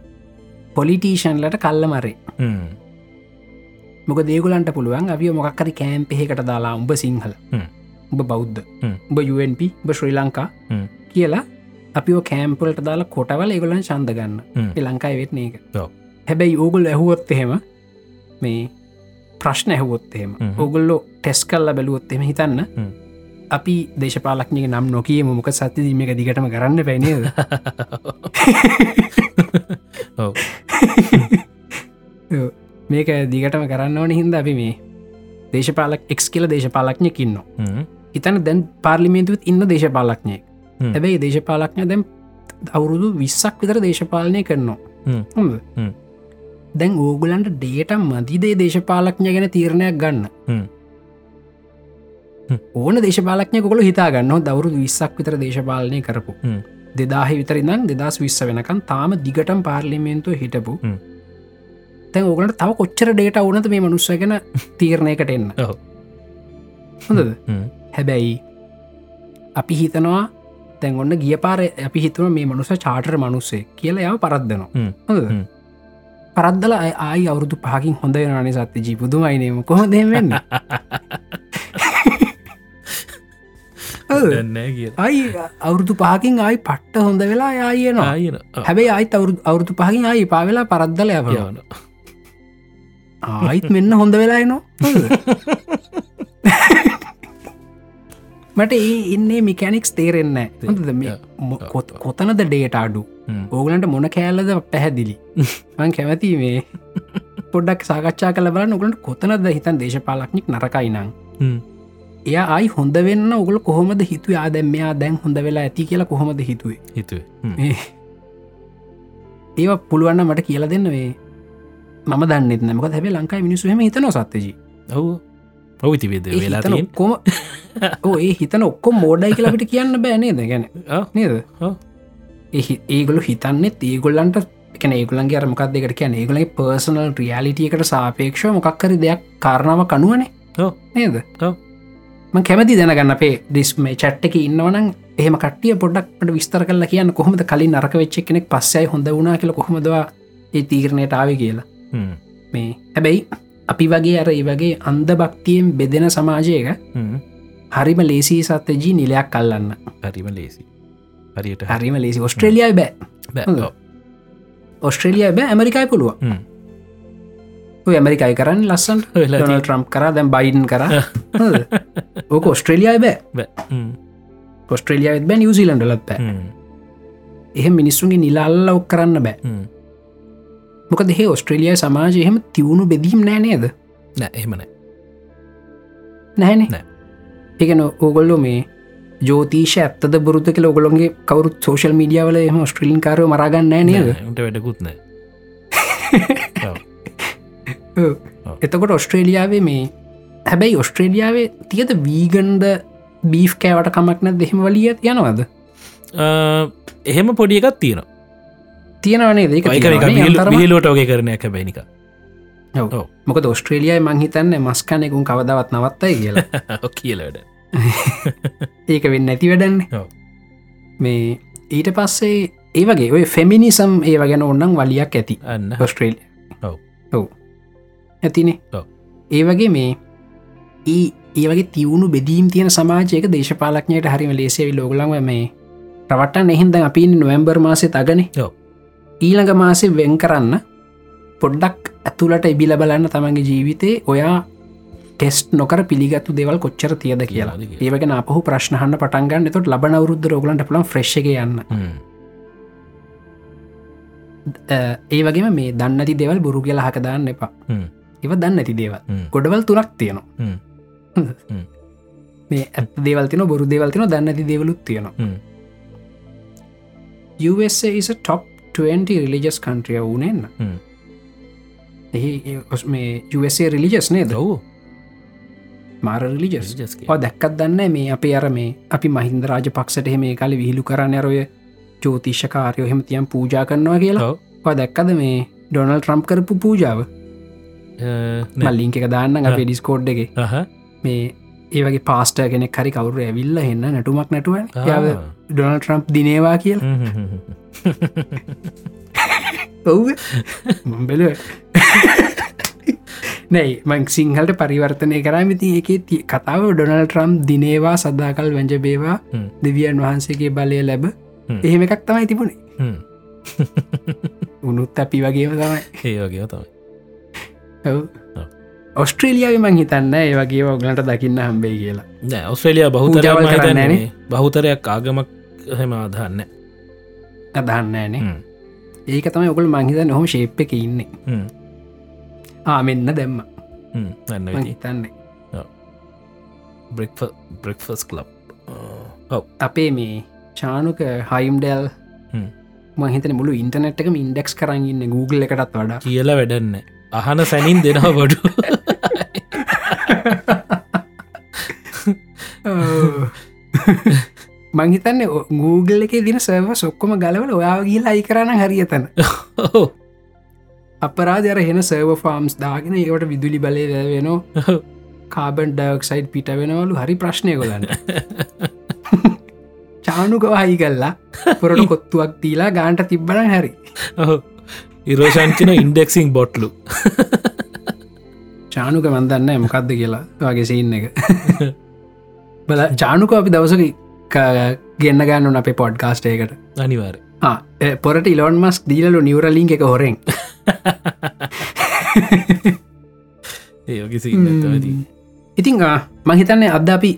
Speaker 3: පොලිටීෂන්ලට කල්ල මරේ
Speaker 2: Mm.
Speaker 3: මොක දේගුලන්ට පුළුවන් අිය මොක්කරි කෑම්පෙහෙකට දාලා උඹ සිංහල
Speaker 2: හ්ම්.
Speaker 3: උඹ බෞද්ධ
Speaker 2: හ්ම්.
Speaker 3: උඹ UNP උඹ ශ්‍රී ලංකා
Speaker 2: හ්ම්.
Speaker 3: කියලා අපි ඔය කෑම්පලට දාලා කොටවල ඒගොලන් ශන්දගන්න
Speaker 2: හ්ම්.
Speaker 3: ලංකායි වෙත්න එක
Speaker 2: ඔව්.
Speaker 3: හැබැයි ඕගුල් ඇහුවොත් එහෙම මේ ප්‍රශ්න ඇහුවොත් එහෙම
Speaker 2: හ්ම්.
Speaker 3: ඕගොල්ලෝ ටෙස් කල්ල බැලුවොත් එම හිතන්න
Speaker 2: හ්ම්.
Speaker 3: අපි දේශපාලක්ඥක නම් නොකිය මොක සතතිදීම එක දිගටම කරන්න පැනේද
Speaker 2: ඔව්.
Speaker 3: ඔව්. මේක දිගටම කරන්න ඕන හින්ද අපි මේ දේශපාලක් එක් කියල දේශපාලක්ඥය කින්න
Speaker 2: Mm.
Speaker 3: ඉතන දැන් පාර්ලිමේන්තුවත් ඉන්න දේශපාලක්ඥය
Speaker 2: හ්ම්.
Speaker 3: හැබැයි දේශපාලක්ඥ දැම් අවුරුදු විස්සක් විතර දේශපාලනය කරනවා
Speaker 2: හ්ම්.
Speaker 3: හොඳ
Speaker 2: හ්ම්.
Speaker 3: දැන් ඕගුලන්ට ඩේට මදිදේ දේශපාලක්ඥ ගැන තීරණයක්
Speaker 2: හ්ම්.
Speaker 3: ගන්න ඕන දේශපාලක්ඥය කොළ හිතාගන්න දවරු විස්සක් විතර දේශපාලනය කරපු
Speaker 2: හ්ම්.
Speaker 3: දෙදාහ විතරරිදං දෙදස් විස්ස වෙනකන් තාම දිගටම් පාර්ලිමේන්තුව හිටපු
Speaker 2: හ්ම්.
Speaker 3: තැන් ඕගලට තව කොච්චර ඩේට ඕනද මේ මනුස්ස ගැන තීරණයකට එන්න
Speaker 2: ඔව්.
Speaker 3: හොඳද
Speaker 2: හ්ම්.
Speaker 3: හැබැයි අපි හිතනවා තැන් ඔන්න ගිය පාර අපි හිතුව මේ මනුස චාටර් මනුස්සේ කියලා යම
Speaker 2: හ්ම්.
Speaker 3: පරද්දනවා
Speaker 2: හ්ම්.
Speaker 3: හොඳ පරද්දල අය ආයි අවුරුදු පහකින් හොඳ වෙනනේ සත්‍ය ජීපුදුමයිනම කොහොදෙන් වෙන්න හොඳද?
Speaker 2: දන්නෑ කියලා
Speaker 3: අයි අවුරුදු පහකින් ආයි පට්ට හොඳ වෙලා යායනවා
Speaker 2: ආයන
Speaker 3: හැබැයි අයි අවුරුදු පහකින් ආයි පාවෙලා පරද්දල යප
Speaker 2: යවන
Speaker 3: ආයිත් මෙන්න හොඳ වෙලා නවා මට ඒ ඉන්නේ මිකැනික්ස් තේරෙන්න හොඳද මේ
Speaker 2: Yeah.
Speaker 3: මො- කොත්- කොතනද ඩේට අඩු
Speaker 2: Mm.
Speaker 3: ඕගලන්ට මොන කෑල්ලද පැහැදිලි මං කැමති මේ පොඩක් සාකච්ඡා කල බල නොගලට කොතනද හිතන් දේශපාලක්නික් නරකයිනං
Speaker 2: හ්ම්.
Speaker 3: එය අයි හොඳ වෙන්න ඔගල කොහොමද හිතු ආදැම්මයා දැන් හොඳ වෙලා ඇති කියලා කොහොමද හිතුවේ
Speaker 2: හිතුවේ හ්ම්.
Speaker 3: මේ ඒව පුළුවන්න මට කියල දෙන්න වේ මම දන්න නමක හැබේ ලංකායි මිනිසුහම හිතන සත්තජී
Speaker 2: ඔව් ඔව ඉතිවේද වෙලා තියෙන
Speaker 3: ඔක්කොම ඒ හිතන ඔක්කො මෝඩයි කියලපිට කියන්න බෑනේද ගැන
Speaker 2: ආ,
Speaker 3: නේද
Speaker 2: ඔව්.
Speaker 3: එහි ඒගොලු හිතන්නේ ඒගොල්ලන්ට කැන ඒගුලන්ගේ අරමකක් දෙකට කියන ඒගලගේ පර්සනල් රියලිටියකට සාපේක්ෂව මොකක්කරි දෙයක් කාරණාව කනුවනේ
Speaker 2: ඔව්.
Speaker 3: නේද
Speaker 2: ඔව්.
Speaker 3: මං කැමති දැනගන්න අපේ ඩිස්ම චට්ටක ඉන්නවනම් එහම කටිය පොඩක්ට විස්තර කල කියන්න කොහොමද කලින් නරක වෙච්චක් කෙනෙක් පස්සයි හොඳ වුණනා කියල කොහොමදවා ඒ තීරණයට ආව කියලා
Speaker 2: හ්ම්.
Speaker 3: මේ හැබැයි අපි වගේ අර ඒ වගේ අන්ද භක්තියෙන් බෙදෙන සමාජයක
Speaker 2: හ්ම්.
Speaker 3: හරිම ලේසි සත්තජී නිලයක් කල්ලන්න
Speaker 2: හරිම ලේසි හරියට හරි
Speaker 3: හරිම ලේසි ඔස්ට්‍රලියයි බෑ
Speaker 2: බෑ ඔව්.
Speaker 3: ඔස්ට්‍රලියයි බෑ ඇමරිකායි පුළුව
Speaker 2: හ්ම්.
Speaker 3: ඔය ඇමරිකායි කරන්න ලස්සන්ට
Speaker 2: වෙලා
Speaker 3: ඩොනල් ට්‍රම්ප් කර දැම් බයින් කර හොඳද? ඕක ඔස්ට්‍රලියයි බෑ
Speaker 2: තියෙන- බෑ. හ්ම්.
Speaker 3: ඔස්ට්‍රලියයි බෑ නිවසිලන්ඩලත් බෑ
Speaker 2: හ්ම්.
Speaker 3: එහ මිනිස්සුන්ගේ නිලල්ල ඔක් කරන්න බෑ
Speaker 2: හ්ම්.
Speaker 3: මොක දෙහ ඔස්ට්‍රලියයි සමාජය එහෙම තිවුණු බෙදීම් නෑ නේද
Speaker 2: නෑ එහෙමන
Speaker 3: නැහැනේ
Speaker 2: නෑ.
Speaker 3: ඒකන ඕගොල්ලො මේ ජෝතීෂ ඇත්තද බරුත කල ඔගොලොන්ගේ කවරුත් සෝශල් මීඩියාවල එම ස්ට්‍රලින් කාරය මරගන්න නෑ නේද
Speaker 2: උට වැඩකුත් නෑ
Speaker 3: ඔව්. එතකොට ඔස්ට්‍රේලියාවේ මේ හැබැයි ඔස්ට්‍රේලියාවේ තියද වීගන්ද බීෆ් කෑවට කමක්න දෙහෙම වලිය යනවද
Speaker 2: ආ, එහෙම පොඩි එකක් තියෙන
Speaker 3: තියෙනවනේ දෙක
Speaker 2: ලෝට වගේ කරන එක බැනික
Speaker 3: මොක ඔස්ට්‍රේලියයි මංහිතන්න මස්කනෙකුන් කවදවත් නවත්තයි කියලා
Speaker 2: කියලට
Speaker 3: ඒක වෙන්න ඇති වැඩන්නේ
Speaker 2: ඔව්.
Speaker 3: මේ ඊට පස්සේ ඒ වගේ ඔය ෆෙමිනිසම් ඒ වගෙන ඔන්නන් වලියක් ඇති
Speaker 2: අන්න
Speaker 3: ඔස්ට්‍රේල්
Speaker 2: ඔව්.
Speaker 3: ඔව් ඇතිනේ
Speaker 2: ඔව්.
Speaker 3: ඒ වගේ මේ ඒ ඒ වගේ තිවුණු බෙදීම් තියෙන සමාජයක දේශපාලක්ඥයට හරිම ලේසේවි ලෝගලන්ව මේ රවට්ටන් එහෙන්ද අපි ඉන්නේ නොවැම්බර් මාසේ තගන
Speaker 2: ඔව්.
Speaker 3: ඊළඟ මාසේ වෙන් කරන්න පොඩ්ඩක් ඇතුළට එබිල බලන්න තමන්ගේ ජීවිතේ ඔයා ටෙස්ට් නොකර පිළිගත්තු දෙවල් කොච්චර තියද කියලා
Speaker 2: තියනවද කියලා.
Speaker 3: ඒවගෙන අපහු ප්‍රශ්නහන්න පටන්ගන්න තොට ලබන අවරුද්ධ රෝගලන්ට පුළන් ෆ්‍රෙශ්ක යන්න
Speaker 2: හ්ම්.
Speaker 3: ඒ වගේම මේ දන්නති දෙවල් බුරු කියලා හකදාන්න එපා
Speaker 2: හ්ම්.
Speaker 3: ඒව දන්න ඇති දේවල්
Speaker 2: හ්ම්.
Speaker 3: ගොඩවල් තුරක්
Speaker 2: හ්ම්.
Speaker 3: තියෙනවා
Speaker 2: හ්ම්.
Speaker 3: මේ ඇත් දේවල්තින බොරු දේවල්තින දන්න ඇති දේවලුත්
Speaker 2: හ්ම්.
Speaker 3: තියෙනවා USAස ටොප් 20 රිලිජස් කන්ට්‍රිය වූනෙන්න
Speaker 2: හ්ම්.
Speaker 3: එහි ඒ ඔස් මේ USA රිලිජස් නේද
Speaker 2: ඔව්.
Speaker 3: මාර රිලිජස්
Speaker 2: Religious කියලා.
Speaker 3: ඔය දැක්කත් දන්න මේ අපේ අර මේ අපි මහින්ද රාජ පක්ෂට එහෙම කල විහිලු කරන්න අරොය චෝතිශ්‍යකාරයෝ හෙම තියම් පූජා කරනවා කියලා
Speaker 2: ඔව්.
Speaker 3: ඔය දැක්කද මේ ඩොනල් ට්‍රම්ප් කරපු පූජාව
Speaker 2: ආ, නෑ.
Speaker 3: මල්ලිංක එක දාන්න අපේ ඩිස්කෝඩ් එක
Speaker 2: අහ.
Speaker 3: මේ ඒවගේ පාස්ට කෙනෙ හරි කවරු ඇවිල්ල එන්න නැටුමක් නැටුව
Speaker 2: ආ.
Speaker 3: ය ඩොනල් ට්‍රම්ප් දිනේවා කියලා
Speaker 2: හ්ම්, හ්ම්, හ්ම්, හ්ම්.
Speaker 3: ඔව් මම්බෙල නැයි මං සිංහලට පරිවර්තනය කරමිති ඒ කතාව ඩොනල් ට්‍රම් දිනේවා සදාකල් වැජබේවා
Speaker 2: හ්ම්.
Speaker 3: දෙවියන් වහන්සේගේ බලය ලැබ
Speaker 2: හ්ම්.
Speaker 3: එහෙම එකක් තමයි තිබුණේ
Speaker 2: හ්ම්.
Speaker 3: උනුත් අපි වගේම තමයි
Speaker 2: ඒ වගේ තමයි ඔව්.
Speaker 3: ඔව්. ඔස්ට්‍රේලියාව මං හිතන්න ඒ වගේ ඔගලට දකින්න හම්බේ කියලා
Speaker 2: නෑ ඔස්ට්‍රේලිය බහුතරයක්
Speaker 3: පූජාවල්
Speaker 2: මහිතන්නේ
Speaker 3: කරන්නේ නෑනේ.
Speaker 2: මේ බහුතරයක් ආගමක් හෙම අදහන්න
Speaker 3: අදහන්නෑනේ ඒක තමයි ඔකල් මංහිතන්න හොම ශේප් එක ඉන්නේ ආමෙන්න්න දැම්ම මං
Speaker 2: න්න
Speaker 3: හිතන්නේ
Speaker 2: බෙක් බ්‍රෙක්ෆස් ලබ් ඔව්
Speaker 3: අපේ මේ චානුක හයිම්ඩෙල්
Speaker 2: හ්ම්.
Speaker 3: මහිතන මුළු ඉන්ටනෙට් එකම ඉන්ඩෙක්ස් කරන්න Google එකටත් වඩා
Speaker 2: කියලා වැඩන්න අහන සැනින් දෙනා බඩු
Speaker 3: මංහිතන්න Google එක දින සව සොක්කොම ගලවල ඔයා කියලා අයිකරන හරියතන අපරාධර හෙන සර්ව ෆාම්ස් දාගෙන ඒවට විදුලි බලය වෙන කාබන් ඩයක්සයිඩ් පිට වෙනවලු හරි ප්‍රශ්නය කොලන්න චානුකව හයි කල්ලා පොරට කොත්තුවක් තිීලා ගාන්ට තිබ්බන හැරි
Speaker 2: ඉරෝෂන්කන ඉන්ඩෙක්සිං බොට්ලු
Speaker 3: චානුක මන්දන්න මකක්ද කියලා වගේසින්න එක බල චානුක අපි දවසක ගන්න ගන්නන අපේ පොඩ් කාස්ටේකට
Speaker 2: අනිවාර
Speaker 3: පොරට ඉලොන් මස් දීලු නිවරලිින් එක හොරෙන්
Speaker 2: ඒකසි ඉන්නදී
Speaker 3: ඉතිං මහිතන්නේ අද අපි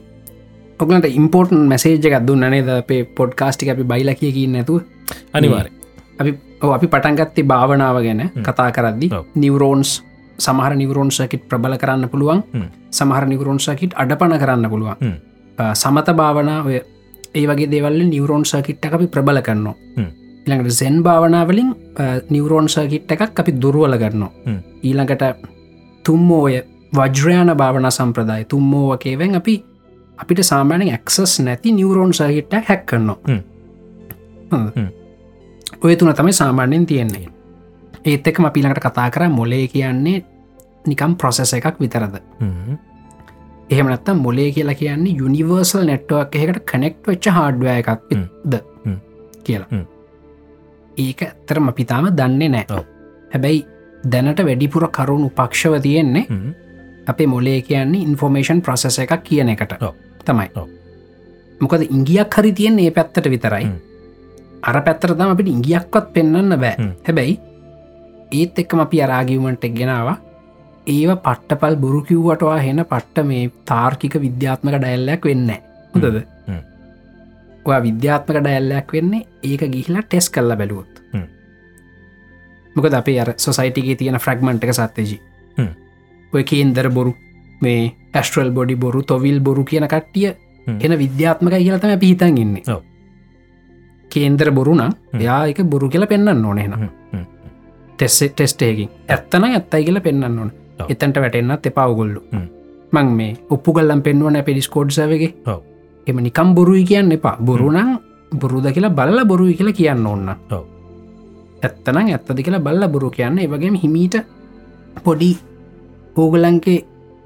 Speaker 3: ඔගලට ඉම්පෝර්ටන් මැසේජ එකක් දුන්න නේද අපේ පොඩ් කාස්ටික අපි බයිල කියකින්න නැතුව
Speaker 2: අනිවාර
Speaker 3: අපි ඔව් අපි පටන්ගත්තේ භාවනාව ගැන කතා කරද්දි
Speaker 2: ඔව්.
Speaker 3: නිවරෝන්ස් සමහර නිවරෝන් සකිට් ප්‍රබල කරන්න පුළුවන්
Speaker 2: හ්ම්.
Speaker 3: සමහර නිවරෝන් සකිට් අඩපන කරන්න පුළුවන්
Speaker 2: හ්ම්.
Speaker 3: අ, සමත භාවනාව ඒ වගේ දෙවල් නිවරෝන් සකිට් එක අපි ප්‍රබල කරනවා
Speaker 2: හ්ම්.
Speaker 3: ඊළඟට සෙන් භාවනාවලින් නිවරෝන් සකිට් එකක් අපි දුර්ුවල කරනවා
Speaker 2: හ්ම්.
Speaker 3: ඊළඟට තුම්මෝය වජ්‍රයාන භාවනා සම්ප්‍රදාය තුම්මෝවකේවෙන් අපි අපිට සාමානෙන් ඇක්සස් නැති නිවරෝන් සහිට්ටක් හැක් කරනවා
Speaker 2: හ්ම්.
Speaker 3: හොඳ.
Speaker 2: හ්ම්.
Speaker 3: ඔය තුන තමයි සාමාන්‍යෙන් තියෙන්නේ ඒත් එකම පිළඟට කතා කර මොලේ කියන්නේ නිකම් ප්‍රොසෙස එකක් විතරද එහෙමනත්තම් මොලේ කියලා කියන්නේ යුනිවර්සල් නැට්ුවක් එකට කනෙක්් වෙච්ච හාඩුව එකක්
Speaker 2: හ්ම්.
Speaker 3: ද
Speaker 2: හ්ම්.
Speaker 3: කියලා
Speaker 2: හ්ම්.
Speaker 3: ඒක ඇත්තරම පිතාම දන්නේ නෑ
Speaker 2: ඔව්.
Speaker 3: හැබැයි දැනට වැඩිපුර කරුණු පක්ෂව තියෙන්නේ අපේ මොලේ කියන්නේ ඉන්ෆෝර්මේෂන් ප්‍රසෙස එකක් කියන එකට
Speaker 2: ඔව්.
Speaker 3: තමයි
Speaker 2: ඔව්.
Speaker 3: මොකද ඉංගියක් හරි තියෙන් ඒ පැත්තට විතරයි
Speaker 2: හ්ම්.
Speaker 3: අර පැත්තර තම අපිට ඉංගියක්වත් පෙන්න්න බෑ
Speaker 2: හ්ම්.
Speaker 3: හැබැයි ඒත් එක්කම අපි අරාගිවමට එක්ගෙනවා ඒව පට්ටපල් බුරු කිව්වටවා හෙන පට්ට මේ තාර්කික විද්‍යාත්මක ඩැල්ලයක් වෙන්න හොඳද
Speaker 2: හ්ම්.
Speaker 3: ඔයා විද්‍යාත්මක ඩැල්ලයක් වෙන්නේ ඒක ගිහිලා ටෙස් කල්ල බැලුවොත්
Speaker 2: හ්ම්.
Speaker 3: මොකද අපේ අර සොසයිටගේ තියෙන ෆ්‍රක්මන්ට් එක සත්්‍යජී
Speaker 2: හ්ම්.
Speaker 3: ඔය කේන්දර බොරු මේ ඇස්ට්‍රල් බොඩි බොරු තොවිල් බොරු කියන කට්ටිය
Speaker 2: හ්ම්.
Speaker 3: හෙන විද්‍යාත්මක කියලතම පිහිතන් ඉන්න
Speaker 2: ඔව්.
Speaker 3: කේන්දර බොරුන යා එක බොරු කියල පෙන්න්න ඕනෙන ටෙස් ටෙස්ටේකින් ඇත්තන ඇත්තයි කියල පෙන්න්න ඕන
Speaker 2: ඔව්.
Speaker 3: එතන්ට වැටෙන්න්නත් එපාවගොල්ලු
Speaker 2: හ්ම්.
Speaker 3: මං මේ උප්පු කල්ලම් පෙන්වන පිරිස්කෝඩ්සවගේ
Speaker 2: ඔව්.
Speaker 3: එම නිකම් බොරුයි කියන්න එපා බොරුනං බොරුද කියලා බල්ල බොරුයි කියලා කියන්න ඕන්න
Speaker 2: ඔව්.
Speaker 3: ඇත්තනම් ඇත්තද කියලා බල්ල බොරු කියන්න ඒවගේ හිමීට පොඩි ඕගලන්ගේ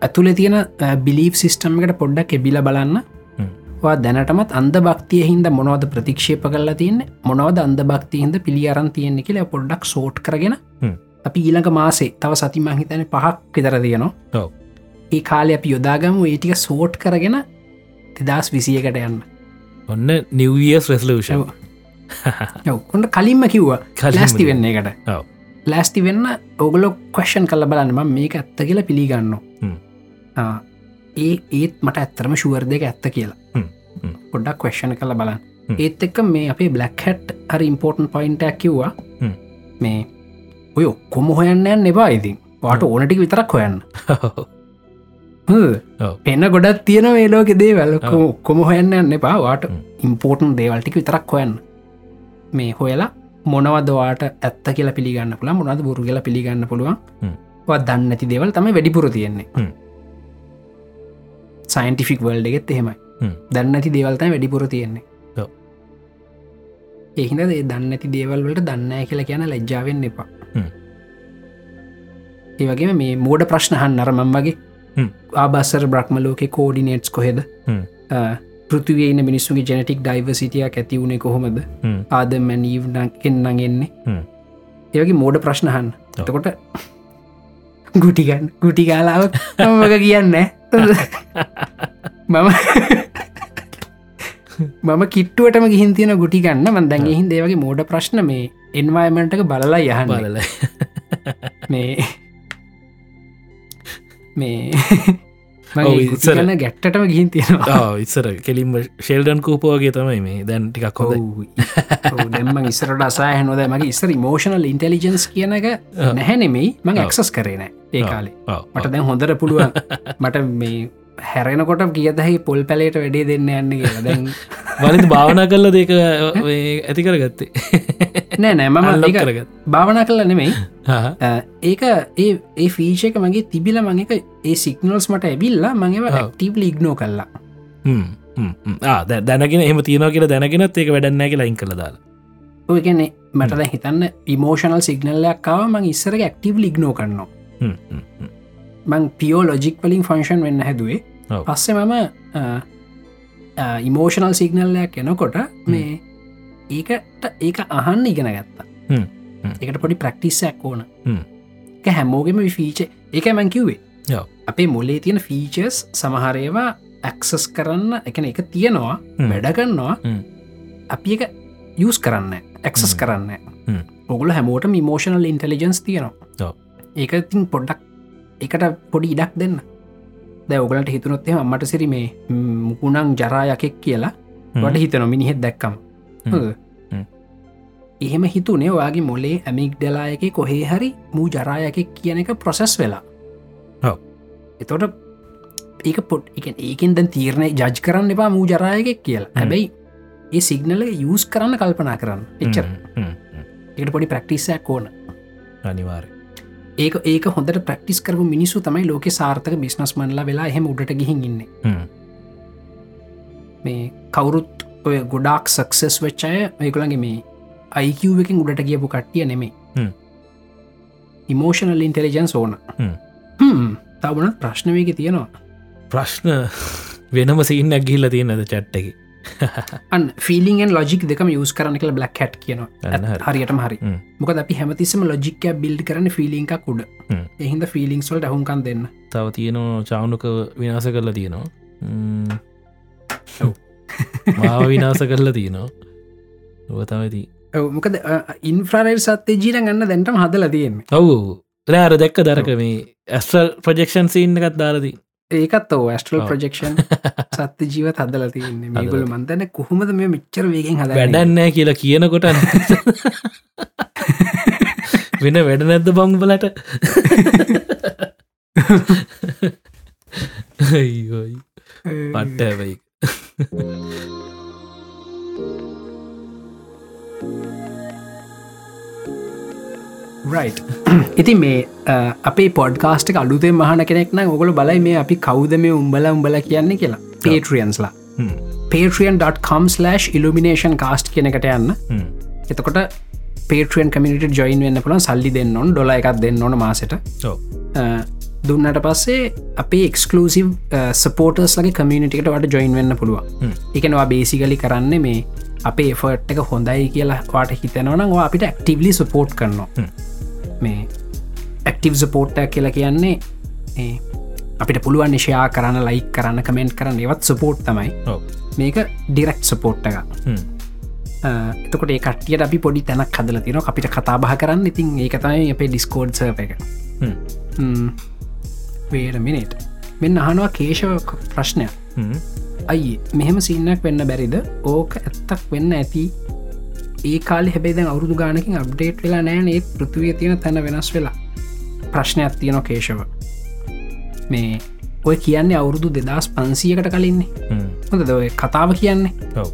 Speaker 3: ඇතුළ තියෙන බිලිප් සිිස්ටම් එකට පොඩ්ඩක් එබිල බලන්න
Speaker 2: හ්ම්.
Speaker 3: වා දැනටමත් අන්ද භක්තිය හින්ද මොනවද ප්‍රතික්ෂේප කරලා තියන්න මොනවද අන්ද භක්තියහින්ද පිළියරන් තියෙන්නේ කියලා පොඩ්ඩක් සෝට් කරගෙන
Speaker 2: හ්ම්.
Speaker 3: අපි ඊළඟ මාසේ තව සති මහිතන පහක් විතර තියනවා
Speaker 2: ඔව්.
Speaker 3: ඒ කාලය අපි යොදාගම ඒටික සෝට් කරගෙන තිදස් විසියකට යන්න
Speaker 2: ඔන්න නිවියස් රෙස්ලූෂන්
Speaker 3: ඔව්. යවකොට කලින්ම කිව්වා ලැස්ති වෙන්න එකට
Speaker 2: ඔව්.
Speaker 3: ලැස්ති වෙන්න ඔගලො කොස්්ෂන් කල බලන්නම මේක ඇත්ත කියලා පිළිගන්න
Speaker 2: හ්ම්.
Speaker 3: ඒ ඒත් මට ඇත්තරම ශුවර් දෙක ඇත්ත කියලා
Speaker 2: හ්ම්. හ්ම්.
Speaker 3: පොඩ්ඩක් කොස්්ෂණ කල
Speaker 2: හ්ම්.
Speaker 3: බලන්න ඒත් එක්ක මේ අපේ බ්ලක් හැට් හරි ඉම්පෝර්ටන් පොයින්ටක් කිව්වා
Speaker 2: හ්ම්.
Speaker 3: මේ ඔය කොම හොයන්න යන්න එබා ඉතින් වාට ඕනටික විතරක් හොයන්න හොඳද?
Speaker 2: ඔව්.
Speaker 3: පෙන්න ගොඩත් තියෙන ඒලෝක දේවල් කොම හොයන්න යන්න එපා වාට
Speaker 2: හ්ම්.
Speaker 3: ඉම්පෝර්ටන් දේවල්ටික විතරක් හොයන්න මේ හොයලා මොනවදවාට ඇත්ත කියලා පිළිගන්න පුළ මොනද බුරු කියලා පිළිගන්න පුළුවන්
Speaker 2: හ්ම්.
Speaker 3: වා දන්න ඇති දෙවල් තම වැඩිපුර තියෙන්නේ
Speaker 2: හ්ම්.
Speaker 3: සයින්ටිෆික් වල්ඩ එකෙත් එහෙමයි
Speaker 2: හ්ම්.
Speaker 3: දන්න ඇති දේවල්තයි වැඩිපුර තියෙන්නේ
Speaker 2: ඔව්.
Speaker 3: එහිද ඒ දන්න ඇති දේවල් වලට දන්න කියලා කියන ලැජ්ජාවෙන් එපා
Speaker 2: හ්ම්.
Speaker 3: ඒ වගේ මේ මෝඩ ප්‍රශ්නහන් අරමම් වගේ
Speaker 2: හ්ම්.
Speaker 3: ආබස්සර බ්‍රහ්මලෝක කෝඩිනේට්ස් කොහෙද
Speaker 2: හ්ම්.
Speaker 3: පෘතිවේන මිනිස්සුගේ ජනටික් ඩයිවසිටියක් ඇති වුණේ කොහොමද ආදම මැනීව් කෙන්න්න එන්නේ
Speaker 2: හ්ම්.
Speaker 3: ඒවගේ මෝඩ ප්‍රශ්නහන් එතකොට ගුටිගන් ගුටි කාලාව මක කියන්න මම මම කිට්ටුවටම ගිහින් තියෙන ගුටි ගන්න මන්දන් ගහින් දේවගේ මෝඩ ප්‍රශ්න මේ එන්වයමටක බලලා යහන්න
Speaker 2: බලල
Speaker 3: මේ මේ
Speaker 2: ඔව්,
Speaker 3: මගේ
Speaker 2: ඉස්සර.
Speaker 3: ගුටිගන්න ගැට්ටම ගිහින් තියෙනවා
Speaker 2: ඉස්සර කෙලින්ම ශෙල්ඩන් කූපෝගේ තමයි මේ දැන් ටිකක් හොඳ
Speaker 3: දෙම ඉස්සරට අසාහ නොද මගේ ඉස්සර මෝෂනල් ඉන්ටලිජන්ස් කියන එක නැහැනෙමයි මං ඇක්සස් කරේ නෑ ඒ
Speaker 2: ඔව්.
Speaker 3: කාලේ මට දැන් හොඳර පුළුවන් මට මේ හැරෙනකොට කියදහහි පොල් පැලට වැඩේ දෙන්න යන්න කියලා දැන්
Speaker 2: වලින් භාවනා කල්ල දෙක ඇති කර ගත්තේ
Speaker 3: නෑ නෑ මම
Speaker 2: අල්ලොක්
Speaker 3: ඒක
Speaker 2: කරගත්.
Speaker 3: භාවනා කල නෙමෙයි
Speaker 2: හා.
Speaker 3: අ, ඒක ඒ ඒ ෆීෂක මගේ තිබිල මංක ඒ සිගනල්ස් මට ඇබිල්ලා මංව
Speaker 2: ඔව්.
Speaker 3: ටීබ්ල ඉක්නෝ කල්ලා
Speaker 2: හ්ම්, හ්ම්, හ්ම්. ආ, දැ- දැනගෙන එහම තියෙන කියලා දැනගෙනත් ඒක වැඩන්නෑ කියලා ඉං කළ දාලා
Speaker 3: ඔයගැන මටද හිතන්න ඉමෝෂනල් සිගනල්ලයක් කාව මං ඉස්සර ඇක්ටීව් ලිග්නෝ කරනවා
Speaker 2: හ්ම්, හ්ම්, හ්ම්.
Speaker 3: මං පියෝ ලොජික් වලින් ෆංශන් වෙන්න හැදුවේ
Speaker 2: ඔව්.
Speaker 3: පස්සෙ මම ඉමෝෂනල් සිගනල්ලයක් එනකොට මේ ඒකට ඒක අහන්න ඉගෙන ගත්තා
Speaker 2: හ්ම්, හ්ම්.
Speaker 3: එකට පොඩි ප්‍රක්ටිස්සයක් ඕන
Speaker 2: හ්ම්.
Speaker 3: එක හැමෝගෙම ෆීච එක මං කිව්වේ
Speaker 2: ඔව්.
Speaker 3: අපේ මුල්ලේ තියෙන ෆීචස් සමහරේවා ඇක්සස් කරන්න එකන එක තියෙනවා
Speaker 2: හ්ම්.
Speaker 3: වැඩගන්නවා
Speaker 2: හ්ම්.
Speaker 3: අපි එක යස් කරන්න
Speaker 2: හ්ම්.
Speaker 3: ඇක්සස්
Speaker 2: හ්ම්.
Speaker 3: කරන්න ඔගුල හැමෝට මිමෝෂනල් ඉන්ටලිජන්ස් තියෙනවා
Speaker 2: ඔව්.
Speaker 3: ඒක ඉතින් පොඩ්ඩක් එකට පොඩි ඉඩක් දෙන්න දැ ඔගලට හිතනොත්තේ මට සිරි මේ මුකුණං ජරායකෙක් කියලා
Speaker 2: හ්ම්.
Speaker 3: වට හිතන මිනිහෙත් දැක්කම්
Speaker 2: හ්ම්.
Speaker 3: හොඳද?
Speaker 2: හ්ම්.
Speaker 3: එහෙම හිතුනේ ඔයාගේ මොලේ ඇමික් ඩෙලායක කොහේ හරි මූ ජරායකෙක් කියන එක ප්‍රොසෙස් වෙලා
Speaker 2: ඔව්.
Speaker 3: එතොට ඒක පොට් එක ඒකෙන් දැන් තීරණය ජජ් කරන්න එපා මූ ජරායකෙක් කියලා හැබැයි ඒ සිගනල යස් කරන්න කල්පනා කරන්න එච්චර
Speaker 2: හ්ම්, හ්ම්.
Speaker 3: එකට පොඩි ප්‍රක්ටිස්සයක් ඕන
Speaker 2: අනිවාර්ය
Speaker 3: ඒක ඒක හොඳට ප්‍රක්ටිස් කරපු මිනිසු තමයි ලෝක සාර්ථක බිස්නස් මන්ලා වෙලා හෙම උඩට ගිහින් ඉන්න
Speaker 2: හ්ම්.
Speaker 3: මේ කවුරුත් ඔය ගොඩාක් සක්සෙස් වෙච්චාය ඒකුළන්ගේ මේ අයිකවකින් උඩට කියපු කට්ටිය නෙමේ
Speaker 2: හ්ම්.
Speaker 3: ඉමෝෂනල් ඉන්ටෙලිජන්ස් ඕන
Speaker 2: හ්ම්.
Speaker 3: තවන ප්‍රශ්නවයක තියෙනවා
Speaker 2: ප්‍රශ්න වෙනම සින්න ඇගිල්ල තියෙනද චට්ටකි
Speaker 3: අන් ෆිලිගෙන් ලොජික් දෙකම යස් කරන කළ බ්ලක් හැට්
Speaker 2: අන්න
Speaker 3: කියනවා
Speaker 2: හරි.
Speaker 3: හරියටම හරි
Speaker 2: හ්ම්.
Speaker 3: මොකද අපි හැමතිස්සම ලොජික්ක බිල්ඩ් කරන ෆිලිංක කුඩ
Speaker 2: හ්ම්.
Speaker 3: එහින්ද ෆිලිංක්ස්වල්ට හුන්කන් දෙන්න
Speaker 2: තව තියනවා චාවනුක විනාස කරලා තියෙනවා ම්ම්.
Speaker 3: ඔව්.
Speaker 2: මාව විනාස කරලා තියනවා ඔවතමති
Speaker 3: ඔව්, මොකද ඉන්ෆ්‍රරල් සත්්‍යය ජීන ගන්න දැන්ටම හදල තියෙන්නේ
Speaker 2: ඔවු රෑර දැක්ක දරක මේ ඇස්ල් ප්‍රජෙක්ෂන් සින්න එකත් දාරදී
Speaker 3: ඒකත් ඔ ඇස්ටල්
Speaker 2: ඔව්.
Speaker 3: ප්‍රජෙක්ෂන් සත්‍ය ජීවත් හදල තියන්නේ මේගොල
Speaker 2: හදලා
Speaker 3: මන්තන කොහොමද මේ මිච්චර වේගෙන් හද
Speaker 2: වැඩන්නෑ කියලා කියනකොට වෙන වැඩ නැද්ද බංබලට අයිෝයි පට්ට හැබයි
Speaker 3: රයි් ඉති මේ අ, අපේ පොඩ්කාස්ට අලුතේ මහන කෙනෙක් නම් ඔගොල බලයි මේ අපි කෞද මේ උම්බල උඹල කියන්නේ කියලා පේට්‍රියන්ස්ලා patreon.com/illumination cast කෙනකට යන්න එතකොට පේට්‍රියන් කමිට ජොයින් වෙන්න පුළන් සල්ලි දෙන්න ඕන් ඩොල එකක් දෙන්න ඕන මාසට
Speaker 2: ඔව
Speaker 3: අ, දුන්නට පස්සේ අපේ එක්ස්කලසිව් සපෝටර්ස් ලගේ කමියනිටිකට වට ජොයින් වෙන්න පුළුවන්
Speaker 2: හ්ම්.
Speaker 3: එකනවා බේසිගලි කරන්න මේ අපේ එෆට් එක හොඳයි කියලා වාට හිතනවනම් වා අපිට ඇක්ටිවලි සපෝට් කරනවා
Speaker 2: හ්ම්.
Speaker 3: මේ ඇක්ටිව් සපෝට්ටක් කියලා කියන්නේ ඒ අපිට පුළුවන් නිශයා කරන්න ලයි කරන්න කමෙන්ට් කරන්න එවත් සපෝට් තමයි
Speaker 2: ඔව
Speaker 3: මේක ඩිරෙක්් සපෝට් එක අ, එතකොට ඒ කට්ටියට අපි පොඩි තැනක් හදල තින අපිට කතාබහ කරන්න ඉතින් ඒ තමයි අපේ ඩිස්කෝඩ් සර් එක වේරමිනිට මෙන්න අහනවා කේශව ප්‍රශ්නය අයි මෙහෙම සින්නක් වෙන්න බැරිද ඕක ඇත්තක් වෙන්න ඇති ඒ කාල හැබේද අවුරදු ගානකින් අප්ඩේට් වෙලා නෑන ඒ පෘතිවිය තියෙන තැන වෙනස් වෙලා ප්‍රශ්නයක් තියෙන කේශව මේ ඔය කියන්නේ අවුරුදු දෙදස් පන්සියකට කලින්න්නේ හොඳ දඔය කතාව කියන්නේ
Speaker 2: ඔව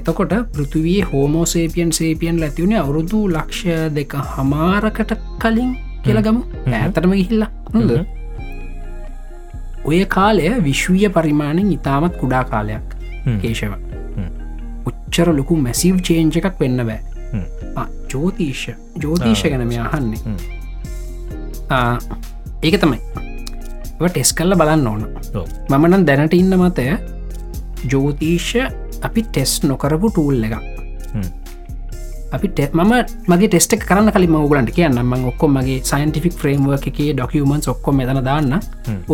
Speaker 3: එතකොට පෘතිවයේ හෝමෝසේපියන් සේපියන් ලැතිවුණ අවුරුදු ලක්ෂය දෙක හමාරකට කලින් කියලගමු
Speaker 2: හ්ම්.
Speaker 3: ඇතරම ගිහිල්ලා හොඳ
Speaker 2: හ්ම්.
Speaker 3: ඔය කාලය විශ්වීය පරිමාණෙන් ඉතාමත් කුඩා කාලයක්
Speaker 2: හ්ම්.
Speaker 3: කේශව උච්චර ලොකු මැසිව් චේන්ජ එකක් වෙන්න බෑ
Speaker 2: හ්ම්.
Speaker 3: ආ, ජෝතිෂ ජෝතිෂ
Speaker 2: ආ,
Speaker 3: ගැනම අහන්නේ
Speaker 2: හ්ම්.
Speaker 3: ආ, ඒක තමයි ටෙස් කල්ල බලන්න ඕන
Speaker 2: ඔව්.
Speaker 3: මම නම් දැනට ඉන්න මතය ජෝතිෂ අපි ටෙස් නොකරපු ටූල් එක
Speaker 2: හ්ම්.
Speaker 3: අපි ටෙ- මම මගේ ටෙස්ට කරන්න කලින් ඔගලන්ට කියන්න ම ඔක්කො මගේ සයින්ටිෆික් ්‍රේම්ුව එකේ ඩොකියමන්ස් ඔක්කො මෙතන දාන්න
Speaker 2: හ්ම්.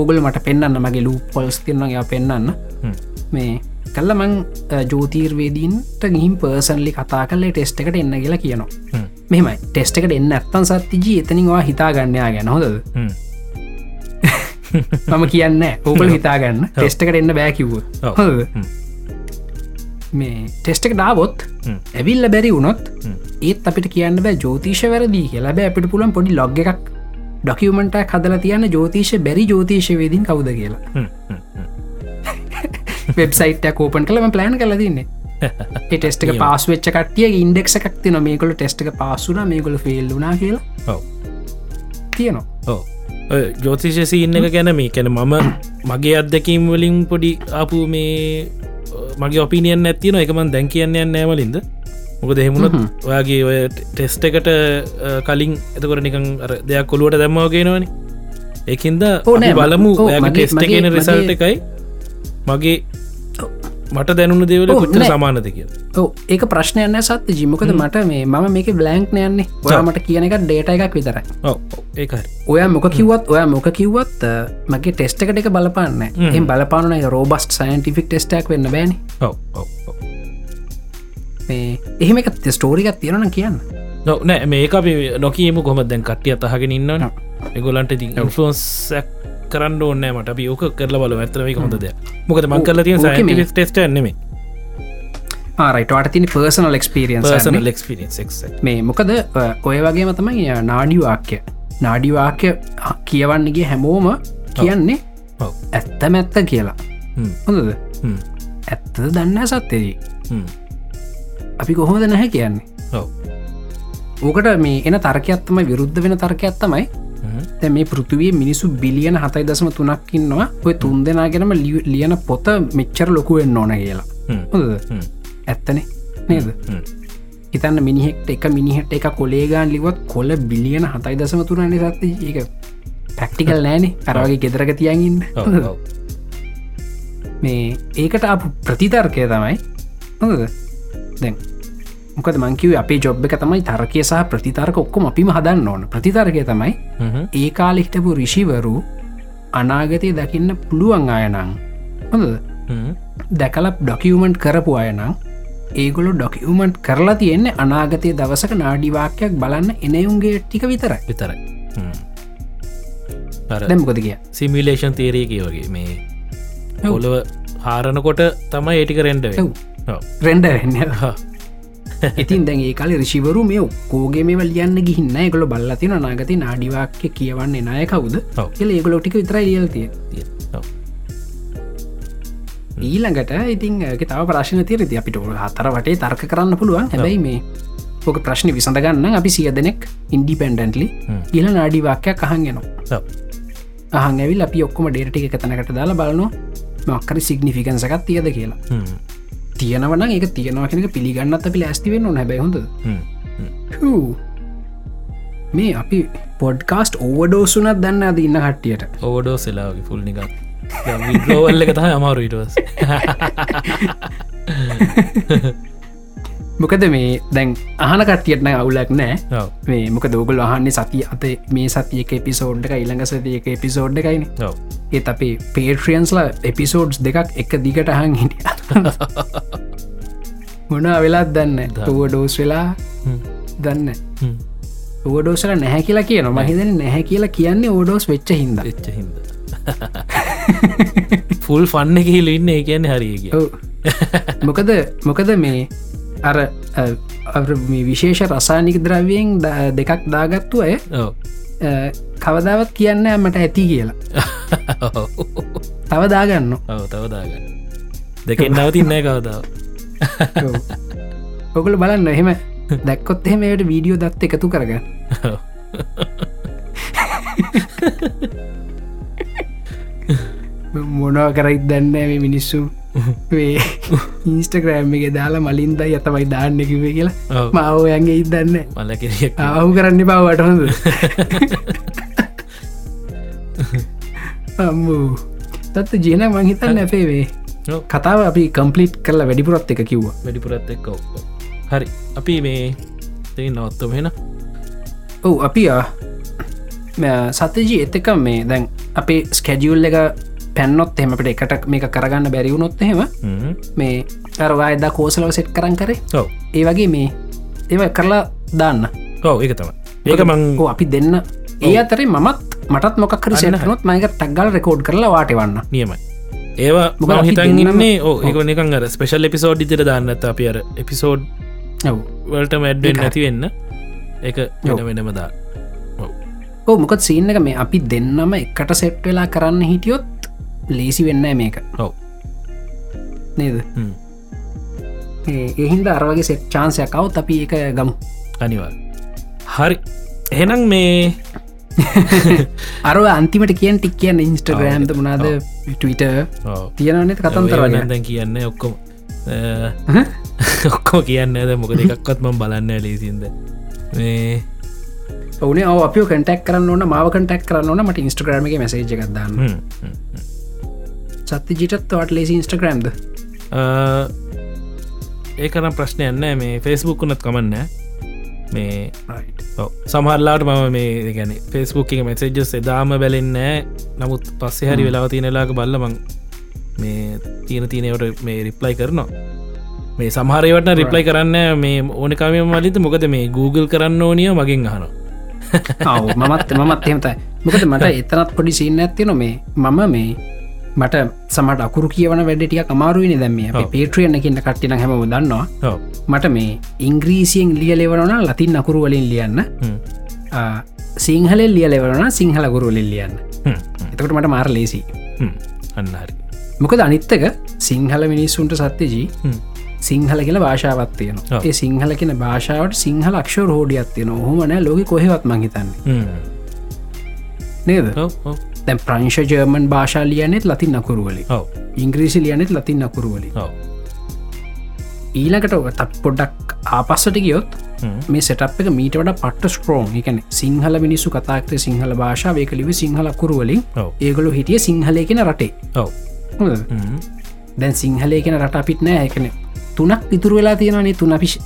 Speaker 3: ඕගල මට පෙන්න්න මගේ ලූ පොල්ස් තිරනගේ පෙන්න්න
Speaker 2: හ්ම්.
Speaker 3: මේ කල්ල මං අ, ජෝතීර්වේදීන්ට ගිහිම් පර්සන්ලි කතා කලේ ටෙස්ට එකට එන්න කියලා කියනවා
Speaker 2: හ්ම්.
Speaker 3: මෙම ටෙස්ට එකට එන්න ඇත්තන් සත්තිජී එතනිවා හිතා ගන්නයා ගැන හොදද
Speaker 2: හ්ම්.
Speaker 3: මම කියන්න ඕකල හිතාගන්න ටෙස්ටකට එන්න බෑකිවොත්
Speaker 2: ඔව්.
Speaker 3: හොඳද?
Speaker 2: හ්ම්.
Speaker 3: මේ ටෙස්ටක ඩාවොත්
Speaker 2: හ්ම්.
Speaker 3: ඇවිල්ල බැරි වුණොත්
Speaker 2: හ්ම්.
Speaker 3: ඒත් අපිට කියන්න බෑ ජෝතිෂ වැරදිී කියලා බෑ අපිට පුළන් පොඩි ලොග් එකක් ඩොකිවමට හදල තියන්න ජෝතිෂ බැරි ජෝතිෂවේදින් කවුද කියලා
Speaker 2: හ්ම්. හ්ම්.
Speaker 3: වෙබ්සයිට කෝපන් කළම ප්ලෑන් කලදන්නේ ටෙස්ට
Speaker 2: නියම.
Speaker 3: පාස්වෙච්ච කටිය ඉන්ඩෙක් එකක් තින මේකොල ටෙස්ට පාසුන මේකොල ෆෙල්ලුනා කියලා
Speaker 2: ඔව්.
Speaker 3: තියනවා
Speaker 2: ඔව ජෝතිෂසි ඉන්න එක ගැන මේ කැන මම මගේ අත්දැකීම් වලින් පොඩි ආපු මේ අ, මගේ ඔපිනියන් ඇතින එකමන් දැන් කියන්න යන්න ෑමලින්ද මොක දෙහෙමුණත්
Speaker 3: හ්ම්.
Speaker 2: ඔයාගේ ඔය ටෙස්ට එකට අ, කලින් එතකොට නිකන් අර දෙයක් කොළුවට දැම්මවගෙනවනි ඒකින්ද
Speaker 3: ඔව් නෑ,
Speaker 2: අපි
Speaker 3: ම-
Speaker 2: බලමු
Speaker 3: ඔව්
Speaker 2: ඔයාගේ
Speaker 3: මගේ-
Speaker 2: ටෙස්ට එකන
Speaker 3: මගේ-
Speaker 2: රිසල්ට
Speaker 3: මගේ-
Speaker 2: එකයි මගේ මට දැනුණු දෙවල
Speaker 3: ඔව්
Speaker 2: කොච්චර
Speaker 3: නෑ.
Speaker 2: සමානද කියල
Speaker 3: ඕ ඒක ප්‍රශ්නයන්න සත්ත ජිමකද මට මේ මම මේක බ්ලන්ක් නයන්නේ ඔයා මට කියන එක ඩේට එකක් විතරයි
Speaker 2: ඔව ඒකයි
Speaker 3: ඔය මොක කිවත් ඔය මොක කිවත් මගේ ටෙස්ට එකට එක බලපන්න
Speaker 2: හ්ම්.
Speaker 3: එම් බලපාන රෝබස්ට සයින්ටිෆික් ටෙස්ටක් වෙන්න බෑන
Speaker 2: ඔව් ඔව් ඔව්
Speaker 3: මේ එහෙම එක ස්ටෝරිකත් තියෙනන කියන්න
Speaker 2: නො නෑ මේක අපි නොකීම කොම දැන් කට්ටිය අතහගෙන ඉන්නවන එගොලන්ට ති ෆෝන්ස් කරන්න ඕන්න මට අපි ඕක කරල බල ඇතරවයි හොඳද මොකද මං කරල තිය
Speaker 3: ඕ- ඕකේ මේ-
Speaker 2: ටෙස්ට නෙමේ
Speaker 3: ආරයිටවාට තින පර්සනල් එක්ස්පිරියන්සන
Speaker 2: පර්සන ලෙක්ස්ක්
Speaker 3: මේ මොකද අ, ඔය වගේ මතමයි නාඩිවාක්‍ය නාඩිවාක්‍ය කියවන්නගේ හැමෝම කියන්නේ
Speaker 2: ඔව්.
Speaker 3: ඇත්ත මැත්ත කියලා
Speaker 2: හ්ම්.
Speaker 3: හොඳද
Speaker 2: හ්ම්.
Speaker 3: ඇත්තද දන්න සත්තේදී අපි කොහොමද නැහැ කියන්නේ
Speaker 2: ඔව්
Speaker 3: ඕකට මේ එන තර්කයක්ත්තම විරුද්ධ වෙන තර්කයක්ත්තමයි
Speaker 2: හ්ම්.
Speaker 3: තැ මේ පෘතිවේ මිනිසු බිලියන හතයි දසම තුනක්කින්නවා ඔය තුන් දෙනාගෙනම ලිය- ලියන පොත මෙච්චර ලොකුවෙන් ඕන කියලා
Speaker 2: හ්ම්.
Speaker 3: හොඳද?
Speaker 2: හ්ම්.
Speaker 3: ඇත්තනේ නේද
Speaker 2: හ්ම්.
Speaker 3: හිතන්න මිනිහෙක්ට එක මිනිහට එක කොලේගාන් ලිවත් කොල බිලියන හතයි දසම තුනන්නේ සත්ති ඒක පැක්ටිකල් නෑනේ අරවගේ ගෙදරක තියන්ඉන්න
Speaker 2: ඔව්,
Speaker 3: හොඳද?
Speaker 2: ඔව්.
Speaker 3: මේ ඒකට අප ප්‍රතිතර්කය තමයි හොඳද දැන් මොකද මංකිව අපේ ජොබ් එක තමයි තර්කය සහ ප්‍රතිතර්ක ඔක්කොම අපිම හදන්න ඕන ප්‍රතිතර්කය තමයි
Speaker 2: හ්ම්.
Speaker 3: ඒ කාලෙහිටපු රිෂිවරු අනාගතය දකින්න පුළුවන් අයනං හොඳ
Speaker 2: හ්ම්.
Speaker 3: දැකලප් ඩොකියමට් කරපු අයනං ඒගොලු ඩොකියමට් කරලා තියෙන්නේ අනාගතය දවසක නාඩිවාක්‍යයක් බලන්න එනයුන්ගේ ටික විතරයි
Speaker 2: විතරයි හ්ම්. අර
Speaker 3: දැම්කොද කිය
Speaker 2: සිමිලේෂන් තේරයකය වගේ මේ ඔොලව හාරණකොට තමයි ඒටික රෙන්ඩ
Speaker 3: ඔව්. රෙන්ඩ වෙන්න ඉතින් දැන් ඒ කාලේ රිසිවරු මේ ඔක්කෝගේ මේ ලියන්න ගිහින්න ගොල බල්ලතින අනාගති නාඩිවාක්‍ය කියවන්නේ නය කවුද
Speaker 2: ඔව්.
Speaker 3: කියල ඒගොලෝ ටික විතරයි ලියල්තිය ඊළඟට ඉතින් ඒක තව ප්‍රශ්න තිරති අපිට ඔය හතර වටේ තර්ක කරන්න පුළුවන් හැබැයි මේ ඕක ප්‍රශ්න විසඳගන්න අපි සිය දෙනෙක් ඉන්ඩිපෙන්ඩන්ටලි
Speaker 2: හ්ම්.
Speaker 3: ඉල නාඩිවාක්‍යයක් අහන්ගෙනවා
Speaker 2: ඔව්.
Speaker 3: අහන් ඇවිල් අපි ඔක්කොම ඩේටි එක තැනකට දාලා බලනවා මක්කරි සිග්නිිකන්සකත් තියද කියලා තියෙනවන එක තියෙනවා කෙනෙක පිළිගන්නත් අපි ලැස්තිවෙන්න නැබැහොඳ මේ අපි පොඩ්කාස්ට ඕවඩෝසුනත් දන්න අද ඉන්න හට්ටියට
Speaker 2: ඕඩෝ සෙලාගේ ෆුල් නිකක් ගෝවල්ල එක තහ අමාරු ඉටවස්
Speaker 3: මොකද මේ දැන් අහන කට්ටියටන අවුලක් නෑ
Speaker 2: ඔව්
Speaker 3: මේ මොක දෝගල් අහන්නේ සති අත මේ සතියක එපිසෝඩ්ඩ එක ඉළඟ සතියක එපිසෝඩ් එකයින
Speaker 2: ඔව්
Speaker 3: ඒත් අපේ පේට්‍රියන්ස්ලා එපිසෝඩ්ස් දෙකක් එක දිගට අහන් හිටිය මොන වෙලාත් දන්න
Speaker 2: දන්න.
Speaker 3: තුවඩෝස් වෙලා
Speaker 2: හ්ම්.
Speaker 3: දන්න
Speaker 2: හ්ම්.
Speaker 3: ඕඩෝසල නැහැ කියලා කියන මහිදන නැහැ කියලා කියන්නේ ඕඩෝස් වෙච්ච හිද
Speaker 2: වෙච්ච හින්ද ෆුල් ෆන්න කියල ඉන්න ඒ කියන්න හරියග
Speaker 3: මොකද මොකද මේ අර අ, අර මේ විශේෂ රසානික ද්‍රවයෙන් ද- දෙකක් දාගත්තු අය
Speaker 2: ඔව
Speaker 3: අ, කවදාවත් කියන්න මට ඇති කියලා තව දාගන්න
Speaker 2: ඔව තවදාගන්න දෙකෙන් නවතින්න කවදාව
Speaker 3: ඔව්. ඔගොල බලන්න එහෙම දැක්කොත් එහෙම එයට වීඩියෝ දත් එකතු කරග
Speaker 2: ඔව්.
Speaker 3: මොනව කරයිත් දන්න මේ මිනිස්සු වේ ඉන්ස්ටග්‍රෑම් එක දාලා මලින්ද යතමයි දාන්නකිවේ කියලා
Speaker 2: ඔව්.
Speaker 3: මාවෝයන්ගේ ඉත් දන්න
Speaker 2: මලකිරියක්
Speaker 3: ආහු කරන්න බවට හොඳ අම්මූ තත්ත ජන මංහිතන්න ඇපේවේ
Speaker 2: ඔව්.
Speaker 3: කතාව අපි කම්පලිට් කරලා වැඩිපුරත් එක කිව්වා
Speaker 2: වැඩිපුරත් එක් ඔව් ඔව්. හරි අපි මේ තේ නොත්තම හෙන
Speaker 3: ඔවු අපි ආ, මෙ- සතජී එතක මේ දැන් අපේ ස්කැඩියුල් එක පැන්නොත් එමට එකට මේ කරගන්න බැරිවුණොත් එහෙම මේ අරවා එදා කෝසලව සෙට් කරන් කරේ
Speaker 2: ඔව්
Speaker 3: ඒ වගේ මේ ඒව කරලා දාන්න
Speaker 2: ඔව් ඒක තම ඒක මං
Speaker 3: ඕ අපි දෙන්න ඒ අතරේ මත් මටත් මොකර සෙනොත් මයක ටක්ගල් රෙකෝඩ් කරලා වාටවන්න
Speaker 2: නියමයි ඒවා
Speaker 3: මොකද
Speaker 2: මම
Speaker 3: අපි
Speaker 2: හිතන්
Speaker 3: දෙන්නම-
Speaker 2: ඉන්නේ ඕ ඒක නිකන් අර ස්පෙශල් එපිසෝඩ් ඉදිර දාන්න ඇත අපි අර එපිසෝඩ්
Speaker 3: ඔව
Speaker 2: වලට මැඩ්ඩෙන් නැතිවෙන්න එක
Speaker 3: ඔව්.
Speaker 2: වෙන වෙනම දා
Speaker 3: ඕ මොකත් සීන්න එක මේ අපි දෙන්නම එකට සෙට් වෙලා කරන්න හිටියොත් ලේසි වෙන්න මේක
Speaker 2: ඔව්
Speaker 3: නේද
Speaker 2: හ්ම්.
Speaker 3: එහින්ද අරවගේ සෙට් චාන්සයකවත් අපි එක ගම්
Speaker 2: අනිවල් හරි එහෙනම් මේ
Speaker 3: අරව අන්තිමට කියන් ටික් කියන්න ඉන්ස්ටග්‍රෑම්ද මනාද ටවිට තියනනෙත් කතන්තරන්න
Speaker 2: දැන් කියන්න ඔක්කොම ඔක්කෝ කියන්න ඇද මොක දෙකක්වත්ම බලන්න ලේසින්ද මේ
Speaker 3: ඔනේ අප කටක් කරන්න ඕන මාව කටක් කරන්න ඕන මට ඉස්ටග්‍රම එක මසේජ ගත්දන්න
Speaker 2: හ්ම්, හ්ම්.
Speaker 3: සත්ති ජිටත් වට ලෙසි ඉස්ටග්‍රම්ද
Speaker 2: අ, ඒකනම් ප්‍රශ්නය යන්න මේ ෆෙස්බුක් වනත් කමන්න මේ ඔව්. සමහරලාට මම මේ ගැන ෆෙස්බුක් එක මැසේජස් එදාම බැලෙන්නෑ නමුත් පස්සේ හරි වෙලාව තියෙනලාක බල්ලමං මේ තියෙන තියනවට මේ රිප්ලයි කරනවා මේ සමහරවට රිප්ලයි කරන්න මේ ඕනකමය මලිත මොකද මේ Google කරන්න ඕනිය මගින් අහන
Speaker 3: මමත් මත් එෙමතයි මොකද මට එතනත් පොඩි සින්න ඇත්තින මේ මම මේ මට සමට අකුරු කියවන වැඩටිය අමාරුවනි දැම
Speaker 2: ඔව්.
Speaker 3: පේට්‍රියන්න කියන්න කට්ටින හැම දන්නවා මට මේ ඉංග්‍රීසියෙන් ලිය ලෙවරන ලතින් අකුරු වලින් ලියන්න ආ, සිංහලෙන් ලිය ලෙවරන සිංහල ගුරුලින් ලියන්න එතකට මට මාර ලේසි
Speaker 2: අන්නහරි
Speaker 3: මොකද අනිත්තක සිංහල මිනිස්සුන්ට සත්‍යජී
Speaker 2: හ්ම්.
Speaker 3: සිංහල කියල භාෂාවත් තියනවා
Speaker 2: ඔව්.
Speaker 3: ඒ සිංහල කියෙන භාෂාවට සිංහල අක්ෂෝ රෝඩියත් තියෙන හොමනෑ ලොක කොහෙවත් මහිතන්නේ
Speaker 2: හ්ම්.
Speaker 3: නේද
Speaker 2: ඔව්, ඔව්,
Speaker 3: තැන් ප්‍රංශ ජර්මන් භාෂා ලියනෙත් ලතින් අකුරුවලි
Speaker 2: ඔව්,
Speaker 3: ඉංග්‍රීසි ලියනෙත් ලතින් අකුරුවලි
Speaker 2: ඔව්.
Speaker 3: ඊලකට ඔ තත් පොඩ්ඩක් ආපස්සට ගියොත්
Speaker 2: හ්ම්.
Speaker 3: මේ සටප් එක මීට වඩ පට ස්ක්‍රෝන් එකන සිංහල මිනිස්සු කතාක්ත සිංහල භාෂාව ඒකලිව සිංහල අකුරුවලින්
Speaker 2: ඔව්.
Speaker 3: ඒගොලු හිටිය සිංහලය කියෙන රටේ
Speaker 2: ඔව්.
Speaker 3: හොඳද?
Speaker 2: හ්ම්.
Speaker 3: දැන් සිංහලය කියෙන රට අපිත් නෑ එකන තුනක් ඉතුර වෙලා තියෙනනේ තුන පිෂ්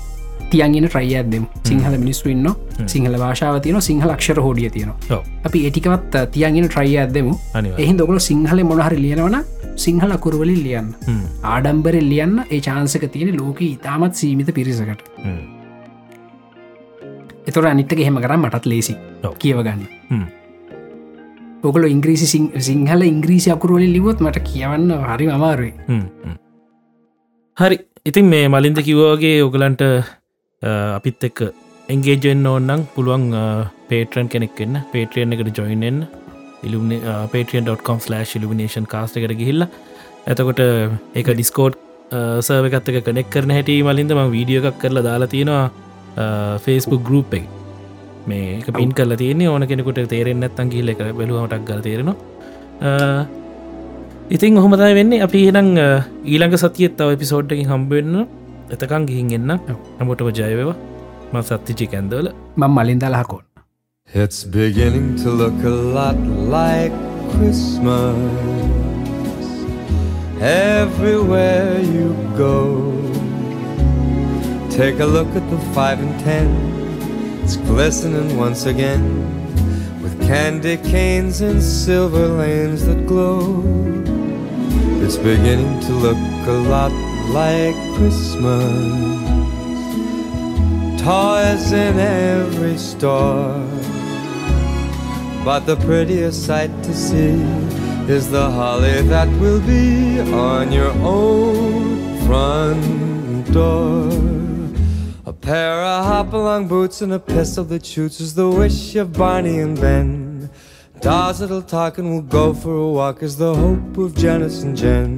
Speaker 3: තියන්ගෙන ට්‍රයියත් දෙම් සිංහල මිනිස්සු ඉන්න සිංහල භාෂාව තියන සිංහලක්ෂර හෝඩිය තියෙනවා
Speaker 2: ඔව්.
Speaker 3: අපි ඒටිකවත් තියන්ගෙන ට්‍රයියත් දෙමු
Speaker 2: අනිවාර්යෙන්.
Speaker 3: එහි දොකළ සිංහල මොනහරි ලියනවන සිංහල අකුරුවලින් ලියන්න
Speaker 2: හ්ම්.
Speaker 3: ආඩම්බරෙන් ලියන්න ඒ චාන්සක තියෙන ලෝක ඉතාමත් සීමිත පිරිසකට
Speaker 2: හ්ම්.
Speaker 3: එතොර අනිත්තක හෙම කරම් මටත් ලේසි
Speaker 2: ඔව්.
Speaker 3: කියවගන්න
Speaker 2: හ්ම්.
Speaker 3: ඔකල ඉංග්‍රීසි සිං- සිංහල ඉංග්‍රීසි අකුරුවලින් ලිවොත් මට කියවන්න හරි අමාරුවේ
Speaker 2: හ්ම්, හ්ම්. හරි ඉතින් මේ මලින්ද කිව්වාගේ ඔගලන්ට අ, අපිත් එක්ක එන්ගේජෙන් ඕන්නම් පුළුවන් පේටරන් කෙනෙක් එන්න පේට්‍රියන් එකට ජොයින්ෙන් පේටියන්.කොම් ලිමිනේෂන් කාස්ට එකට ගිහිල්ල ඇතකොට ඒක ඩිස්කෝඩ් සර්වකත්තක කනෙක් කරන හැට මලින්ද ම වීඩියෝ එකක් කරලා දාලා තියෙනවා ෆේස්බුක් ගරුප් එක මේ එක පින් කල තියන්නේ ඕන කෙනෙකුට තේරෙන් ඇත්තන් කියල්ල එක බැලුවමටක් ගල තේරෙනවා අ, ඉතින් ඔහොමතයි වෙන්නේ අපි හෙනම් ඊළඟ සතියත් තව එපිසෝඩ්ඩකින් හම්බවෙන්න එතකං ගිහින් එන්න නමොටම ජයවවා ම සත්තිචි කැන්දවල
Speaker 3: මං මලින් දලහකෝන්
Speaker 4: It's beginning to look a lot like Christmas everywhere you go. Take a look at the 5 and 10, it's glistening once again with candy canes and silver lanes that glow. It's beginning to look a lot like Christmas toys in every store. But the prettiest sight to see is the holly that will be on your own front door. A pair of hop-along boots and a pistol that shoots is the wish of Barney and Ben. Dolls that'll talk and will go for a walk is the hope of Janice and Jen.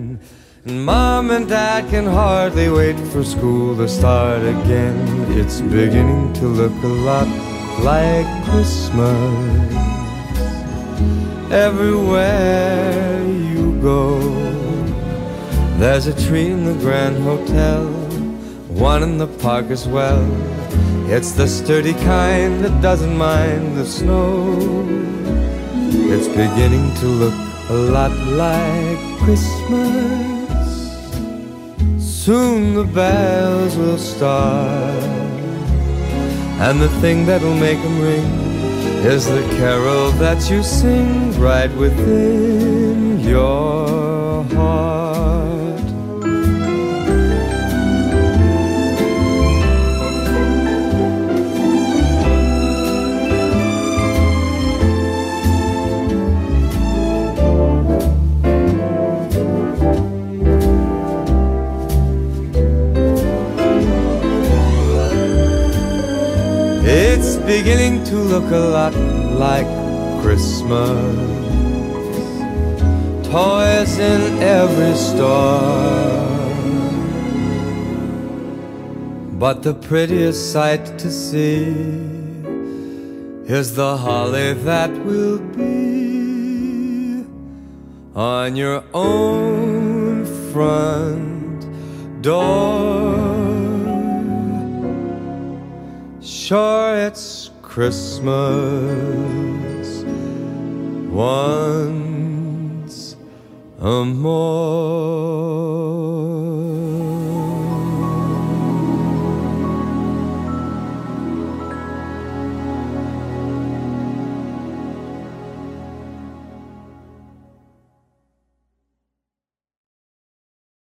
Speaker 4: And Mom and Dad can hardly wait for school to start again. It's beginning to look a lot like Christmas everywhere you go. There's a tree in the Grand Hotel, one in the park as well. It's the sturdy kind that doesn't mind the snow. It's beginning to look a lot like Christmas. Soon the bells will start. And the thing that'll make 'em ring is the carol that you sing right within your heart. It's beginning to look a lot like Christmas. Toys in every store. But the prettiest sight to see is the holly that will be on your own front door. Sure, it's Christmas once a more.